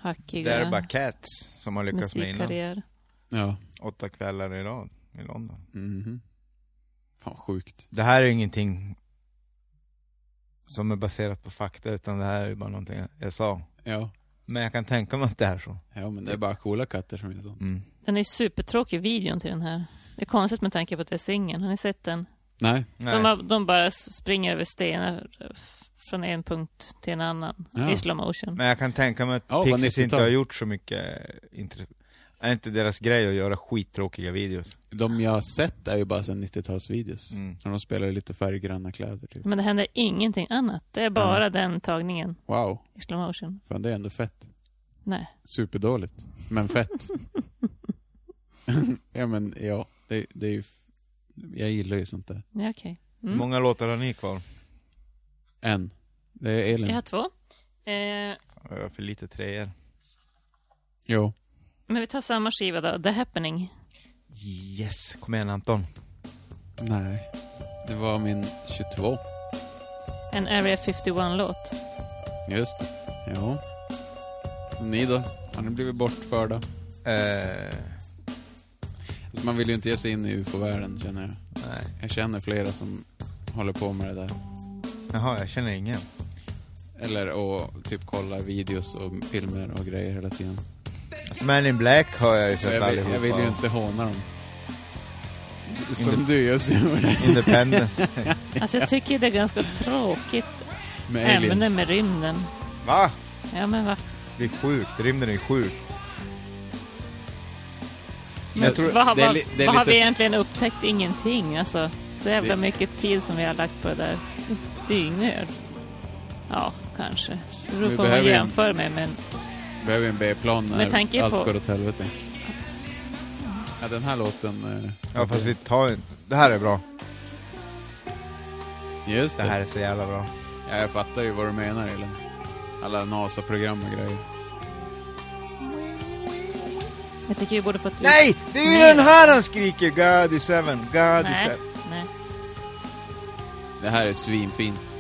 Speaker 3: hackiga
Speaker 4: Det är bara Cats som har lyckats med innan.
Speaker 3: musikkarriär.
Speaker 2: Ja.
Speaker 4: Åtta kvällar i rad i London.
Speaker 2: Mhm. Fan sjukt.
Speaker 4: Det här är ingenting som är baserat på fakta, utan det här är bara någonting jag sa.
Speaker 2: Ja.
Speaker 4: Men jag kan tänka mig att det är så. Mm.
Speaker 2: ja, men det är bara coola katter som gör sånt.
Speaker 3: Den är ju supertråkig videon till den här. Det är konstigt med tanke på att det är singeln. Har ni sett den?
Speaker 2: Nej.
Speaker 4: Nej.
Speaker 3: De, har, de bara s- springer över stenar eh, f- från en punkt till en annan
Speaker 2: Ja.
Speaker 3: i slow motion.
Speaker 4: Men jag kan tänka mig att
Speaker 2: Ja, vad
Speaker 4: Pixies
Speaker 2: 90-tal.
Speaker 4: inte har gjort så mycket intressant. Är inte deras grej att göra skittråkiga videos?
Speaker 3: Mm.
Speaker 2: De jag har sett är ju bara sen 90-talsvideos.
Speaker 4: Mm.
Speaker 2: När de spelar i lite färggranna kläder. Typ.
Speaker 3: Men det händer ingenting annat. Det är bara den tagningen
Speaker 2: Wow.
Speaker 3: i slow motion.
Speaker 2: Fan, det är ändå fett.
Speaker 3: Nej.
Speaker 2: Superdåligt. Men fett. ja, men ja. Det, det är ju... f- Jag gillar ju sånt där.
Speaker 3: Ja, okej.
Speaker 4: Hur många låtar har ni kvar?
Speaker 2: En. Det är Elin.
Speaker 3: Jag har två. Eh,
Speaker 4: Jag har för lite treor.
Speaker 2: Jo.
Speaker 3: men vi tar samma skiva då. The Happening.
Speaker 4: Yes, kom igen Anton.
Speaker 2: Nej. Det var min 22.
Speaker 3: En Area 51-låt.
Speaker 2: Just det. Ja. Och ni då? Har ni blivit bortförda?
Speaker 4: Eh,
Speaker 2: Alltså man vill ju inte ge sig in i ufo-världen känner jag.
Speaker 4: nej.
Speaker 2: Jag känner flera som håller på med det där.
Speaker 4: Jaha, jag känner ingen.
Speaker 2: Eller och typ kollar videos och filmer och grejer hela tiden.
Speaker 4: Alltså Man in Black har jag ju
Speaker 2: Så
Speaker 4: sett
Speaker 2: Alltså, jag vill,
Speaker 4: allihopa.
Speaker 2: jag vill ju inte håna dem. Som du just gjorde.
Speaker 4: Independence.
Speaker 3: Alltså jag tycker det är ganska tråkigt
Speaker 2: Med
Speaker 3: ämne
Speaker 2: aliens.
Speaker 3: med rymden.
Speaker 4: Va?
Speaker 3: Ja men va?
Speaker 4: Det är sjukt, rymden är sjuk.
Speaker 3: Men
Speaker 2: Jag tror-
Speaker 3: vad har,
Speaker 2: det är
Speaker 3: vad,
Speaker 2: li- det är
Speaker 3: vad har
Speaker 2: lite-
Speaker 3: vi egentligen upptäckt? Ingenting alltså. Så jävla
Speaker 2: Det-
Speaker 3: mycket tid som vi har lagt på det där. Det är ju inget. Ja, kanske. Det
Speaker 2: Vi
Speaker 3: beror på vad
Speaker 2: behöver
Speaker 3: man
Speaker 2: ju-
Speaker 3: jämför med men
Speaker 2: Behöver ju en B-plan
Speaker 3: Med
Speaker 2: när
Speaker 3: tanke
Speaker 2: allt
Speaker 3: på-
Speaker 2: går åt helvete. Ja, den här låten... eh,
Speaker 4: Ja fast vi tar en... Det här är bra.
Speaker 2: Just
Speaker 4: Det
Speaker 2: det.
Speaker 4: här är så jävla bra.
Speaker 2: Ja, jag fattar ju vad du menar, Elin. Alla NASA-program och grejer.
Speaker 3: jag tycker vi borde fått...
Speaker 4: Nej! Det är ju
Speaker 3: Nej.
Speaker 4: den här han skriker! God is seven, God is
Speaker 3: Nej,
Speaker 4: seven.
Speaker 3: nej.
Speaker 2: Det här är svinfint.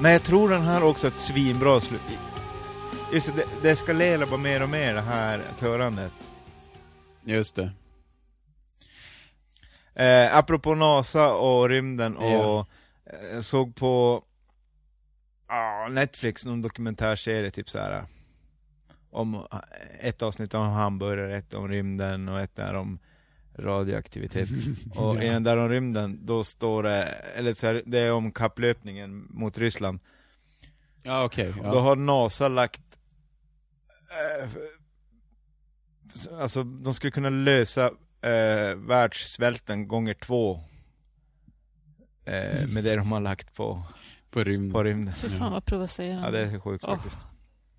Speaker 4: Men jag tror den här också är ett svinbra slut. Just det, det, det eskalerar bara mer och mer det här körandet.
Speaker 2: Just det.
Speaker 4: Eh, apropå NASA och rymden och
Speaker 2: Ja.
Speaker 4: eh, såg på ah, Netflix någon dokumentärserie typ så här om eh, ett avsnitt om hamburgare, ett om rymden och ett där om radioaktivitet. och i den där om rymden, då står det, eller så här, det är om kapplöpningen mot Ryssland.
Speaker 2: Ja, okej. ja.
Speaker 4: Då har NASA lagt... Eh, f- alltså, de skulle kunna lösa eh, världssvälten gånger två. Eh, med det de har lagt på,
Speaker 2: På rymden.
Speaker 4: på rymden.
Speaker 3: Fy fan vad
Speaker 4: Ja,
Speaker 3: provocerande.
Speaker 4: det är sjukt
Speaker 3: Åh.
Speaker 4: faktiskt.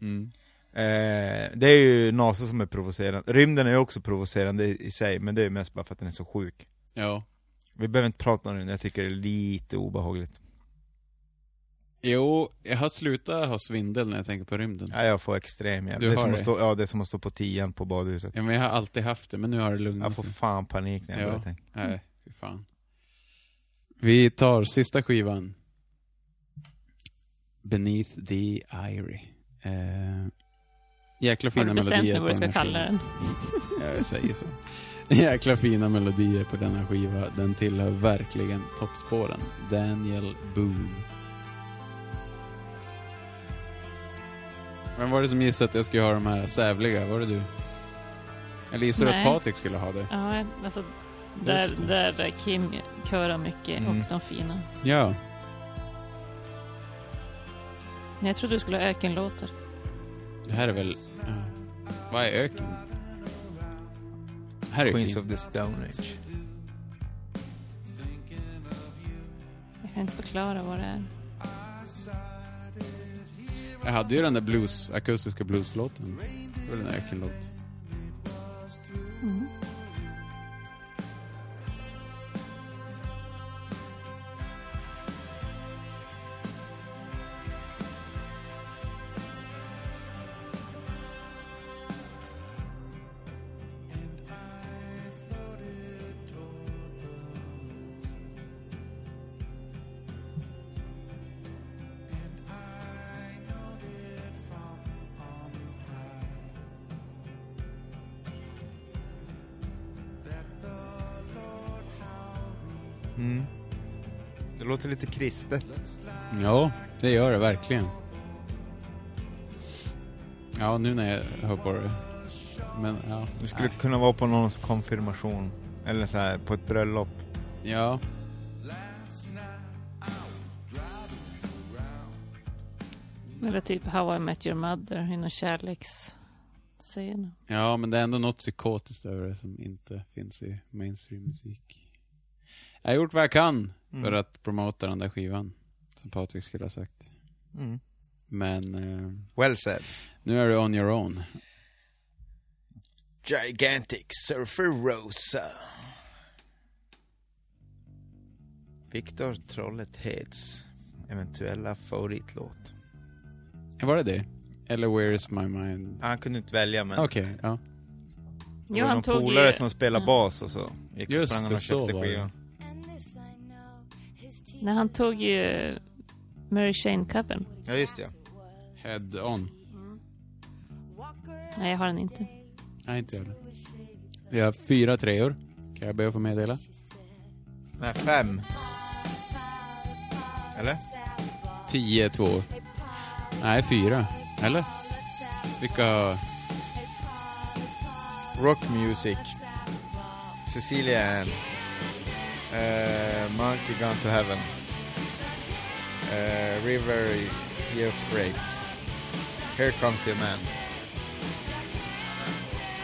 Speaker 2: Mm.
Speaker 4: Eh, det är ju NASA som är provocerande. Rymden är ju också provocerande i i sig, men det är mest bara för att den är så sjuk.
Speaker 2: Ja.
Speaker 4: Vi behöver inte prata om den, jag tycker det är lite obehagligt.
Speaker 2: Jo, jag har slutat ha svindel när jag tänker på rymden.
Speaker 4: Ja, jag får extrem jävla...
Speaker 2: Du
Speaker 4: Det är,
Speaker 2: har
Speaker 4: som att
Speaker 2: det?
Speaker 4: stå, ja, det är som att stå på tian på badhuset.
Speaker 2: Ja, men jag har alltid haft det, men nu har det
Speaker 4: Jag
Speaker 2: lugnat
Speaker 4: får
Speaker 2: sig.
Speaker 4: fan panik när jag
Speaker 2: Mm. Ja.
Speaker 4: börjar tänka.
Speaker 2: Nej, fy fan. Mm. Vi tar sista skivan. Beneath the Eyrie. Eh, jäkla
Speaker 3: Har
Speaker 2: fina
Speaker 3: du bestämt
Speaker 2: melodier
Speaker 3: nu
Speaker 2: på
Speaker 3: vad du ska
Speaker 2: den här
Speaker 3: kalla
Speaker 2: skivan.
Speaker 3: den?
Speaker 2: Ja, jag säger så. Jäkla fina melodier på denna skiva. Den tillhör verkligen toppspåren. Daniel Boone. Vem var det som gissade att jag skulle ha de här sävliga? Var det du? Eller gissade du att
Speaker 3: Nej.
Speaker 2: Patrik skulle ha det?
Speaker 3: Ja, alltså
Speaker 2: Just
Speaker 3: där,
Speaker 2: det.
Speaker 3: där Kim körar mycket
Speaker 4: Mm.
Speaker 3: och de fina.
Speaker 2: Ja.
Speaker 3: Men jag trodde du skulle ha ökenlåtar.
Speaker 2: Det här är väl... ja. Vad är öken? Här är ju
Speaker 4: Queens
Speaker 2: fint.
Speaker 4: of the Stone Age.
Speaker 3: Jag kan inte förklara vad det är.
Speaker 2: Jag hade ju den där blues, akustiska blueslåten. Det var en ökenlåt.
Speaker 4: Mm. Det låter lite kristet.
Speaker 2: Ja, det gör det verkligen. Ja, nu när jag hör på det. Men ja.
Speaker 4: Det skulle kunna vara på någons konfirmation. Eller så här, på ett bröllop.
Speaker 2: Ja.
Speaker 3: Eller typ How I Met Your Mother i någon kärleksscen.
Speaker 2: ja, men det är ändå något psykotiskt över det som inte finns i mainstream-musik. Jag har gjort vad jag kan för att promota den där skivan. Som Patrik skulle ha sagt.
Speaker 4: Mm.
Speaker 2: Men eh,
Speaker 4: Well said.
Speaker 2: nu är du on your own.
Speaker 4: Gigantic Surfer Rosa. Viktor Trolletheds eventuella favoritlåt.
Speaker 2: Var det det? Eller Where is my mind?
Speaker 4: Han kunde inte välja men
Speaker 2: Okej, ja.
Speaker 4: det
Speaker 3: Jo,
Speaker 4: var
Speaker 3: han
Speaker 4: någon
Speaker 3: tog
Speaker 4: polare
Speaker 3: ju...
Speaker 4: som spelade bas och så gick och
Speaker 2: Just
Speaker 4: sprang
Speaker 2: det,
Speaker 4: och
Speaker 2: så
Speaker 4: köpte
Speaker 2: var det.
Speaker 4: skivan.
Speaker 3: Nej, han tog ju Mary Jane-covern.
Speaker 4: Ja just det.
Speaker 2: Head on.
Speaker 3: Nej, jag har den inte.
Speaker 2: Nej, inte jag. Vi har fyra treor. Kan jag be att få meddela?
Speaker 4: Nej, fem. Eller?
Speaker 2: Tio tvåor. Nej, fyra. Eller? Vilka...
Speaker 4: Rock Music. Cecilia Ann. Uh, Monkey Gone to Heaven. Uh, River Euphrates. Here comes your man.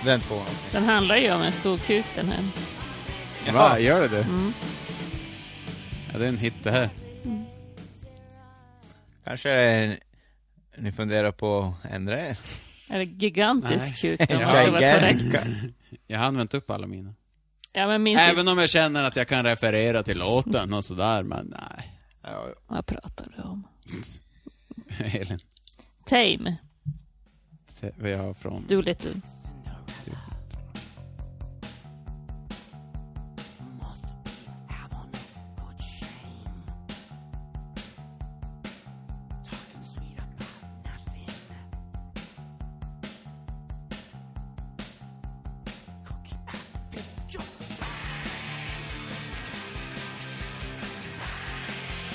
Speaker 4: Den tvåan.
Speaker 3: Den handlar ju om en stor kuk den här.
Speaker 2: Va, gör det det? Ja, det är en hit det här.
Speaker 4: Kanske ni funderar på att ändra er?
Speaker 3: Eller gigantisk kuk då, om man
Speaker 2: Ja.
Speaker 3: ska vara korrekt.
Speaker 2: Jag hann vänta upp alla mina.
Speaker 3: Ja, men min
Speaker 2: Även om jag känner att jag kan referera till låten och sådär, men nej.
Speaker 4: Ja,
Speaker 3: Vad pratar du om?
Speaker 2: Elin.
Speaker 3: Tame,
Speaker 2: se vad jag har från...
Speaker 3: Doolittle.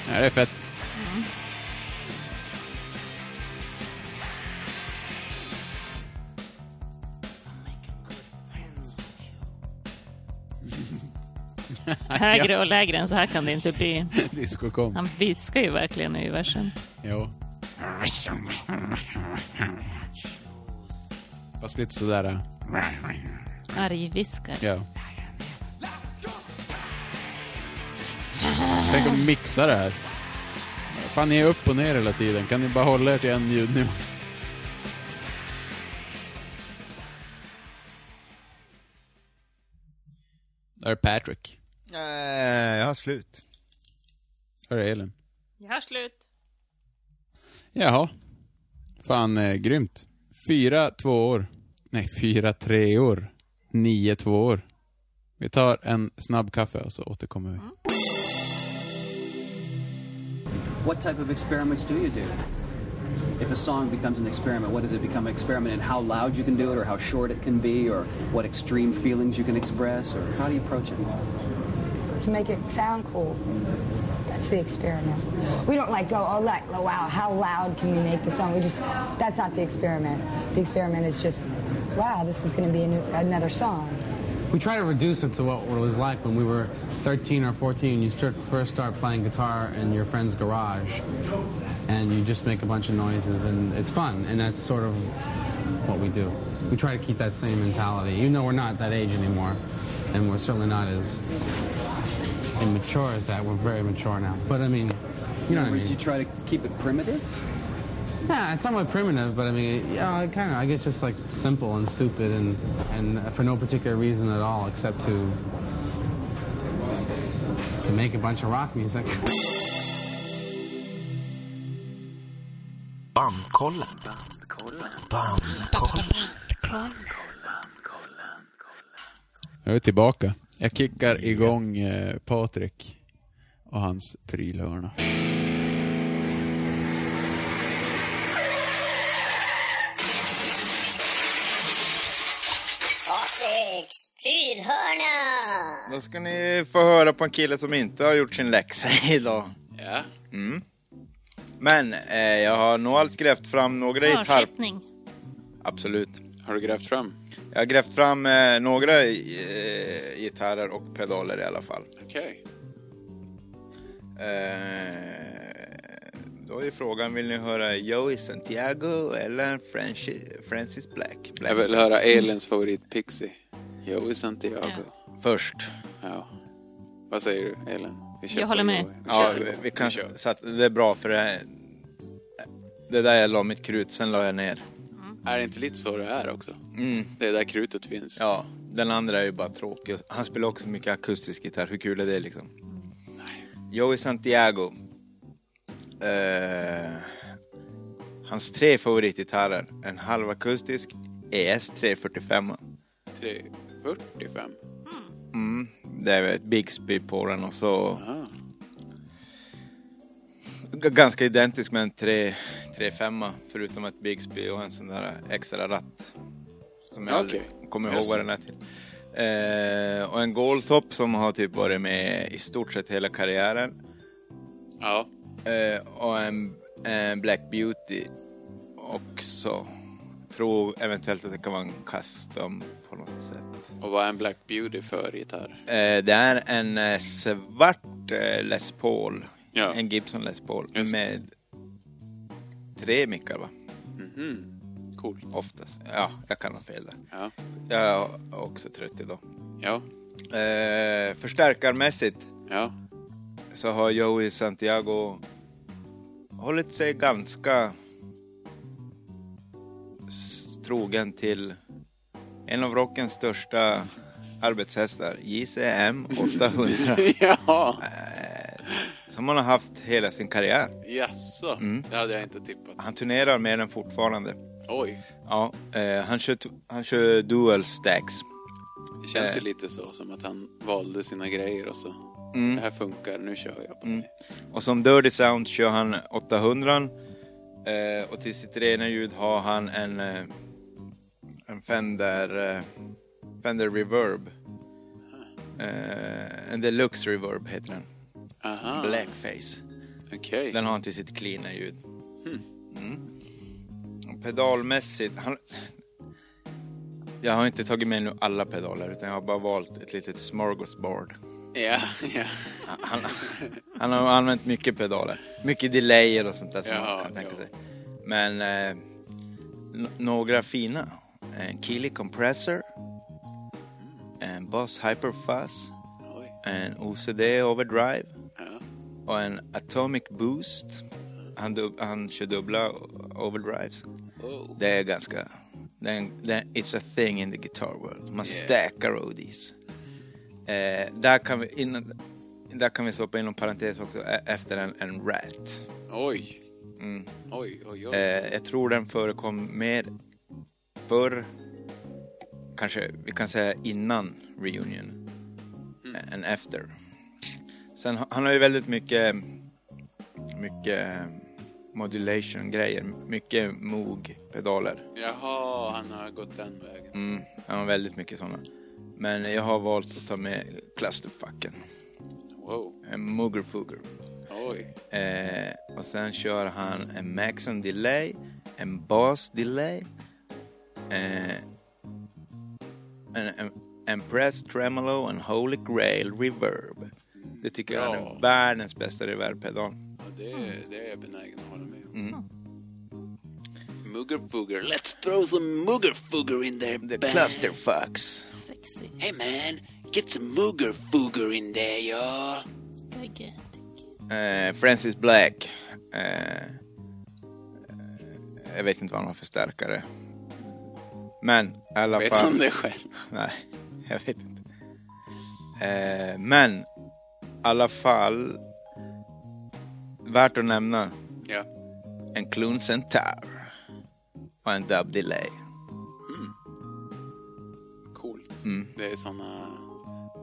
Speaker 2: Ja, det är fett.
Speaker 3: Högre och lägre än så här kan det inte bli.
Speaker 2: Disco kom.
Speaker 3: Han viskar ju verkligen nu i versen.
Speaker 2: Jo. Fast lite sådär,
Speaker 3: Argviskar.
Speaker 2: ja. Tänk om mixa det här. Fan, ni är upp och ner hela tiden. Kan ni bara hålla er till en ljudnivå? Där är Patrick.
Speaker 4: Nej, Eh, jag har slut.
Speaker 2: Där är Elin.
Speaker 3: Jag har slut.
Speaker 2: Jaha. Fan, eh, grymt. Fyra tvåor. Nej, fyra treor. Nio tvåor. Vi tar en snabb kaffe och så återkommer vi.
Speaker 10: What type of experiments do you do? If a song becomes an experiment, what does it become an experiment in how loud you can do it or how short it can be or what extreme feelings you can express or how do you approach it?
Speaker 11: to make it sound cool. That's the experiment. We don't like go, oh, like, wow, how loud can we make the song? We just, that's not the experiment. The experiment is just, wow, this is going to be a new, another song.
Speaker 10: We try to reduce it to what it was like when we were 13 or 14 and you start, first start playing guitar in your friend's garage and you just make a bunch of noises and it's fun and that's sort of what we do. We try to keep that same mentality. You know we're not that age anymore and we're certainly not as immature as that. We're very mature now. But I mean, you know what I mean. you try to keep it primitive? Yeah, it's somewhat primitive, but I mean, yeah, kind of. I guess just like simple and stupid, and and for no particular reason at all, except to to make a bunch of rock music.
Speaker 2: Nu är vi tillbaka. Jag kickar igång eh, Patrik och hans prylhörna.
Speaker 5: Patriks prylhörna!
Speaker 4: Då ska ni få höra på en kille som inte har gjort sin läxa idag.
Speaker 2: Ja.
Speaker 4: Mm. Men eh, jag har nog allt grävt fram några gitarr...
Speaker 3: Hörskippning.
Speaker 4: Absolut.
Speaker 2: Har du grävt fram?
Speaker 4: Jag har grävt fram eh, några eh, gitarrer och pedaler i alla fall.
Speaker 2: Okej.
Speaker 4: Eh, då är frågan, vill ni höra Joey Santiago eller Franchi- Francis Black? Black?
Speaker 2: Jag vill höra Elins favoritpixie. Joey Santiago.
Speaker 4: Först.
Speaker 2: Ja. Vad säger du, Elin? Vi kör
Speaker 3: Jag
Speaker 2: på
Speaker 3: håller med.
Speaker 2: Joey. Vi
Speaker 4: Ja,
Speaker 2: kör.
Speaker 4: vi, vi kan, så att det är bra för det här. Det där jag la mitt krut, sen la jag ner.
Speaker 2: Är det inte lite så det är också?
Speaker 4: Mm.
Speaker 2: Det är där krutet finns.
Speaker 4: Ja, den andra är ju bara tråkig. Han spelar också mycket akustisk gitarr. Hur kul är det liksom? Joey Santiago. Eh, hans tre favoritgitarrer. En E halv akustisk ES 345.
Speaker 2: 345.
Speaker 4: Mm, det är väl ett Bixby på den och så
Speaker 2: Aha.
Speaker 4: G- ganska identisk med en 3 3-5 förutom ett Bigsby och en sån där extra ratt. Som jag
Speaker 2: Okej.
Speaker 4: aldrig kommer ihåg
Speaker 2: Just
Speaker 4: vad
Speaker 2: det.
Speaker 4: den är till. Eh, och en Goldtop som har typ varit med i stort sett hela karriären.
Speaker 2: Ja.
Speaker 4: Eh, och en, en Black Beauty också. Tror eventuellt att det kan vara en custom på något sätt.
Speaker 2: Och vad är en Black Beauty för gitarr?
Speaker 4: Eh, det är en eh, svart eh, Les Paul.
Speaker 2: Ja.
Speaker 4: En Gibson Les Paul.
Speaker 2: Just det.
Speaker 4: Med tre mickar va?
Speaker 2: Mhm. Coolt.
Speaker 4: Oftast. Ja, jag kan ha fel där.
Speaker 2: Ja.
Speaker 4: Jag är också trött idag.
Speaker 2: Ja.
Speaker 4: Eh, förstärkarmässigt
Speaker 2: Ja.
Speaker 4: så har Joey Santiago hållit sig ganska s- trogen till en av rockens största arbetshästar, JCM 800.
Speaker 2: ja.
Speaker 4: Eh, som han har haft hela sin karriär.
Speaker 2: Jaså?
Speaker 4: Mm.
Speaker 2: Det hade jag inte tippat.
Speaker 4: Han turnerar med den fortfarande.
Speaker 2: Oj.
Speaker 4: Ja, eh, han, kör, t- han kör dual stacks.
Speaker 2: Det känns ju
Speaker 4: Eh.
Speaker 2: lite så, som att han valde sina grejer och så.
Speaker 4: Mm.
Speaker 2: Det här funkar, nu kör jag på
Speaker 4: Mm.
Speaker 2: det.
Speaker 4: Och som Dirty Sound kör han 800 eh, och till sitt rena ljud har han en, eh, en Fender, eh, Fender Reverb. Eh, en Deluxe Reverb heter den.
Speaker 2: Aha.
Speaker 4: Blackface.
Speaker 2: Okej.
Speaker 4: Den har han till sitt cleana ljud.
Speaker 2: Hmm.
Speaker 4: Mm. Och pedalmässigt, han... Jag har inte tagit med nu alla pedaler utan jag har bara valt ett litet smorgasbord.
Speaker 2: Ja, ja.
Speaker 4: Han, han har använt mycket pedaler. Mycket delayer och sånt där som
Speaker 2: Ja,
Speaker 4: man kan tänka
Speaker 2: ja.
Speaker 4: sig. Men eh, n- några fina. En Keeley Compressor. En Boss Hyper Fuzz.
Speaker 2: Oj.
Speaker 4: En OCD Overdrive.
Speaker 2: Ja.
Speaker 4: Och en Atomic Boost. Han, dub- han kör dubbla overdrives.
Speaker 2: Oh.
Speaker 4: Det är ganska... Det är en, det är, it's a thing in the guitar world. Man stackar roadies. Eh, där, kan vi, innan, där kan vi stoppa inom parentes också e- efter en, en rat.
Speaker 2: Oj.
Speaker 4: Mm.
Speaker 2: Oj, oj, oj.
Speaker 4: Eh, jag tror den förekom mer förr. Kanske vi kan säga innan reunion.
Speaker 2: Mm.
Speaker 4: Än efter. Sen ha- han har ju väldigt mycket mycket modulation grejer. Mycket Moog pedaler.
Speaker 2: Jaha, han har gått den vägen.
Speaker 4: Mm, han har väldigt mycket sådana. Men jag har valt att ta med Clusterfucken.
Speaker 2: Wow.
Speaker 4: En Muggerfugger.
Speaker 2: Oj.
Speaker 4: Eh, och sen kör han en Maxon Delay, en Bass Delay, eh, en, en, en Press Tremolo, en Holy Grail Reverb. Det tycker jag
Speaker 2: Ja.
Speaker 4: är världens bästa reverbpedal.
Speaker 2: Ja, det, det är jag benägen att hålla med om.
Speaker 4: Mm.
Speaker 2: Muggerfugger. Let's throw some muggerfugger in there,
Speaker 4: The
Speaker 2: band.
Speaker 4: Clusterfucks.
Speaker 3: Sexy.
Speaker 2: Hey man, get some muggerfugger in there, y'all.
Speaker 3: Gigantic.
Speaker 4: Eh, Francis Black. Eh, eh, jag vet inte vad han har för stärkare. Men i alla
Speaker 2: Vet
Speaker 4: fall.
Speaker 2: han det själv?
Speaker 4: Nej, jag vet inte. Eh, men i alla fall. Värt att nämna
Speaker 2: Ja.
Speaker 4: en Clune Centaur och en Dub Delay.
Speaker 2: Mm. Coolt.
Speaker 4: Mm.
Speaker 2: Det är såna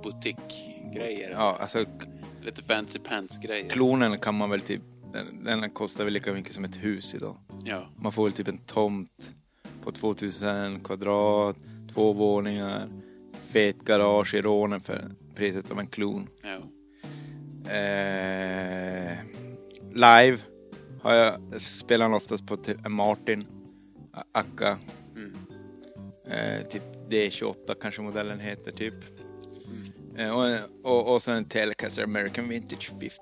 Speaker 2: butikgrejer.
Speaker 4: Ja, alltså
Speaker 2: Lite fancy pants-grejer.
Speaker 4: klonen kan man väl typ, den, den kostar väl lika mycket som ett hus idag.
Speaker 2: ja.
Speaker 4: Man får väl typ en tomt på 2000 kvadrat, två våningar, fet garage i Råne för priset av en klon.
Speaker 2: Ja.
Speaker 4: Eh, live har jag, spelar han oftast på typ en Martin A- Akka. Eh, typ D28 kanske modellen heter typ. Eh, och, en- och, och sen en Telecaster American Vintage 58.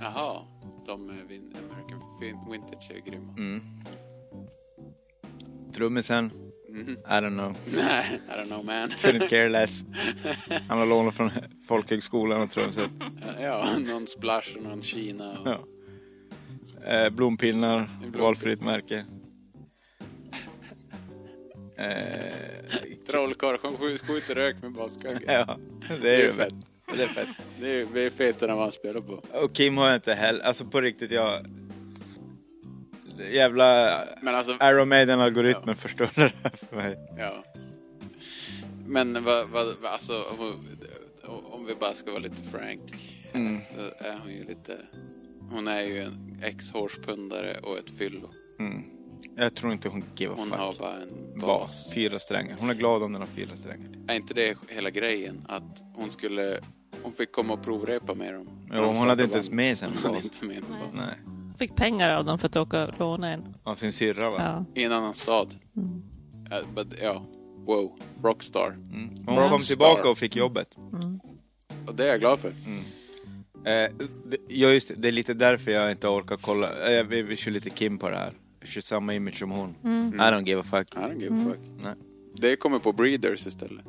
Speaker 2: Jaha, de eh, Vin- American Vin- Vintage är grymma.
Speaker 4: Mm. Trummisen?
Speaker 2: Mhm.
Speaker 4: I don't know.
Speaker 2: Nej, I don't know man.
Speaker 4: Couldn't care less. Han har lånat från folkhögskolan och trumset.
Speaker 2: ja, någon Splash och någon Kina. Och...
Speaker 4: Ja. Eh, blompinnar, valfritt märke. Eh,
Speaker 2: Trollkarl som skjuter, skjuter rök med baskugge.
Speaker 4: ja, det är ju fett. Det är fett.
Speaker 2: Det är, det är fetare än vad han spelar på.
Speaker 4: Och Kim har jag inte heller, alltså på riktigt jag... Jävla
Speaker 2: Men alltså-
Speaker 4: Iron Maiden-algoritmen förstörde det här för mig.
Speaker 2: Ja. Men vad, vad, vad- alltså om, om vi bara ska vara lite frank.
Speaker 4: Mm.
Speaker 2: Så är hon ju lite... Hon är ju en ex-hårspundare och ett fyllo.
Speaker 4: Mm. Jag tror inte hon give a
Speaker 2: Hon
Speaker 4: fuck.
Speaker 2: har bara en
Speaker 4: bas. Fyra strängar. Hon är glad om den har fyra strängar.
Speaker 2: Är inte det hela grejen? Att hon skulle... Hon fick komma och provrepa med dem.
Speaker 4: Jo, hon hade inte ens med sig en
Speaker 2: Hon hade
Speaker 4: bas.
Speaker 2: inte med en bas.
Speaker 4: Nej.
Speaker 3: Fick pengar av dem för att åka och låna en.
Speaker 4: Av sin syrra va?
Speaker 3: Ja.
Speaker 2: I en annan stad. Ja, but, ja. Wow. Rockstar.
Speaker 4: Hon kom tillbaka och fick jobbet.
Speaker 2: Och det är jag glad för.
Speaker 4: Mm. Eh, det- ja just det, det är lite därför jag inte orkar kolla. Eh, Jag vi, vi kör lite Kim på det här. Jag kör samma image som hon.
Speaker 2: Mm.
Speaker 4: I don't give a fuck.
Speaker 2: I don't give a fuck.
Speaker 4: Mm. Nej.
Speaker 2: Det kommer på Breeders istället.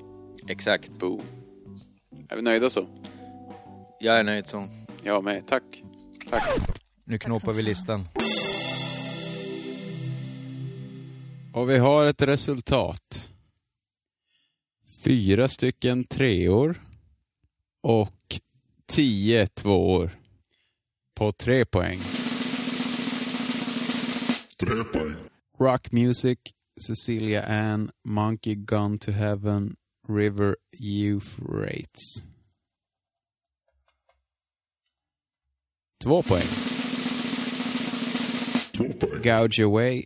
Speaker 4: Exakt.
Speaker 2: Boom. Är vi nöjda så?
Speaker 4: Jag är nöjd så.
Speaker 2: Jag med. Tack. Tack.
Speaker 4: Nu knåpar vi listan.
Speaker 2: Och vi har ett resultat. Fyra stycken treor och tio tvåor på tre poäng. Tre poäng. Rock Music, Cecilia Ann, Monkey Gone to Heaven, River Euphrates. Två poäng. Gouge Away,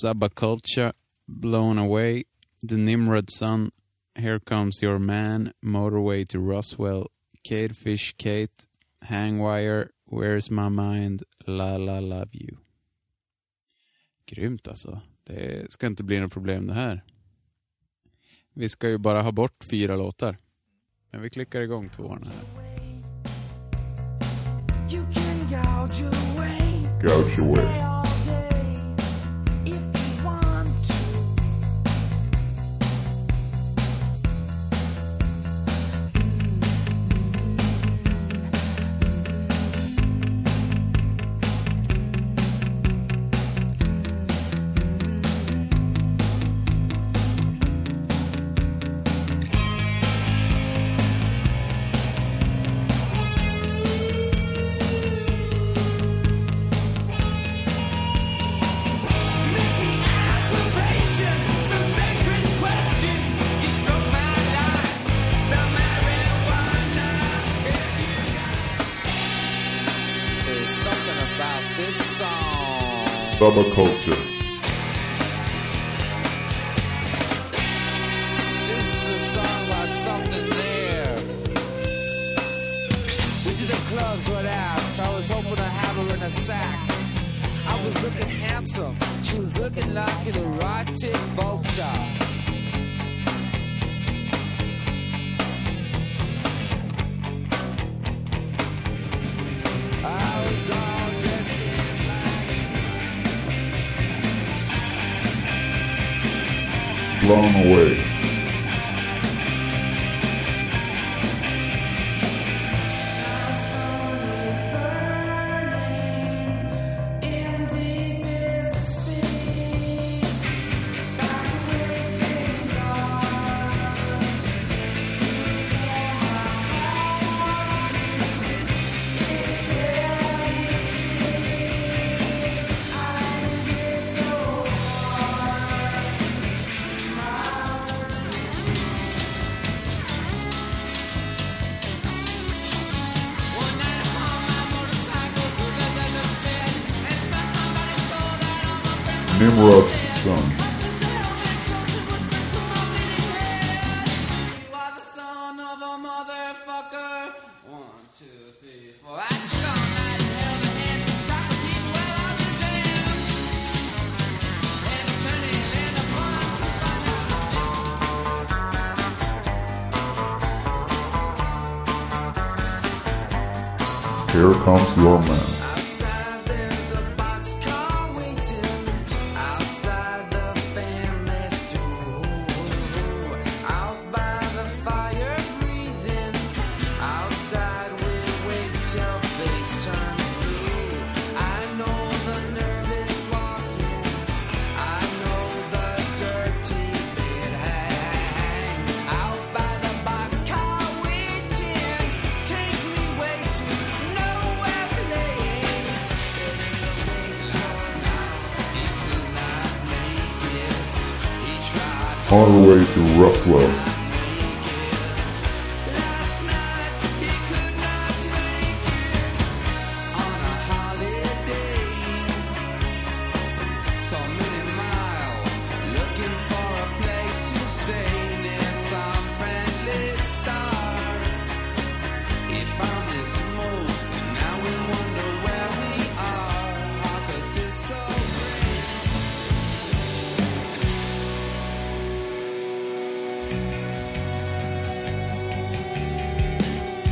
Speaker 2: Subaculture, Blown Away, The Nimrod Sun, Here Comes Your Man, Motorway to Roswell, Cadefish Kate, Hangwire, Where's My Mind, La La Love You. Grymt alltså. Det ska inte bli något problem det här. Vi ska ju bara ha bort fyra låtar. Men vi klickar igång tvåorna här.
Speaker 5: You can gouge away.
Speaker 2: Gouge away.
Speaker 5: Stay all day if you want to. Some sacred questions. You stroke my locks. Some marijuana.
Speaker 12: There's something about this song.
Speaker 13: Subculture.
Speaker 12: This is a song about something there. We did the clubs with ass. I was hoping to have her in a sack. I was looking handsome. She was looking like an erotic vulture. I was all dressed in black.
Speaker 13: Blown away. Nimrod's son. Here comes your man. On our way to Rough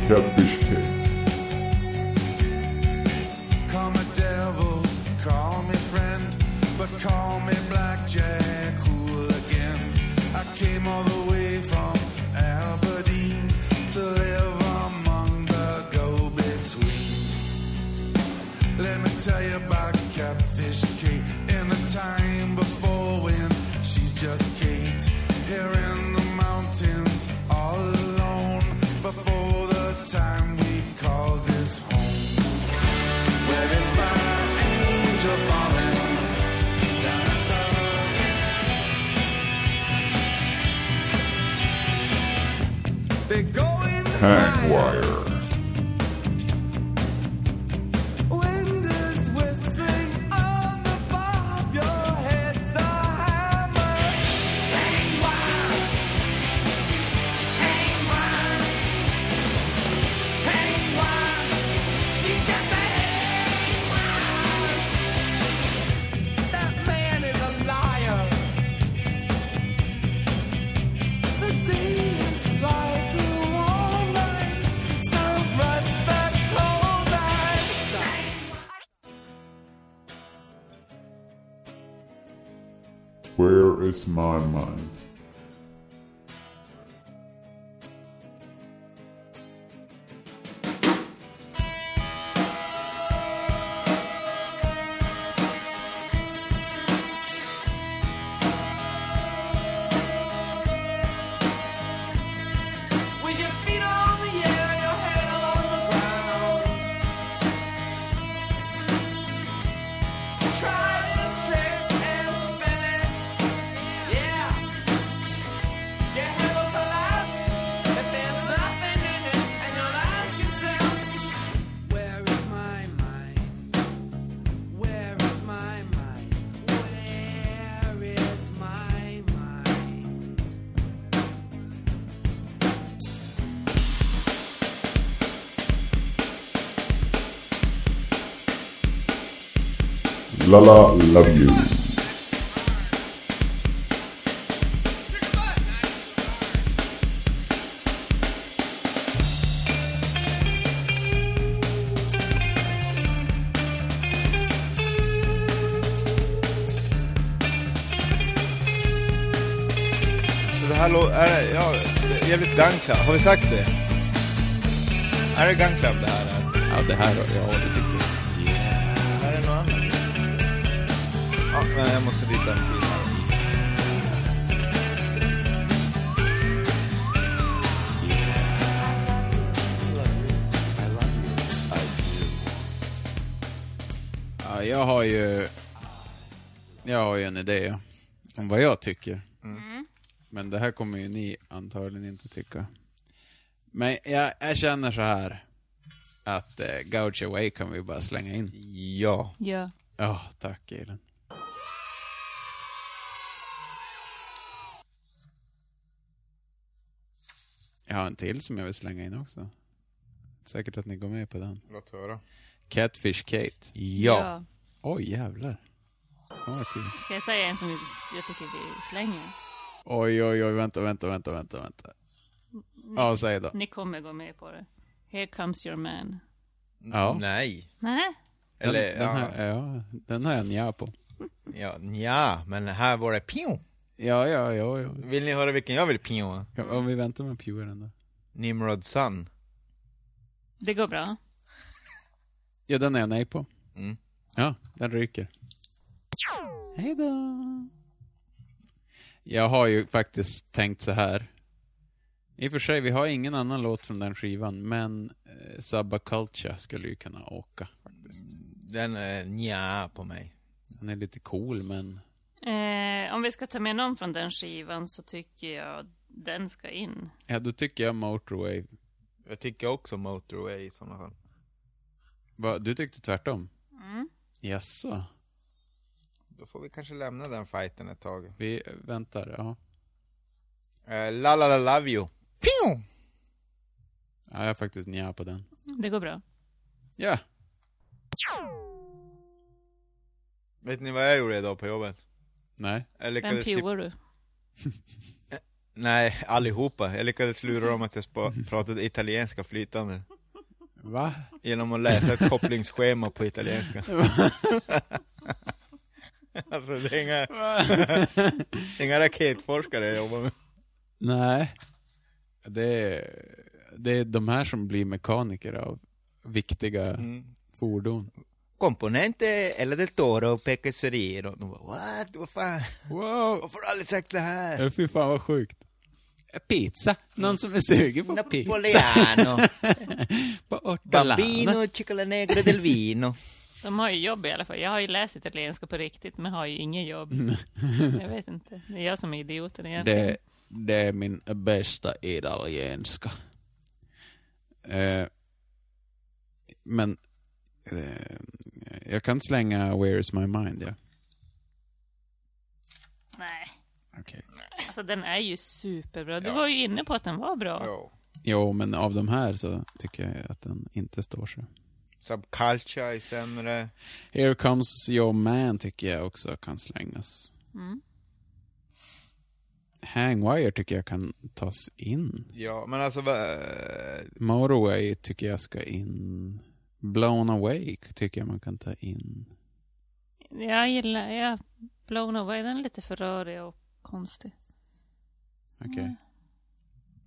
Speaker 13: Catfish Kids.
Speaker 5: Call me devil, call me friend, but call me blackjack hooligan. I came all the way from Aberdeen to live among the go-betweens. Let me tell you about Catfish Kate in the time before when she's just Kate. Here in the mountains, all alone, before the time we call this home. Where is my angel falling? Down at the They go in the
Speaker 13: Hang
Speaker 5: fire.
Speaker 13: Wire.
Speaker 5: Wind is whistling on the bob. Your head's a hammer. Hang wild. Hang wild. Hang wild. You just hang wild. That man is a liar. The day is like a warm night. Sunrise that cold night.
Speaker 13: Where is my mind?
Speaker 5: With your feet on the air, your head on the ground. Try this trick and spin it. Yeah. You have a collapse, but there's nothing in it, and you'll ask yourself, Where is my mind? Where is my mind? Where is my mind?
Speaker 13: Lala Love You.
Speaker 4: Så det här lå- är det, ja, det är jävligt gun club. Har vi sagt det? Är det gun club det här? Eller?
Speaker 2: Ja, det här, ja det tycker jag.
Speaker 4: Är det något annat? Ja, men jag måste rita en fil här.
Speaker 2: Ja, jag har ju... Jag har ju en idé om vad jag tycker. Men det här kommer ju ni antagligen inte tycka. Men jag, jag känner så här att eh, Gouge Away kan vi bara slänga in.
Speaker 4: Ja.
Speaker 3: Ja.
Speaker 2: Ja, tack Elin. Jag har en till som jag vill slänga in också. Säkert att ni går med på den.
Speaker 4: Låt höra.
Speaker 2: Catfish Kate.
Speaker 3: Ja.
Speaker 2: Oj, jävlar. Ja, vad kul.
Speaker 3: Ska jag säga en som vi- jag tycker vi slänger?
Speaker 2: Oj, oj, oj, vänta, vänta, vänta, vänta, vänta. Ja, säg då.
Speaker 3: Mm. Ni kommer gå med på det. Here comes your man.
Speaker 2: Ja.
Speaker 4: Nej.
Speaker 3: Nej.
Speaker 4: Eller,
Speaker 2: den, den, här, ja, den har jag nja på.
Speaker 4: Ja, nja, men här var det pio.
Speaker 2: Ja, ja, ja, ja.
Speaker 4: Vill ni höra vilken jag vill pio?
Speaker 2: Om vi väntar med pewaren då.
Speaker 4: Nimrod Sun.
Speaker 3: Det går bra.
Speaker 2: Ja, den är jag nej på.
Speaker 4: Mm.
Speaker 2: Ja, den ryker. Hej då. Jag har ju faktiskt tänkt så här. I och för sig, vi har ingen annan låt från den skivan, men eh, Sabba Culture skulle ju kunna åka.
Speaker 4: Den är nja på mig.
Speaker 2: Den är lite cool, men...
Speaker 3: Eh, om vi ska ta med någon från den skivan så tycker jag den ska in.
Speaker 2: Ja, då tycker jag Motorwave.
Speaker 4: Jag tycker också Motorway i sådana fall.
Speaker 2: Va, du tyckte tvärtom?
Speaker 3: Mm.
Speaker 2: Jaså?
Speaker 4: Då får vi kanske lämna den fighten ett tag.
Speaker 2: Vi väntar, ja.
Speaker 4: Eh, la la la love you. Pio!
Speaker 2: Ja, jag är faktiskt nja på den.
Speaker 3: Det går bra.
Speaker 2: Ja.
Speaker 4: Vet ni vad jag gjorde idag på jobbet?
Speaker 2: Nej.
Speaker 4: Jag
Speaker 3: Vem
Speaker 4: lyckades typ...
Speaker 3: pioar du?
Speaker 4: Nej, allihopa. Jag lyckades lura dem att jag spa- pratade italienska flytande.
Speaker 2: Va?
Speaker 4: Genom att läsa ett kopplingsschema på italienska. alltså det är inga, det är inga raketforskare jag jobbar med.
Speaker 2: Nej. Det är, det är de här som blir mekaniker av viktiga fordon.
Speaker 4: Komponente eller del Toro och Pekesserie. De bara what? Vad fan?
Speaker 2: Wow!
Speaker 4: Varför har du aldrig sagt det här?
Speaker 2: Ja, fy fan vad sjukt. Pizza. Någon som är sugen på pizza.
Speaker 4: Napoleano.
Speaker 2: på ortolana.
Speaker 4: Bambino, cicola negra del vino.
Speaker 3: De har ju jobb i alla fall. Jag har ju läst italienska på riktigt men har ju inget jobb. jag vet inte. Det är jag som är idioten egentligen.
Speaker 2: Det, det är min bästa italienska. Eh, men eh, jag kan slänga Where is my mind, ja.
Speaker 3: Nej.
Speaker 2: Okej.
Speaker 3: Alltså den är ju superbra. Du var ju inne på att den var bra.
Speaker 2: Jo, men av de här så tycker jag att den inte står sig.
Speaker 4: Subculture är sämre.
Speaker 2: Here comes your man tycker jag också kan slängas.
Speaker 3: Mm.
Speaker 2: Hangwire tycker jag kan tas in.
Speaker 4: Ja, men alltså vad-
Speaker 2: Motorway tycker jag ska in. Blown away tycker jag man kan ta in.
Speaker 3: Jag gillar, jag blown away. Den är lite för rörig och konstig.
Speaker 2: Okej.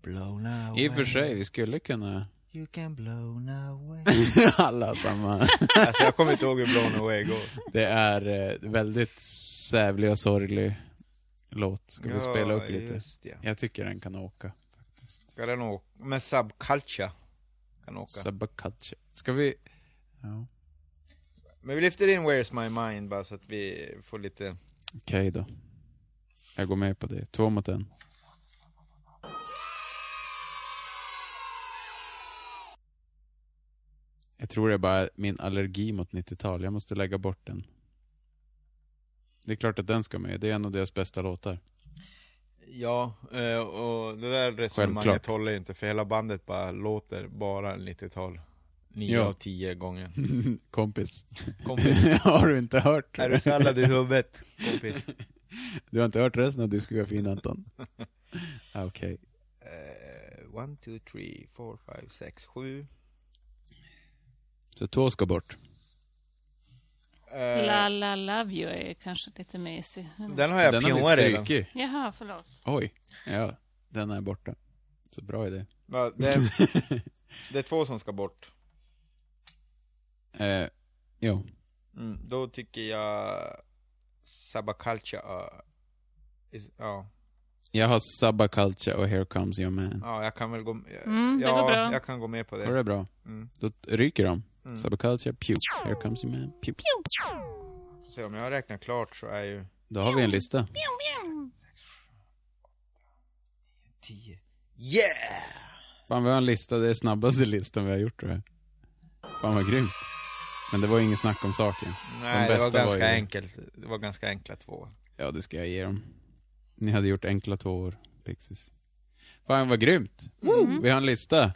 Speaker 4: Blown away.
Speaker 2: I och för sig, vi skulle kunna
Speaker 4: You can eh. blown away.
Speaker 2: alla samma.
Speaker 4: alltså jag kommer inte ihåg hur blown away går.
Speaker 2: Det är eh, väldigt sävlig och sorglig låt. Ska vi
Speaker 4: Ja,
Speaker 2: spela upp lite?
Speaker 4: just det.
Speaker 2: Jag tycker den kan åka.
Speaker 4: Ska den åka? Men subculture kan åka.
Speaker 2: Sabotage. Ska vi... Ja.
Speaker 4: men vi lyfter in Where's My Mind bara så att vi får lite...
Speaker 2: Okej då. Jag går med på det. Två mot en. Jag tror det är bara min allergi mot 90-tal. Jag måste lägga bort den. Det är klart att den ska med. Det är en av deras bästa låtar.
Speaker 4: Ja, eh, och det där resonemanget
Speaker 2: Självklart.
Speaker 4: håller inte för hela bandet bara låter bara 90-tal. 9
Speaker 2: Ja.
Speaker 4: av 10 gånger.
Speaker 2: Kompis.
Speaker 4: Kompis.
Speaker 2: har du inte hört?
Speaker 4: Är du sallad i huvudet, kompis?
Speaker 2: Du har inte hört resten av diskografin Anton? Ah, Okej.
Speaker 4: Eh, One, two, three, four, five, sex, sju.
Speaker 2: Så två ska bort.
Speaker 4: Eh,
Speaker 3: La La Love You är kanske lite mesig.
Speaker 4: Den har jag
Speaker 2: Den har vi
Speaker 4: pionjat redan.
Speaker 2: strykit.
Speaker 3: Jaha, förlåt.
Speaker 2: Oj. Ja, den är borta. Så bra idé.
Speaker 4: Ja, det, det är två som ska bort.
Speaker 2: Eh, jo.
Speaker 4: Mm, då tycker jag Sabakalcha uh, is, ja.
Speaker 2: Jag har Sabba Culture och Here Comes Your Man.
Speaker 4: ja, jag kan väl gå jag,
Speaker 3: Mm, det var
Speaker 4: ja,
Speaker 3: bra.
Speaker 4: jag kan gå med på
Speaker 2: Var det
Speaker 4: det.
Speaker 2: bra?
Speaker 4: Mm.
Speaker 2: Då ryker de.
Speaker 4: Mm.
Speaker 2: Sabba Culture, pew. Here Comes Your Man, pew.
Speaker 4: Så om jag räknar klart så är ju
Speaker 2: Då har vi en lista.
Speaker 4: 10. Yeah!
Speaker 2: Fan, vi har en lista. Det är snabbaste listan vi har gjort tror jag. Fan vad grymt. Men det var ju inget snack om saken.
Speaker 4: Nej, det
Speaker 2: bästa
Speaker 4: var ganska
Speaker 2: var ju-
Speaker 4: enkelt. Det var ganska enkla två.
Speaker 2: Ja, det ska jag ge dem. Ni hade gjort enkla tvåor, Pixies. Fan vad grymt! Vi har en lista.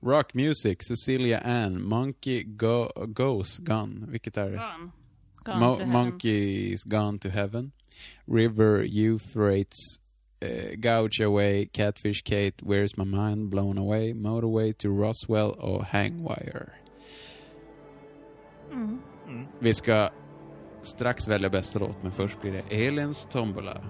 Speaker 2: Rock Music, Cecilia Ann, Monkey Go Goes Gone. Vilket är det?
Speaker 3: Gone. Gone
Speaker 2: Mo-
Speaker 3: to heaven.
Speaker 2: Monkeys Gone to Heaven. River Euphrates, eh, Gouge Away, Catfish Kate, Where's My Mind, Blown Away, Motorway to Roswell och Hangwire.
Speaker 6: Mm.
Speaker 2: Vi ska strax välja bästa låt, men först blir det Elins Tombola.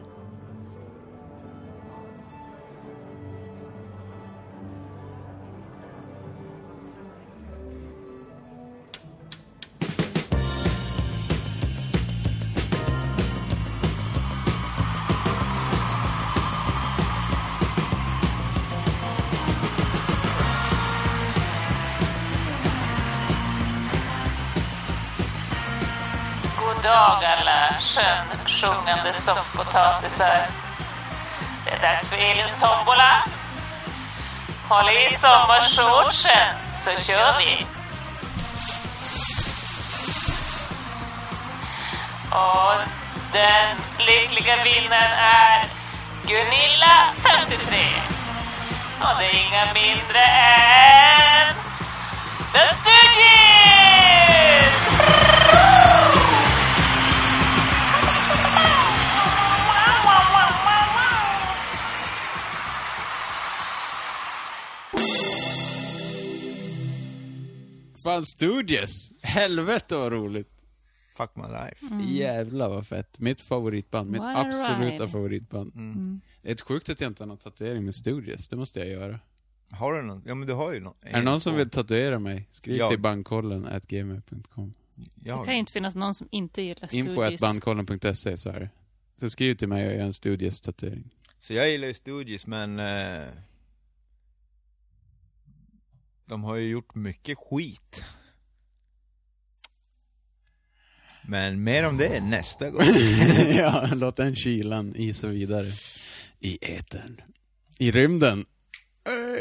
Speaker 3: God dag alla skönsjungande soffpotatisar. Det är dags för Elins tombola. Håll i sommarshortsen så kör vi. Och den lyckliga vinnaren är Gunilla 53. Och det är inga mindre än The Stooges!
Speaker 2: Fan, Stooges! Helvete vad roligt!
Speaker 4: Fuck my life.
Speaker 2: Mm. Jävlar vad fett. Mitt favoritband. Mitt
Speaker 4: What a
Speaker 2: absoluta
Speaker 4: ride.
Speaker 2: favoritband.
Speaker 4: Mm.
Speaker 2: Det är ett sjukt att jag inte har någon tatuering med Stooges. Det måste jag göra.
Speaker 4: Har du någon? Ja men du har ju någon.
Speaker 2: Är det någon som vill tatuera mig? Skriv
Speaker 4: Jag.
Speaker 2: till bandkollen at gmail.com.
Speaker 3: Det kan ju inte finnas någon som inte gillar
Speaker 2: Info at
Speaker 3: Stooges.
Speaker 2: bandkollen.se så är det. Så skriv till mig och gör en Stooges-tatuering.
Speaker 4: Så jag gillar ju Stooges men eh, De har ju gjort mycket skit Men mer om det nästa gång
Speaker 2: ja, låt den kylan isa vidare. I etern. I rymden.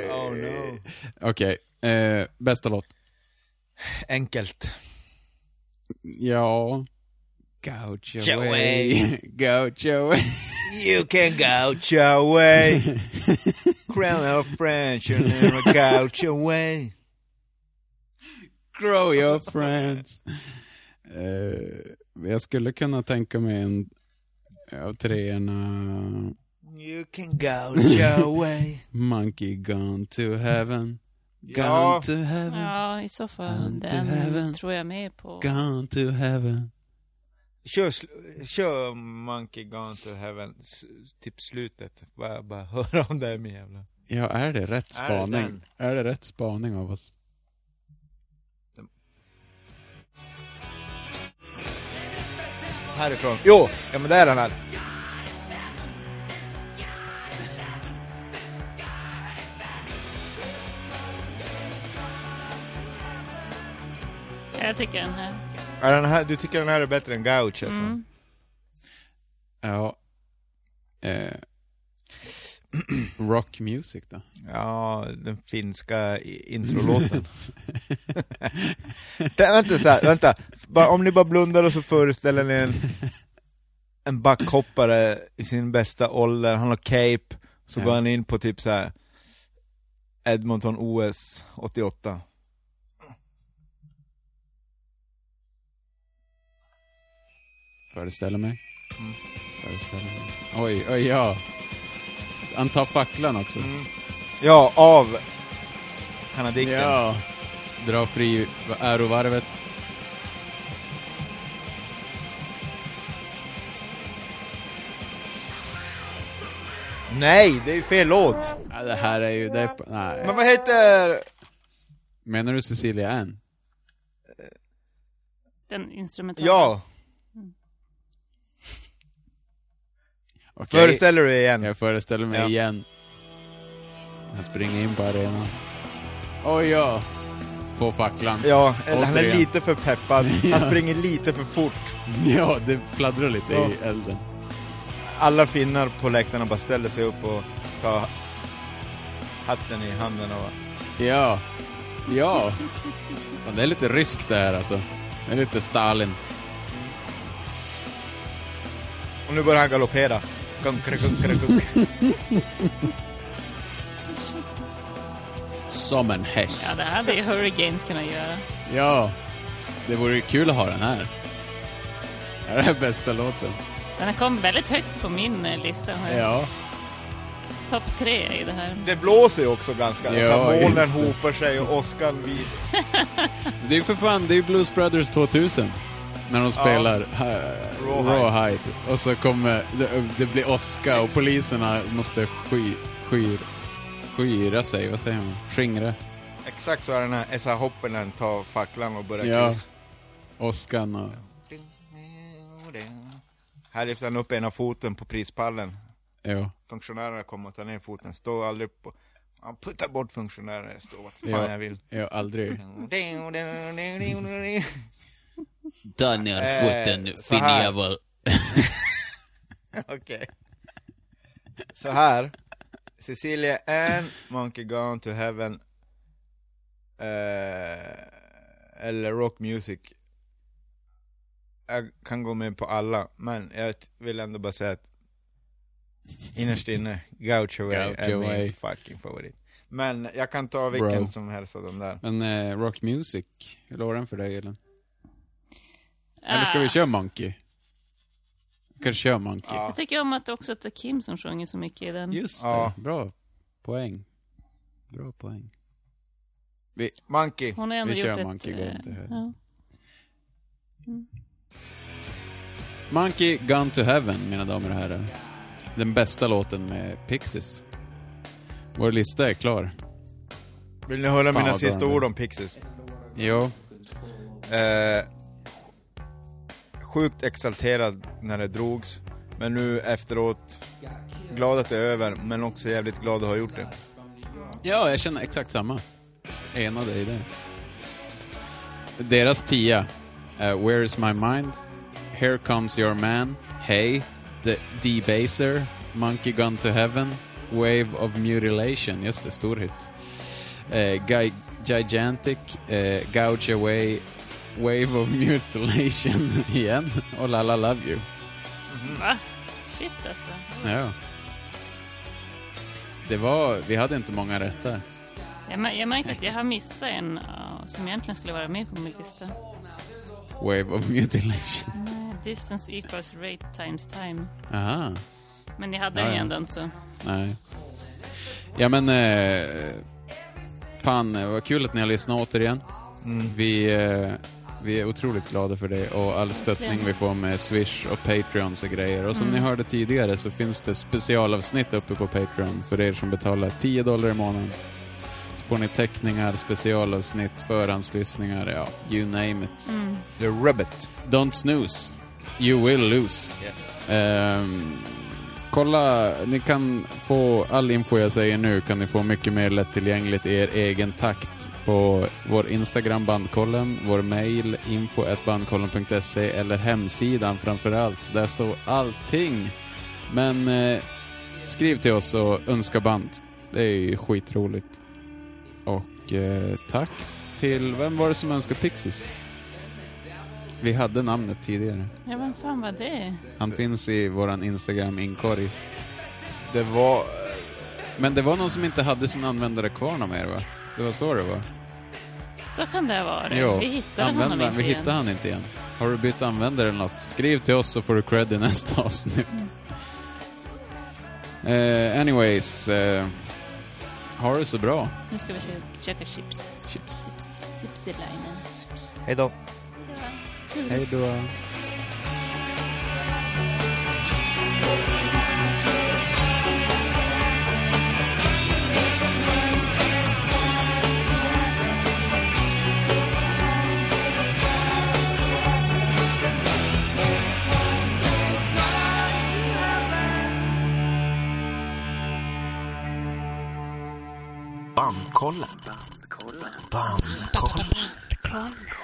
Speaker 4: Oh no
Speaker 2: Okej, eh, bästa låt.
Speaker 4: Enkelt
Speaker 2: Ja. Gouch
Speaker 4: Your
Speaker 2: your
Speaker 4: way.
Speaker 2: way. Gouch your way.
Speaker 4: You can go your way Crown of French You never go your way
Speaker 2: Grow your friends. Eh, jag skulle kunna tänka mig en av treorna.
Speaker 4: You can go your way
Speaker 2: Monkey gone to heaven. Gone
Speaker 4: Ja.
Speaker 2: to heaven.
Speaker 3: Ja, i så fall.
Speaker 2: Gone to
Speaker 3: Den
Speaker 2: heaven.
Speaker 3: tror jag med på.
Speaker 2: Gone to heaven.
Speaker 4: Kör, sl- kör Monkey Gone to Heaven, s- typ slutet. Bara, bara höra om det här med jävla.
Speaker 2: Ja, är det rätt
Speaker 4: Är det
Speaker 2: spaning?
Speaker 4: den?
Speaker 2: är det rätt spaning av oss?
Speaker 4: Härifrån. Jo! Ja men där är han här.
Speaker 3: Ja, Jag tycker den här.
Speaker 4: Är den här. Du tycker den här är bättre än Gouch alltså?
Speaker 3: Mm.
Speaker 2: Ja. Eh. rock music då?
Speaker 4: Ja, den finska i- introlåten. Tä- vänta så här, vänta. Bara, om ni bara blundar och så föreställer ni en, en backhoppare i sin bästa ålder, han har cape, så
Speaker 2: Ja.
Speaker 4: går han in på typ så här Edmonton OS 88.
Speaker 2: Föreställer mig. Föreställer mig. Oj, oj, ja. Han tar facklan också.
Speaker 4: Mm. Ja, av kanadicken.
Speaker 2: Ja. Dra fri ärovarvet.
Speaker 4: Nej, det är ju fel låt.
Speaker 2: Ja, det här är ju... Det är, nej.
Speaker 4: Men vad heter...
Speaker 2: Menar du Cecilia Ann?
Speaker 3: Den instrumentala.
Speaker 4: Ja,
Speaker 2: Okej.
Speaker 4: Föreställer du dig igen?
Speaker 2: Jag föreställer mig
Speaker 4: Ja.
Speaker 2: igen. Han springer in på arenan. Oj, ja. Får facklan.
Speaker 4: ja eller han är
Speaker 2: Återigen.
Speaker 4: lite för peppad. Han
Speaker 2: Ja.
Speaker 4: springer lite för fort.
Speaker 2: Ja, det fladdrar lite i elden.
Speaker 4: Alla finnar på läktarna bara ställer sig upp och tar hatten i handen och
Speaker 2: Ja. Ja. Fan, det är lite ryskt det här alltså. Det är lite Stalin.
Speaker 4: Och nu börjar han galoppera. Gunk, gunk, gunk, gunk.
Speaker 2: Som en häst.
Speaker 3: Ja, det hade ju Hurricanes kunnat göra.
Speaker 2: Ja, det vore ju kul att ha den här. Det här är bästa låten.
Speaker 3: Den här kom väldigt högt på min eh, lista. Den här.
Speaker 2: Ja,
Speaker 3: Topp tre i det här.
Speaker 4: Det blåser ju också ganska.
Speaker 2: Ja,
Speaker 4: så här, molnen
Speaker 2: just det.
Speaker 4: hopar sig och åskan vis.
Speaker 2: Det är ju för fan, det är ju Blues Brothers 2000. När de spelar eh,
Speaker 4: Rawhide.
Speaker 2: Rawhide. Och så kommer, det, det blir åska och poliserna måste sky, skyr, skyra sig, vad säger man? Skingra.
Speaker 4: Exakt så är den här S.A. Hoppelen tar facklan och börjar
Speaker 2: Ja. Åskan och...
Speaker 4: Här lyfter han upp ena foten på prispallen.
Speaker 2: Jo.
Speaker 4: Funktionärerna kommer och tar ner foten, står aldrig på... Han puttar bort funktionärerna, jag står vart fan
Speaker 2: Ja.
Speaker 4: jag vill.
Speaker 2: Ja, aldrig.
Speaker 14: Ta ner
Speaker 4: Eh,
Speaker 14: foten,
Speaker 4: så
Speaker 14: fin
Speaker 4: här.
Speaker 14: jävel.
Speaker 4: Okej. Så här. Cecilia Ann, Monkey Gone to Heaven. Eh, eller Rock Music. Jag kan gå med på alla, men jag vill ändå bara säga att innerst inne, Gaucho Way är
Speaker 2: Gaucho Way.
Speaker 4: min fucking favorit. Men jag kan ta vilken
Speaker 2: Bro.
Speaker 4: som helst av dem där.
Speaker 2: Men eh, Rock Music, hur låg den för dig Ellen?
Speaker 4: Ah.
Speaker 2: Eller ska
Speaker 6: Ah,
Speaker 2: vi köra Monkey? Vi kanske kör Monkey.
Speaker 6: Jag tycker om att också att det är Kim som sjunger så mycket i den.
Speaker 2: Just det, bra poäng. Bra poäng. Vi,
Speaker 4: Monkey.
Speaker 6: Hon har ändå
Speaker 2: vi
Speaker 6: gjort
Speaker 2: kör
Speaker 6: ett,
Speaker 2: Monkey
Speaker 6: eh,
Speaker 2: Gone to Heaven.
Speaker 6: ja.
Speaker 2: Monkey Gone to Heaven, mina damer och herrar. Den bästa låten med Pixies. Vår lista är klar.
Speaker 4: Vill ni höra mina
Speaker 2: Fan, vad bra
Speaker 4: sista
Speaker 2: den är.
Speaker 4: ord om Pixies?
Speaker 2: Jo.
Speaker 4: Eh, sjukt exalterad när det drogs, men nu efteråt glad att det är över, men också jävligt glad att ha gjort det.
Speaker 2: Ja, jag känner exakt samma. Enade i det. Deras tia är Where is my mind? Here comes your man. Hey. The Debaser. Monkey Gone to Heaven. Wave of Mutilation. Just det, stor hit. Eh, Gi- Gigantic. Eh, Gouge Away. Wave of Mutilation igen. Och La La Love You.
Speaker 3: Va? Shit alltså.
Speaker 2: Ja. Det var... Vi hade inte många rätt där.
Speaker 6: Jag, mär- jag märker att jag har missat en ja, som egentligen skulle vara med på min lista.
Speaker 2: Wave of Mutilation.
Speaker 6: Nej, Distance equals rate times time.
Speaker 2: Aha.
Speaker 6: Men jag hade
Speaker 2: Ja,
Speaker 6: den ju
Speaker 2: ja.
Speaker 6: ändå inte så.
Speaker 2: Nej. Ja men... Eh, fan, eh, vad kul att ni har lyssnat återigen. Vi, eh, vi är otroligt glada för det och all stöttning vi får med Swish och Patreons och grejer. Och som
Speaker 15: Mm.
Speaker 2: ni hörde tidigare så finns det specialavsnitt uppe på Patreon för er som betalar 10 dollar i månaden. Så får ni teckningar, specialavsnitt, förhandslyssningar, ja, you name it.
Speaker 6: Mm.
Speaker 2: The rabbit. Don't snooze. You will lose.
Speaker 4: Yes.
Speaker 2: Ehm, kolla, ni kan få all info jag säger nu kan ni få mycket mer lättillgängligt i er egen takt på vår Instagram bandkollen, vår mail info at bandkollen.se eller hemsidan framförallt. Där står allting. Men eh, skriv till oss och önska band. Det är ju skitroligt. Och eh, tack till, vem var det som önskade Pixies? Vi hade namnet tidigare.
Speaker 6: Ja, vem fan var det?
Speaker 2: Han finns i våran Instagram-inkorg. Det var... Men det var någon som inte hade sin användare kvar någon mer va? Det var så det var?
Speaker 6: Så kan det vara.
Speaker 2: Jo,
Speaker 6: vi hittade
Speaker 2: användaren-
Speaker 6: honom inte
Speaker 2: Vi
Speaker 6: igen.
Speaker 2: hittade han inte igen. Har du bytt användare eller något? Skriv till oss så får du cred i nästa avsnitt.
Speaker 6: Mm.
Speaker 2: Eh, anyways, eh, ha det så bra.
Speaker 6: Nu ska vi kä- käka chips.
Speaker 2: Chips.
Speaker 6: Chips. Chips i linen.
Speaker 4: Hej då.
Speaker 2: Hej då.
Speaker 16: Bandkollen. Bandkollen. Bandkollen.